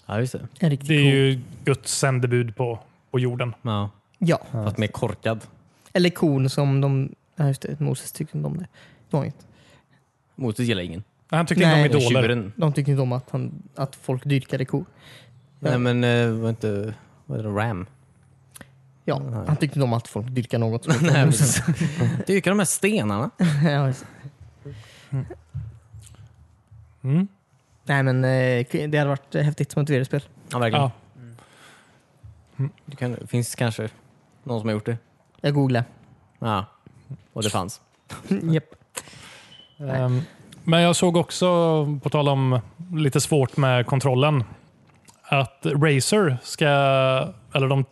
[SPEAKER 1] Ja, just det.
[SPEAKER 4] En riktig
[SPEAKER 2] Det är
[SPEAKER 4] cool.
[SPEAKER 2] ju Guds sändebud på, på jorden.
[SPEAKER 1] Ja.
[SPEAKER 4] Ja,
[SPEAKER 1] Fast mer korkad.
[SPEAKER 4] eller kon som de... Ja, just det. Moses tyckte inte om det. det var inget.
[SPEAKER 1] Moses gillar ingen. Eh,
[SPEAKER 2] Han tyckte
[SPEAKER 4] Nej.
[SPEAKER 2] inte om idoler.
[SPEAKER 1] Tjuren.
[SPEAKER 4] De tyckte inte om att, han, att folk dyrkade kor.
[SPEAKER 1] Nej men, eh, var inte... Vad är det? Ram?
[SPEAKER 4] Ja,
[SPEAKER 1] Nej.
[SPEAKER 4] han tyckte inte om att folk dyrkar något. Som
[SPEAKER 1] Nej,
[SPEAKER 4] inte Moses.
[SPEAKER 1] Dyrkar de här stenarna?
[SPEAKER 4] Ja, just det.
[SPEAKER 2] Mm.
[SPEAKER 4] Nej, men eh, det hade varit eh, häftigt som ett VR-spel.
[SPEAKER 1] Ja, verkligen. Mm.
[SPEAKER 2] Ja.
[SPEAKER 1] Du kan, finns kanske någon som har gjort det.
[SPEAKER 4] Jag googlade.
[SPEAKER 1] Ja. Och det fanns.
[SPEAKER 4] Japp.
[SPEAKER 2] Ehm, Men jag såg också, på tal om lite svårt med kontrollen, att Razer ska, eller de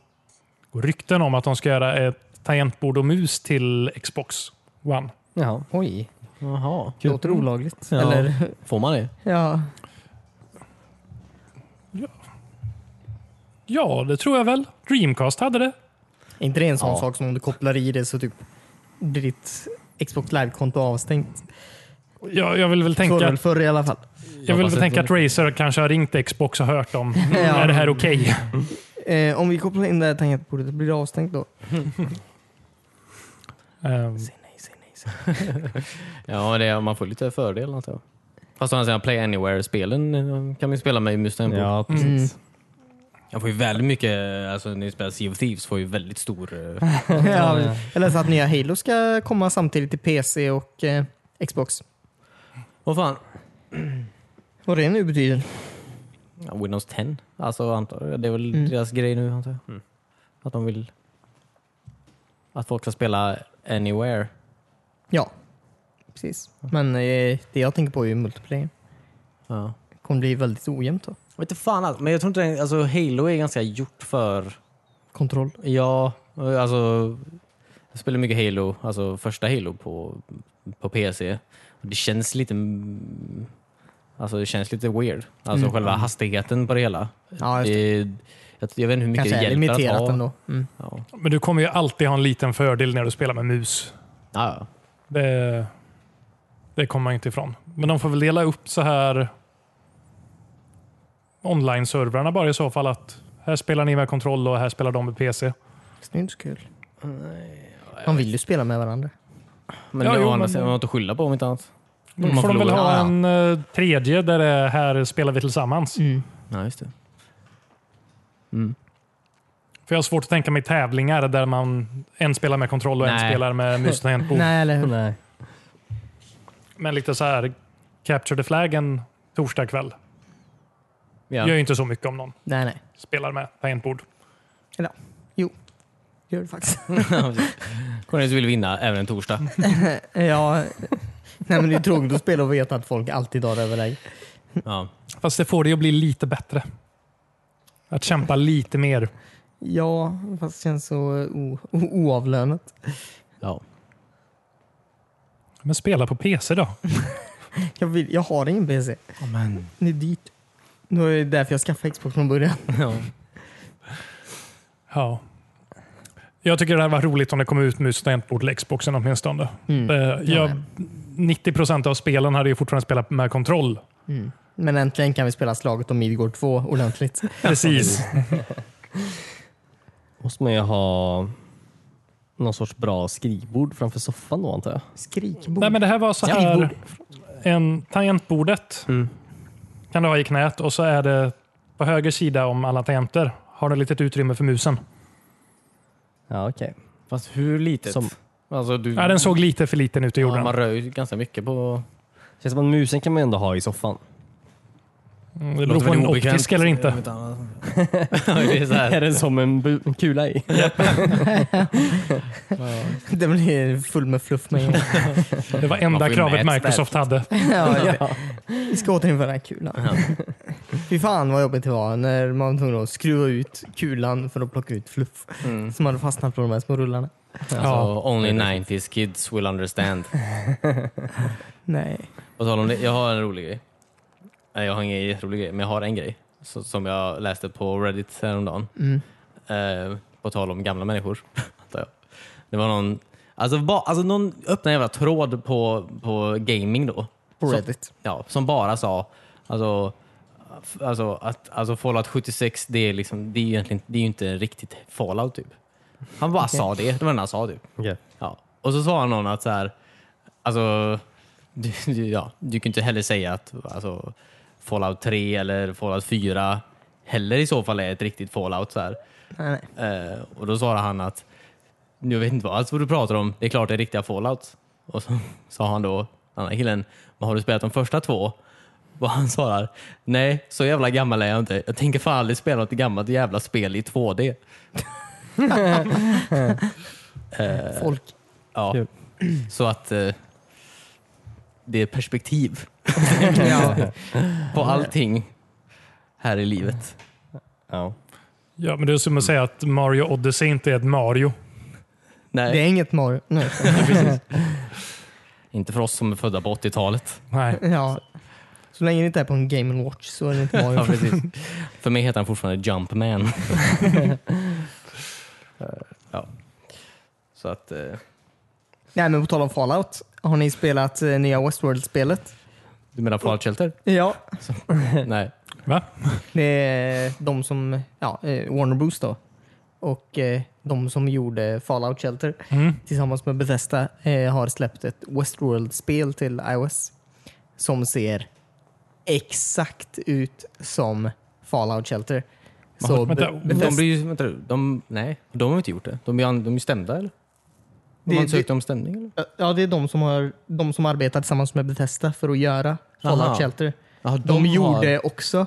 [SPEAKER 2] går rykten om att de ska göra ett tangentbord och mus till Xbox One.
[SPEAKER 3] Jaha.
[SPEAKER 4] Oj,
[SPEAKER 1] Jaha.
[SPEAKER 4] det låter olagligt.
[SPEAKER 1] Ja.
[SPEAKER 4] Eller,
[SPEAKER 1] Får man det?
[SPEAKER 4] ja.
[SPEAKER 2] Ja, det tror jag väl. Dreamcast hade det.
[SPEAKER 4] Är inte det en sån
[SPEAKER 1] Ja.
[SPEAKER 4] sak som om du kopplar i det så typ blir ditt Xbox Live-konto avstängt?
[SPEAKER 2] Jag, jag vill väl
[SPEAKER 4] Så var det
[SPEAKER 2] tänka,
[SPEAKER 4] väl förr i alla fall.
[SPEAKER 2] jag vill
[SPEAKER 1] Hoppas
[SPEAKER 2] väl tänka att
[SPEAKER 1] inte.
[SPEAKER 2] Razer kanske har ringt Xbox och hört om,
[SPEAKER 4] Ja.
[SPEAKER 2] är det här okej?
[SPEAKER 4] Eh, om vi kopplar in det här tangentbordet, blir det avstängt då?
[SPEAKER 1] Mm.
[SPEAKER 2] Ehm,
[SPEAKER 4] Nej, säg nej, säg
[SPEAKER 1] Ja, det är, man får lite fördel antar jag. Fast å andra sidan, Play Anywhere-spelen eh, kan man ju spela med i Mustang.
[SPEAKER 3] Ja,
[SPEAKER 4] nej.
[SPEAKER 3] precis. Mm.
[SPEAKER 1] Jag får ju väldigt mycket, alltså när ni spelar Sea of Thieves får ju väldigt stor... eh,
[SPEAKER 4] Mm. ja, jag läste att nya Halo ska komma samtidigt till PC och eh, Xbox.
[SPEAKER 1] Vad fan?
[SPEAKER 4] Vad det nu betyder.
[SPEAKER 1] Ja, Windows 10? Alltså antar jag. Det är väl
[SPEAKER 4] Mm.
[SPEAKER 1] deras grej nu antar jag. Att de vill... Att folk ska spela Anywhere.
[SPEAKER 4] Ja, precis. Men eh, det jag tänker på är ju multiplayer.
[SPEAKER 1] Ja.
[SPEAKER 4] Det kommer bli väldigt ojämnt då.
[SPEAKER 1] Jag vet inte fan alltså, men jag tror inte den, alltså Halo är ganska gjort för...
[SPEAKER 4] Kontroll.
[SPEAKER 1] Ja, alltså... Jag spelar mycket Halo, alltså första Halo på, på PC. Det känns lite... mm, Alltså det känns lite weird. Alltså
[SPEAKER 4] Mm.
[SPEAKER 1] själva hastigheten på det hela.
[SPEAKER 4] Ja, just det.
[SPEAKER 1] Det, jag, jag vet inte hur mycket
[SPEAKER 4] Kanske
[SPEAKER 1] det
[SPEAKER 4] är
[SPEAKER 1] hjälper att
[SPEAKER 4] limiterat
[SPEAKER 1] ha.
[SPEAKER 4] ändå. Mm.
[SPEAKER 1] Ja.
[SPEAKER 2] men du kommer ju alltid ha en liten fördel när du spelar med mus.
[SPEAKER 1] Ja, ja.
[SPEAKER 2] Det, det kommer man inte ifrån. Men de får väl dela upp så här online-servrarna bara i så fall. att Här spelar ni med kontroll och här spelar de med PC.
[SPEAKER 4] Fast Det är inte så kul. De vill ju spela med varandra.
[SPEAKER 1] Men
[SPEAKER 2] Ja,
[SPEAKER 1] ja,
[SPEAKER 2] jo,
[SPEAKER 1] å andra
[SPEAKER 2] men-
[SPEAKER 1] sidan, man har inte att skylla på om inte annat.
[SPEAKER 2] Då
[SPEAKER 1] Mm, man
[SPEAKER 2] får de väl
[SPEAKER 1] förlorar.
[SPEAKER 2] ha
[SPEAKER 4] Ja, ja.
[SPEAKER 2] en eh, tredje där det är här spelar vi tillsammans.
[SPEAKER 4] Mm.
[SPEAKER 1] Ja, just det.
[SPEAKER 2] För jag har svårt att tänka mig tävlingar där man en spelar med kontroll och en
[SPEAKER 1] Nej.
[SPEAKER 2] spelar med mus och tangentbord.
[SPEAKER 4] Nej, eller hur?
[SPEAKER 3] Nej.
[SPEAKER 2] Men lite så här Capture the Flag en torsdag kväll.
[SPEAKER 1] Ja.
[SPEAKER 2] Gör ju inte så mycket om någon
[SPEAKER 4] Nej, nej.
[SPEAKER 2] spelar med tangentbord.
[SPEAKER 4] Gör det faktiskt.
[SPEAKER 1] Cornelius vill vinna även en torsdag.
[SPEAKER 4] ja. Nej, men det är tråkigt att spela och veta att folk alltid har överläge.
[SPEAKER 1] Ja.
[SPEAKER 2] Fast det får det ju att bli lite bättre. Att kämpa lite mer.
[SPEAKER 4] Ja, fast det känns så o- o- oavlönat.
[SPEAKER 1] Ja.
[SPEAKER 2] Men spela på PC då.
[SPEAKER 4] Jag, vill, jag har ingen PC.
[SPEAKER 1] Amen.
[SPEAKER 4] Det är dyrt. Det var ju därför jag skaffade Xbox från början.
[SPEAKER 1] Ja.
[SPEAKER 2] Ja. Jag tycker det här var roligt om det kom ut mus och tangentbord till Xboxen åtminstone.
[SPEAKER 4] Mm.
[SPEAKER 2] Eh, Jag, 90 procent av spelen hade ju fortfarande spelat med kontroll.
[SPEAKER 4] Mm. Men äntligen kan vi spela slaget om Midgård 2 ordentligt.
[SPEAKER 2] Precis.
[SPEAKER 3] Måste man ju ha någon sorts bra skrivbord framför soffan då antar jag.
[SPEAKER 4] Skrikbord.
[SPEAKER 2] Nej, men det här var så här. En tangentbordet
[SPEAKER 1] Mm.
[SPEAKER 2] kan du ha i knät och så är det på höger sida om alla tangenter har du litet utrymme för musen.
[SPEAKER 1] Mm.
[SPEAKER 3] Ja, okej.
[SPEAKER 1] Fast hur litet?
[SPEAKER 3] Som-
[SPEAKER 1] Alltså, du,
[SPEAKER 2] Ja, den såg lite för liten ut i
[SPEAKER 1] ja,
[SPEAKER 2] jorden.
[SPEAKER 1] man rör ju ganska mycket på...
[SPEAKER 3] Känns som att musen kan man ändå ha i soffan.
[SPEAKER 2] Mm, Det beror på om den är optisk eller inte.
[SPEAKER 1] det är så
[SPEAKER 3] Är
[SPEAKER 1] här.
[SPEAKER 3] den som en, bu- en kula i?
[SPEAKER 4] Det blir full med fluff med en gång.
[SPEAKER 2] Det
[SPEAKER 1] Man
[SPEAKER 2] var
[SPEAKER 1] får
[SPEAKER 2] enda
[SPEAKER 1] ju
[SPEAKER 2] kravet
[SPEAKER 1] mätstärk.
[SPEAKER 2] Microsoft hade.
[SPEAKER 4] ja, just det. Vi ska återinföra kulan. Fy fan vad jobbigt det var när man var tvungen att skruva ut kulan för att plocka ut fluff
[SPEAKER 1] Mm.
[SPEAKER 4] som hade fastnat på de här små rullarna.
[SPEAKER 1] Alltså, only 90s kids will understand.
[SPEAKER 4] Nej.
[SPEAKER 1] På tal om det, jag har en rolig grej. Nej, jag har ingen jätterolig grej, men jag har en grej så, som jag läste på Reddit häromdagen.
[SPEAKER 4] Mm.
[SPEAKER 1] Eh, på tal om gamla människor, antar jag. Det var någon, alltså, ba, alltså någon öppnade en jävla tråd på, på gaming då.
[SPEAKER 4] På
[SPEAKER 1] Som-
[SPEAKER 4] Reddit.
[SPEAKER 1] ja, som bara sa alltså, alltså, att, alltså Fallout 76, det är, liksom, det är, ju egentligen, det är ju inte riktigt Fallout typ. Han bara sa det, det var det han sa typ.
[SPEAKER 3] Okej.
[SPEAKER 1] Ja. Och så sa någon att så här, alltså, du, du, ja, du kan inte heller säga att alltså, Fallout 3 eller Fallout 4 heller i så fall är ett riktigt Fallout. Så här.
[SPEAKER 4] Nej, nej.
[SPEAKER 1] Eh, och då svarade han att jag vet inte vad, alls vad du pratar om, det är klart det är riktiga Fallout. Och så sa han då, den andra killen, "Men har du spelat de första två? Och han svarar, nej så jävla gammal är jag inte. Jag tänker fan aldrig spela något gammalt jävla spel i 2D.
[SPEAKER 4] Folk.
[SPEAKER 1] Ja.
[SPEAKER 3] Kul.
[SPEAKER 1] Så att eh, det är perspektiv
[SPEAKER 4] ja.
[SPEAKER 1] på allting här i livet.
[SPEAKER 3] Ja.
[SPEAKER 2] Ja, men det är som att säga att Mario Odyssey inte är ett Mario.
[SPEAKER 1] Nej,
[SPEAKER 4] Det är inget Mario. Nej.
[SPEAKER 1] inte för oss som är födda på 80-talet.
[SPEAKER 2] Nej.
[SPEAKER 4] Ja. Så länge det inte är på en Game Watch så är det inte
[SPEAKER 1] Ja,
[SPEAKER 4] Mario.
[SPEAKER 1] precis. för mig heter han fortfarande Jumpman. Eh, ja. Så att, eh,
[SPEAKER 4] Nej men på tal om Fallout. Har ni spelat eh, nya Westworld-spelet?
[SPEAKER 1] du menar Fallout Shelter?
[SPEAKER 4] Ja.
[SPEAKER 1] Nej.
[SPEAKER 2] Va?
[SPEAKER 4] Det är de som, ja, eh, Warner Bros då. Och eh, de som gjorde Fallout Shelter
[SPEAKER 2] Mm.
[SPEAKER 4] tillsammans med Bethesda eh, har släppt ett Westworld-spel till iOS. Som ser exakt ut som Fallout Shelter. Så
[SPEAKER 2] vänta,
[SPEAKER 4] Be-
[SPEAKER 1] De
[SPEAKER 4] Bethesda-
[SPEAKER 1] blir ju, vänta, nu, de, nej, de har ju inte gjort det. De är, an- de är ju stämda eller? De
[SPEAKER 4] Det-
[SPEAKER 1] har ansökt om stämning eller?
[SPEAKER 4] Ja, det är de som, har, de som arbetar tillsammans med Bethesda för att göra Fallout
[SPEAKER 1] Aha.
[SPEAKER 4] Shelter.
[SPEAKER 1] Ja,
[SPEAKER 4] De, gjorde också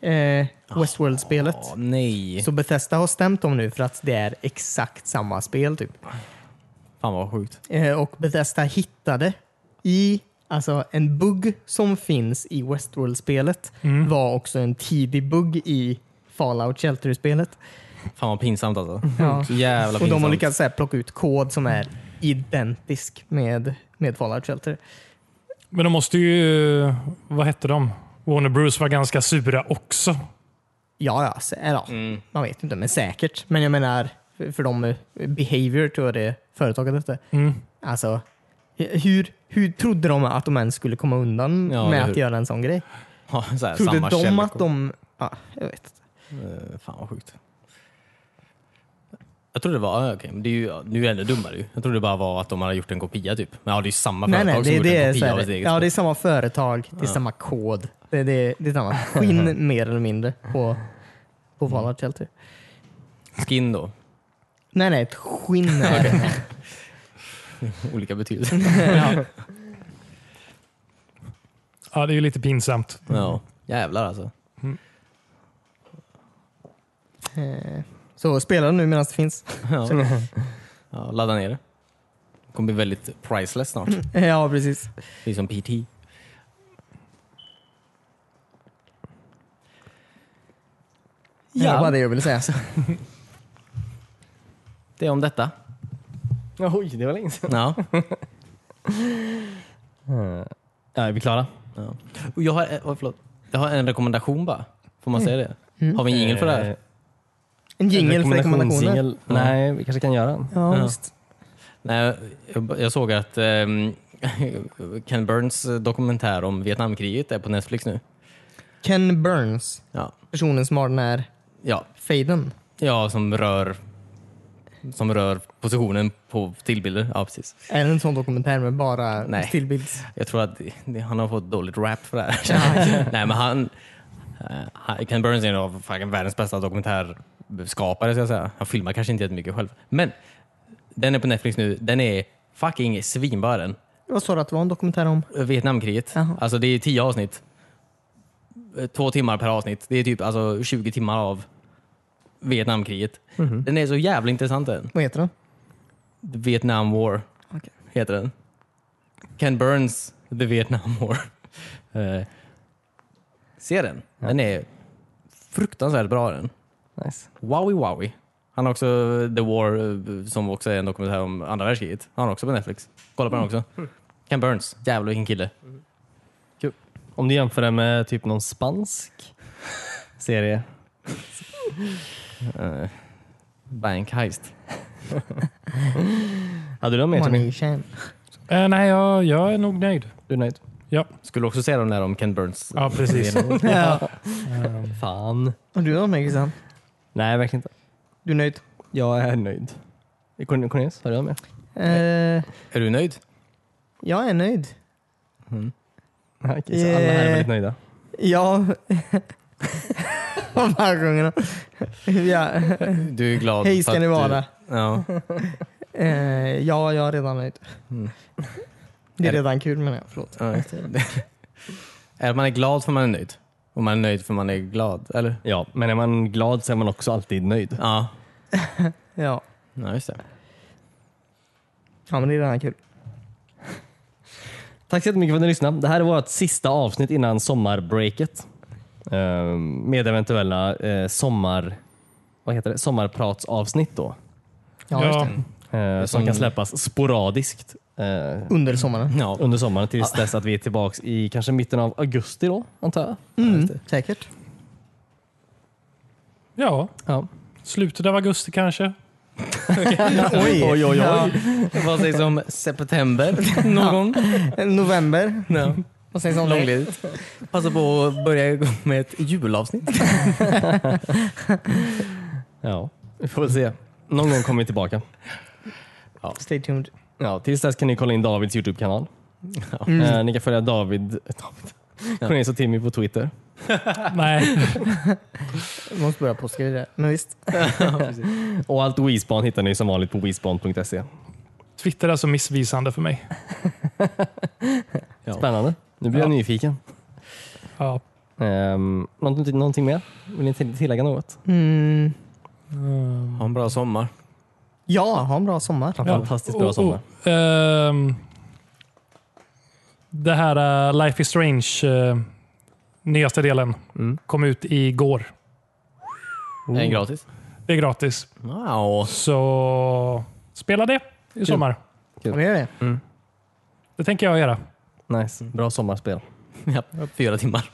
[SPEAKER 4] eh, Westworld-spelet.
[SPEAKER 1] Ja, nej.
[SPEAKER 4] Så Bethesda har stämt dem nu för att det är exakt samma spel. Typ.
[SPEAKER 1] Fan vad sjukt.
[SPEAKER 4] Eh, och Bethesda hittade i alltså en bugg som finns i Westworld-spelet
[SPEAKER 1] Mm.
[SPEAKER 4] var också en tidig bugg i Fallout Shelter-spelet.
[SPEAKER 1] Fan vad pinsamt alltså.
[SPEAKER 4] Ja.
[SPEAKER 1] Så jävla
[SPEAKER 4] Och
[SPEAKER 1] pinsamt.
[SPEAKER 4] de har lyckats så här, plocka ut kod som är identisk med, med Fallout Shelter.
[SPEAKER 2] Men de måste ju... Vad hette de? Warner Bros var ganska sura också.
[SPEAKER 4] Ja, ja, så, ja.
[SPEAKER 1] Mm.
[SPEAKER 4] man vet inte, men säkert. Men jag menar, för för de eh, behavior tror jag det företaget hette.
[SPEAKER 2] Mm.
[SPEAKER 4] Alltså, hur, hur trodde de att de ens skulle komma undan
[SPEAKER 1] Ja, eller
[SPEAKER 4] med att
[SPEAKER 1] hur?
[SPEAKER 4] göra en sån grej?
[SPEAKER 1] Ja, så här,
[SPEAKER 4] Trodde
[SPEAKER 1] samma
[SPEAKER 4] de
[SPEAKER 1] källkod.
[SPEAKER 4] att de... Ja, jag vet inte.
[SPEAKER 1] Eh, Fan vad sjukt. Jag trodde det var, ah, okej, men det är ju, ja, nu är det ännu dummare ju. Jag trodde det bara var att de hade gjort en kopia typ. Men ja, det är ju samma
[SPEAKER 4] Nej,
[SPEAKER 1] företag
[SPEAKER 4] nej,
[SPEAKER 1] som
[SPEAKER 4] det,
[SPEAKER 1] gjort
[SPEAKER 4] det,
[SPEAKER 1] en
[SPEAKER 4] är, så
[SPEAKER 1] kopia av
[SPEAKER 4] här,
[SPEAKER 1] sitt eget
[SPEAKER 4] ja, det är
[SPEAKER 1] spel.
[SPEAKER 4] samma företag, det är samma kod. Det, det, det är samma skinn mer eller mindre på, på
[SPEAKER 1] Mm.
[SPEAKER 4] Fallout Shelter.
[SPEAKER 1] Skin då,
[SPEAKER 4] Nej, nej, ett skinn är det.
[SPEAKER 1] olika betydelser.
[SPEAKER 4] ja.
[SPEAKER 2] Ja, det är ju lite pinsamt.
[SPEAKER 1] ja, jävlar alltså.
[SPEAKER 4] Eh, Så spela det nu medan det finns.
[SPEAKER 1] Ja. Ja, ladda ner det. Det kommer bli väldigt priceless snart.
[SPEAKER 4] Ja, precis.
[SPEAKER 1] Det är som PT.
[SPEAKER 4] Ja.
[SPEAKER 1] Ja.
[SPEAKER 4] Det var det jag ville säga.
[SPEAKER 1] Det är om detta.
[SPEAKER 3] Oj, det var länge sedan.
[SPEAKER 1] Ja.
[SPEAKER 3] Ja, är vi klara?
[SPEAKER 1] Ja. Och jag, har, eh, oh, förlåt. jag har en rekommendation bara. Får man säga det? Har vi en jingel för det här?
[SPEAKER 3] Eh,
[SPEAKER 4] En jingel för rekommendationer.
[SPEAKER 3] rekommendationsjingel. Nej, vi kanske kan göra en.
[SPEAKER 4] Ja,
[SPEAKER 1] Ja.
[SPEAKER 4] visst.
[SPEAKER 1] Nej, jag, jag såg att ehm, Ken Burns dokumentär om Vietnamkriget är på Netflix nu.
[SPEAKER 4] Ken Burns,
[SPEAKER 1] Ja,
[SPEAKER 4] personen som har den här
[SPEAKER 1] ja.
[SPEAKER 4] fejden.
[SPEAKER 1] ja som, rör, som rör positionen på stillbilder. Ja, precis.
[SPEAKER 4] Är det en sån dokumentär med bara
[SPEAKER 1] Nej.
[SPEAKER 4] stillbilds?
[SPEAKER 1] Jag tror att det, det, han har fått dåligt rap för det här. Nej, men han, eh, han, Ken Burns är en av fucking världens bästa dokumentärskapare, ska jag säga. Han filmar kanske inte jättemycket själv. Men den är på Netflix nu. Den är fucking svinbra den.
[SPEAKER 4] Vad sa du att det var en dokumentär om?
[SPEAKER 1] Vietnamkriget.
[SPEAKER 4] Jaha.
[SPEAKER 1] Alltså det är tio avsnitt. Eh, Två timmar per avsnitt. Det är typ alltså 20 timmar av Vietnamkriget. Den är så jävla intressant den.
[SPEAKER 4] Vad heter den?
[SPEAKER 1] The Vietnam War
[SPEAKER 4] Okej.
[SPEAKER 1] heter den. Ken Burns The Vietnam War. Eh, se den. Den är fruktansvärt bra den.
[SPEAKER 3] Nice.
[SPEAKER 1] Wowie Wowie. Han har också The War eh, som också är en dokumentär om andra världskriget. Han har också på Netflix. Kolla på den
[SPEAKER 4] Mm.
[SPEAKER 1] också. Ken Burns. Jävlar vilken kille.
[SPEAKER 3] Om du jämför det med typ någon spansk serie. Eh,
[SPEAKER 1] Uh, bank heist.
[SPEAKER 3] Hade du någon mer Tommy?
[SPEAKER 4] Money Chan.
[SPEAKER 2] Eh, nej, jag, jag är nog nöjd.
[SPEAKER 3] Du är nöjd?
[SPEAKER 2] Ja,
[SPEAKER 1] Skulle också säga de där om Ken Burns.
[SPEAKER 2] ja precis.
[SPEAKER 4] Ja.
[SPEAKER 2] Ehm,
[SPEAKER 3] Fan.
[SPEAKER 4] Och du då Megisan?
[SPEAKER 3] Nej, verkligen inte.
[SPEAKER 4] Du är nöjd?
[SPEAKER 3] Jag är nöjd. Corn- Cornelius, har du med?
[SPEAKER 4] Eh,
[SPEAKER 1] Är du nöjd?
[SPEAKER 4] jag är nöjd.
[SPEAKER 3] Okej, så alla här är väldigt nöjda.
[SPEAKER 4] Ja. Av vargungarna. ja.
[SPEAKER 1] Du är glad
[SPEAKER 4] Hej
[SPEAKER 1] för
[SPEAKER 4] ska
[SPEAKER 1] att
[SPEAKER 4] ni
[SPEAKER 1] du-
[SPEAKER 4] vara.
[SPEAKER 1] Ja.
[SPEAKER 4] Eh, ja, jag är redan nöjd.
[SPEAKER 1] Mm.
[SPEAKER 4] Det är
[SPEAKER 1] Är det-
[SPEAKER 4] redan kul menar jag. Förlåt.
[SPEAKER 1] Ja, just
[SPEAKER 4] Typ.
[SPEAKER 1] det. är att man är glad för man är nöjd? Och man är nöjd för man är glad, eller?
[SPEAKER 3] Ja, men är man glad så är man också alltid nöjd.
[SPEAKER 1] Ja,
[SPEAKER 4] Ja.
[SPEAKER 1] ja just det.
[SPEAKER 4] ja, men det är redan kul.
[SPEAKER 3] Tack så jättemycket för att ni lyssnade. Det här är vårt sista avsnitt innan sommarbreaket. Ehm, Med eventuella eh, sommar, vad heter det? sommarpratsavsnitt då.
[SPEAKER 4] Ja, just
[SPEAKER 2] ja,
[SPEAKER 4] det.
[SPEAKER 3] eh, Som
[SPEAKER 1] Som-
[SPEAKER 3] kan släppas sporadiskt eh,
[SPEAKER 4] Under sommaren.
[SPEAKER 1] Ja.
[SPEAKER 3] under sommaren tills dess att vi är tillbaka i kanske mitten av augusti då, antar jag.
[SPEAKER 4] Mm, säkert.
[SPEAKER 2] ja,
[SPEAKER 3] Ja.
[SPEAKER 2] slutet av augusti kanske.
[SPEAKER 4] Oj.
[SPEAKER 3] oj, oj.
[SPEAKER 4] Ja.
[SPEAKER 1] Vad sägs om september någon gång?
[SPEAKER 4] November.
[SPEAKER 1] Ja.
[SPEAKER 4] Vad sägs om det?
[SPEAKER 1] Långledigt. Passa på att börja igång med ett julavsnitt.
[SPEAKER 3] Ja, vi får väl se. Någon gång kommer vi tillbaka.
[SPEAKER 4] Stay tuned.
[SPEAKER 3] Ja, tills dess kan ni kolla in Davids Youtube-kanal. Eh, ni kan följa David, David. Cornelius och Timmy på Twitter.
[SPEAKER 2] Nej,
[SPEAKER 4] Jag måste börja påskriva det. Men visst.
[SPEAKER 3] Och allt WeSpan hittar ni som vanligt på WeSpan.se.
[SPEAKER 2] Twitter är så missvisande för mig.
[SPEAKER 1] Ja.
[SPEAKER 3] Spännande. Nu blir jag
[SPEAKER 2] Ja.
[SPEAKER 3] nyfiken.
[SPEAKER 2] Ja.
[SPEAKER 3] Um, någonting, någonting mer? Vill ni till- tillägga något?
[SPEAKER 4] Mm.
[SPEAKER 2] Ehm,
[SPEAKER 1] Ha en bra sommar.
[SPEAKER 4] Ja, ha en bra sommar.
[SPEAKER 2] Ja.
[SPEAKER 3] Fantastiskt bra
[SPEAKER 2] Och-
[SPEAKER 3] sommar.
[SPEAKER 2] och, ehm, det här eh, Life is Strange, eh, nyaste delen,
[SPEAKER 3] Mm.
[SPEAKER 2] kom ut igår.
[SPEAKER 1] Är
[SPEAKER 3] Oh.
[SPEAKER 1] den gratis?
[SPEAKER 2] Det är gratis.
[SPEAKER 1] Wow.
[SPEAKER 2] Så spela det i sommar.
[SPEAKER 4] Ja, det gör det.
[SPEAKER 2] Det tänker jag göra.
[SPEAKER 3] Nice. Bra sommarspel.
[SPEAKER 1] Ja, fyra timmar.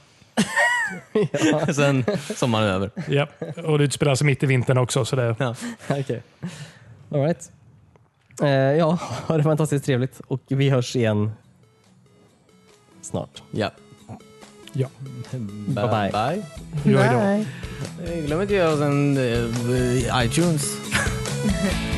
[SPEAKER 1] Sen sommaren är över.
[SPEAKER 2] Ja. Och det utspelar sig mitt i vintern också. Så det,
[SPEAKER 1] Ja.
[SPEAKER 3] Okej. All right. Eh, ja, ha det fantastiskt trevligt och vi hörs igen snart.
[SPEAKER 1] Ja.
[SPEAKER 2] ja.
[SPEAKER 1] Bye. Bye.
[SPEAKER 2] Jo, hejdå.
[SPEAKER 1] Eh, Glöm inte att göra oss en eh, iTunes.